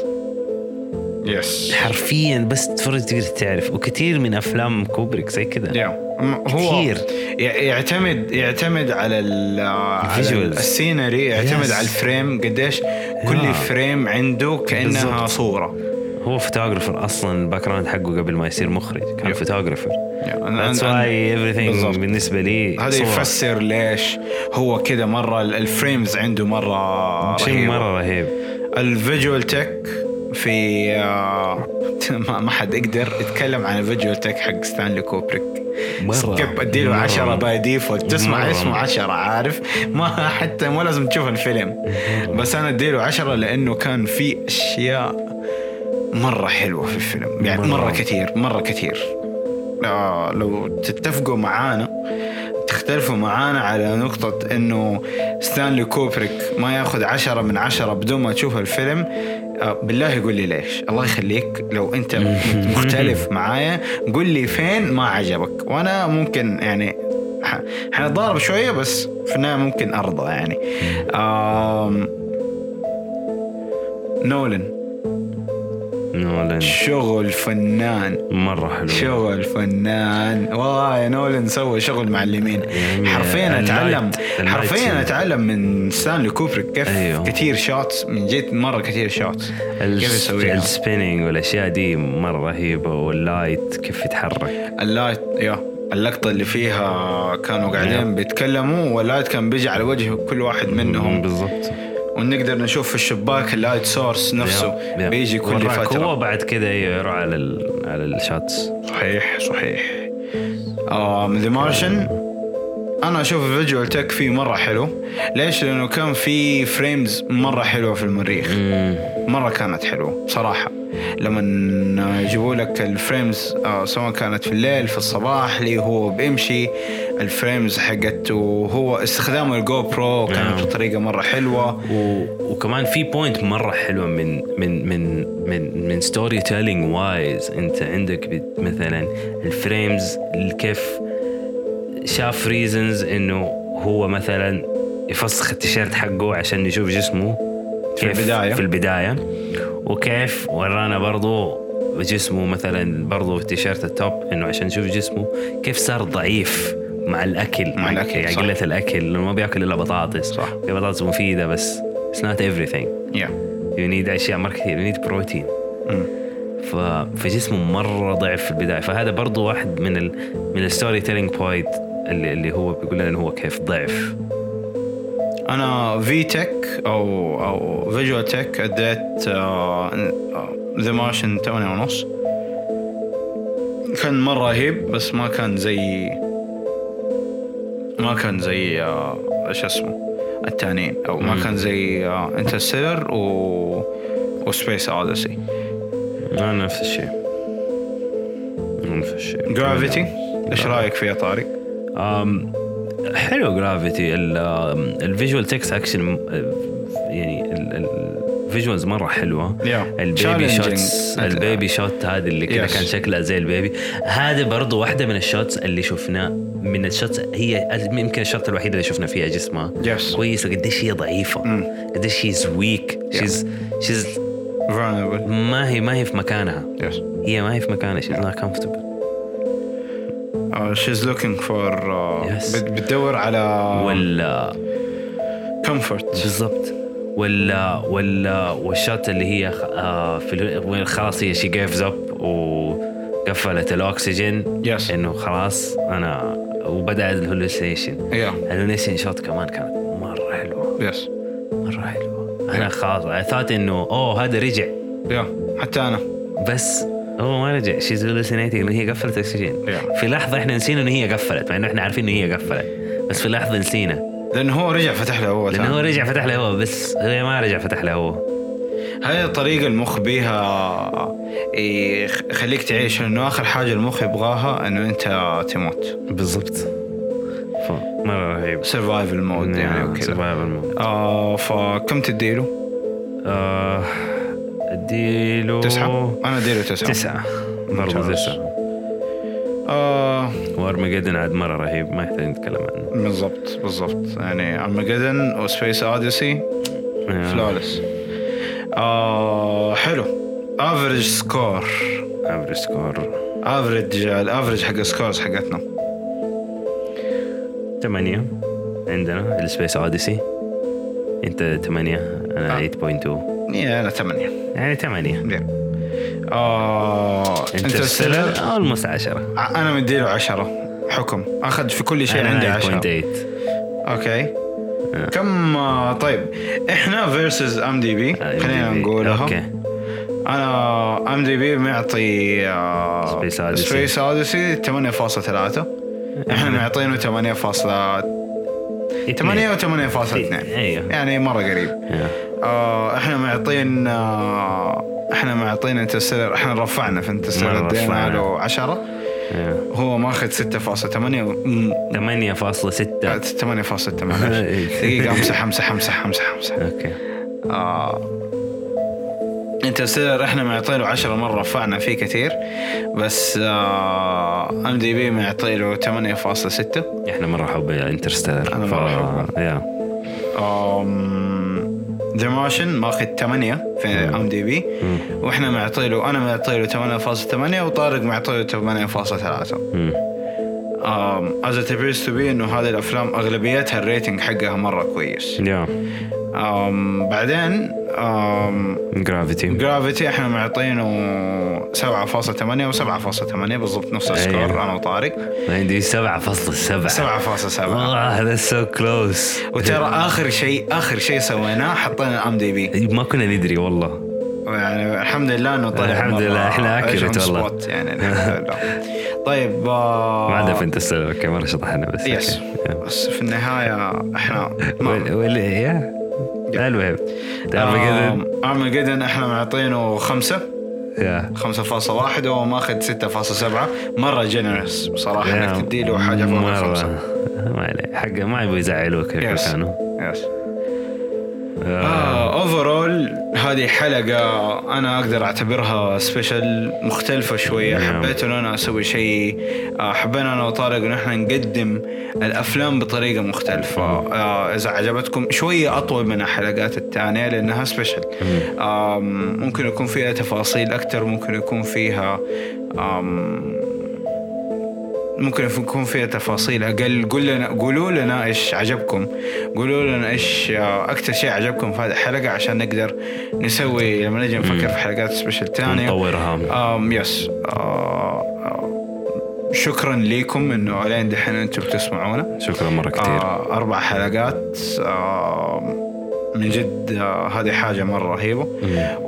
يس
حرفيا بس تتفرج تقدر تعرف وكثير من افلام كوبريك زي كذا
يا أم- هو
كثير.
ي- يعتمد يعتمد على ال على
Visuals.
السينري يعتمد
Yes.
على الفريم قديش كل
Yeah.
فريم عنده كانها
بالضبط.
صوره
هو فوتوغرافر اصلا الباك جراوند حقه قبل ما يصير مخرج كان
Yeah.
فوتوغرافر
Yeah.
ذاتس
And- and-
واي everything
بالضبط.
بالنسبه لي
هذا
صورة.
يفسر ليش هو كذا مره ال- الفريمز عنده مره
شيء
رهيبة.
مره رهيب
الفيجوال تك في آه، [LAUGHS] ما ما حد يقدر يتكلم عن الفيجوال تك حق ستانلي كوبريك
مرة.
سكيب اديله
مرة.
10 باي ديفولت تسمع
مرة.
اسمه 10 عارف ما [LAUGHS] حتى مو لازم تشوف الفيلم بس انا اديله 10 لانه كان في اشياء مره حلوه في الفيلم يعني
مرة.
مره كثير مره كثير آه لو تتفقوا معانا تختلفوا معانا على نقطة انه ستانلي كوبريك ما ياخذ عشرة من عشرة بدون ما تشوف الفيلم آه بالله قول لي ليش الله يخليك لو انت مختلف معايا قول لي فين ما عجبك وانا ممكن يعني ح- حنتضارب شوية بس في النهاية ممكن ارضى يعني آم نولن
نولان
شغل فنان
مره حلو
شغل فنان والله يا نولن سوى شغل معلمين
يعني
حرفيا
اللايت-
اتعلم
اللايت
حرفيا
سين.
اتعلم من ستانلي كوبريك كيف
أيوه.
كثير شوتس من جد مره كثير شوتس كيف يسويها
السبيننج والاشياء دي مره رهيبه واللايت كيف يتحرك
اللايت يا اللقطة اللي فيها كانوا قاعدين
أيوه.
بيتكلموا واللايت كان بيجي على وجه كل واحد منهم
بالضبط
ونقدر نشوف في الشباك اللايت سورس نفسه
يب. يب.
بيجي كل
وراك هو
فترة
بعد كذا ايوه يروح على ال على الشاتس
صحيح صحيح آم ذا مارشن انا اشوف الفيجوال تك فيه مره حلو ليش لانه كان في فريمز مره حلوه في المريخ مره كانت حلوه بصراحه لما يجيبوا لك الفريمز آه، سواء كانت في الليل في الصباح لي هو بيمشي الفريمز حقته هو استخدام الجو برو كانت
نعم.
بطريقه مره حلوه
و... وكمان في بوينت مره حلوه من من من من من ستوري تيلينج وايز انت عندك بت- مثلا الفريمز اللي كيف شاف ريزنز انه هو مثلا يفسخ التيشيرت حقه عشان يشوف جسمه
في
كيف
البداية.
في البدايه وكيف ورانا برضو جسمه مثلا برضو في التيشيرت التوب انه عشان نشوف جسمه كيف صار ضعيف مع الاكل
مع الأكل،
يعني
صح.
قله الاكل لانه ما بياكل الا بطاطس
صح.
في بطاطس مفيده بس it's not everything
يا
you need اشياء مره كثير you need بروتين
مم.
ف... فجسمه مره ضعف في البدايه فهذا برضو واحد من ال... من الستوري تيلينج بوينت اللي, اللي هو بيقول لنا انه هو كيف ضعف
انا في تك او او فيجوال تك اديت آه، ذا مارشن 8 ونص كان مره رهيب بس ما كان زي ما كان زي آه، ايش اسمه التانيين او ما كان زي انترستيلر و وسبيس اوديسي
ما نفس الشيء نفس الشيء
جرافيتي ايش رايك فيها طارق؟
أم حلو جرافيتي الفيجوال تكست اكشن يعني الفيجوالز مره حلوه
Yeah.
البيبي
Challenging.
شوتس البيبي شوت هذه اللي كذا
Yes.
كان شكلها زي البيبي هذا برضو واحده من الشوتس اللي شفناه من الشوتس هي يمكن الشوت الوحيده اللي شفنا فيها جسمها
Yes.
كويسه قديش هي ضعيفه
Mm.
قديش شيز ويك شيز شيز
فولنربل
ما هي ما هي في مكانها
يس
هي ما هي في مكانها شيز نوت كومفورتبل
شيز لوكينج فور
Yes.
آه، بتدور على
ولا
كومفورت
بالضبط ولا ولا والشات اللي هي خ- آه، في ال- وين خلاص هي شي جيفز اب وقفلت الاكسجين
Yes.
انه خلاص انا وبدا الهلوسيشن
يا
الهلوسيشن شوت كمان كانت مره حلوه
يس
مره حلوه انا خلاص I thought انه اوه هذا رجع
يا حتى انا
بس هو ما رجع شيز hallucinating انه هي قفلت اكسجين
Yeah.
في لحظه احنا نسينا انه هي قفلت مع انه احنا عارفين انه هي قفلت بس في لحظه نسينا
لانه هو رجع فتح له هو
لانه
ثاني.
هو رجع فتح له هو بس هي ما رجع فتح له هو
هذه الطريقة المخ بيها يخ- يخليك تعيش لأنه آخر حاجة المخ يبغاها إنه أنت تموت
بالضبط ف- مره رهيب
سرفايفل
نعم،
مود يعني وكذا
سرفايفل
آه فكم تديله؟
آه، اديله
تسعة؟ أنا أديله تسعة
تسعة برضه
ممتاز.
تسعة
آه
وارمجدن عاد مرة رهيب ما يحتاج نتكلم عنه
بالضبط بالضبط يعني أرمجدن وسبيس أوديسي
نعم.
فلولس آه حلو افريج سكور
افريج سكور
افريج الافريج حق السكورز حقتنا
ثمانية عندنا السبيس اوديسي انت ثمانية انا
آه.
8.2
يا أنا ثمانية
يعني ثمانية
يا. آه
انترستيلر
Interstellar.
اولموست 10
ع- انا مديله عشرة حكم اخذ في كل شيء عندي عشرة
8.8
اوكي كم آه، طيب احنا فيرسز ام دي بي
آه،
خلينا نقولها
اوكي
انا ام دي بي معطي آه،
Space Odyssey.
سبيس اوديسي 8.3 احنا معطينه 8.8
اثنين.
و 8.2
أيوه.
يعني مره قريب
Yeah.
آه، احنا معطين آه، احنا معطين انترستيلر احنا رفعنا في انترستيلر
مرة
ادينا
رفعنا.
له 10
Yeah.
هو ماخذ 6.8 و- آه.
8.6
8.6
نعم. [LAUGHS] إيه.
معلش دقيقة امسح امسح امسح امسح امسح
اوكي
انترستيلر احنا معطيله 10 مرة رفعنا فيه كثير بس ام دي بي معطيله 8.6
احنا مره حب انترستيلر
أنا مرة أحبه.
يا
ذا مارشن ماخذ 8 في ام دي بي واحنا معطيله انا معطيله 8.8 وطارق معطيله 8.3
مم.
از ات ابيرز تو بي انه هذه الافلام اغلبيتها الريتنج حقها مره كويس
يا
أم، بعدين أم،
جرافيتي
جرافيتي احنا معطينه 7.8 و7.8 بالضبط نفس السكور
أيوه.
انا وطارق
عندي 7.7
7.7
والله هذا سو كلوز
وترى اخر شيء اخر شيء سويناه حطينا ام دي بي
ما كنا ندري والله
يعني الحمد لله انه طلع
الحمد
مرة
لله، إحنا accurate
on
والله.
spot يعني الحمد لله طيب آه،
ما عدا في انترستيلر اوكي مره شطحنا بس
يس
أوكي.
بس في النهايه احنا
يا. وال- وال- يا المهم تعرف
آه.
كذا
ارمجدن احنا معطينه خمسة
يا
5.1 وهو ماخذ 6.7 مرة جنرس بصراحة
يا.
انك تدي له حاجة فوق
مرة.
الخمسة
ما عليه حقه ما يبغوا يزعلوك
يس
كانوا
يس اوفرول آه، هذه حلقة انا اقدر اعتبرها سبيشل مختلفة شوية
نعم.
حبيت انه انا اسوي شيء آه، حبينا انا وطارق ان احنا نقدم الافلام بطريقة مختلفة آه، اذا عجبتكم شوية اطول من الحلقات الثانية لانها سبيشل آم، ممكن يكون فيها تفاصيل اكثر ممكن يكون فيها آم، ممكن يكون فيها تفاصيل اقل قول لنا قولوا لنا ايش عجبكم قولوا لنا ايش آه، اكثر شيء عجبكم في هذه الحلقه عشان نقدر نسوي لما نجي نفكر في حلقات سبيشل ثانيه
نطورها
آم يس آه، آه، شكرا لكم انه الين دحين انتم بتسمعونا
شكرا مره كثير
آه اربع حلقات آه من جد آه هذه حاجه مره رهيبه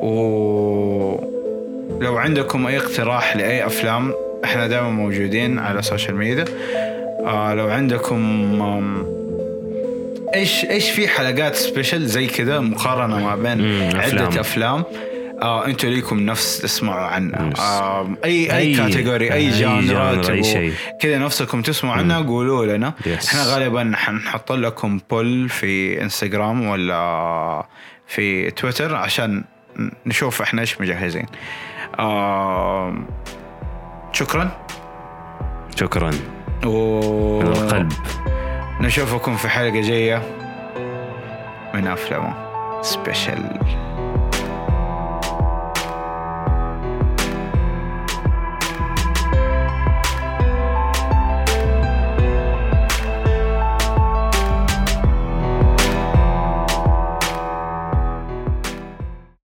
ولو عندكم اي اقتراح لاي افلام احنا دائما موجودين على السوشيال ميديا آه لو عندكم آم، ايش ايش في حلقات سبيشل زي كذا مقارنه ما بين
مم، أفلام.
عده افلام آه انتوا ليكم نفس تسمعوا عنها
نفس.
آه اي اي
أي-
كاتيجوري
أي
اي
جانرا،
جانرا
أي
تبغوا
شيء.
كذا نفسكم تسمعوا عنها قولوا لنا
Yes.
احنا غالبا حنحط لكم بول في انستغرام ولا في تويتر عشان نشوف احنا ايش مجهزين آه شكرا
شكرا
و
من القلب
نشوفكم في حلقة جاية من أفلام سبيشال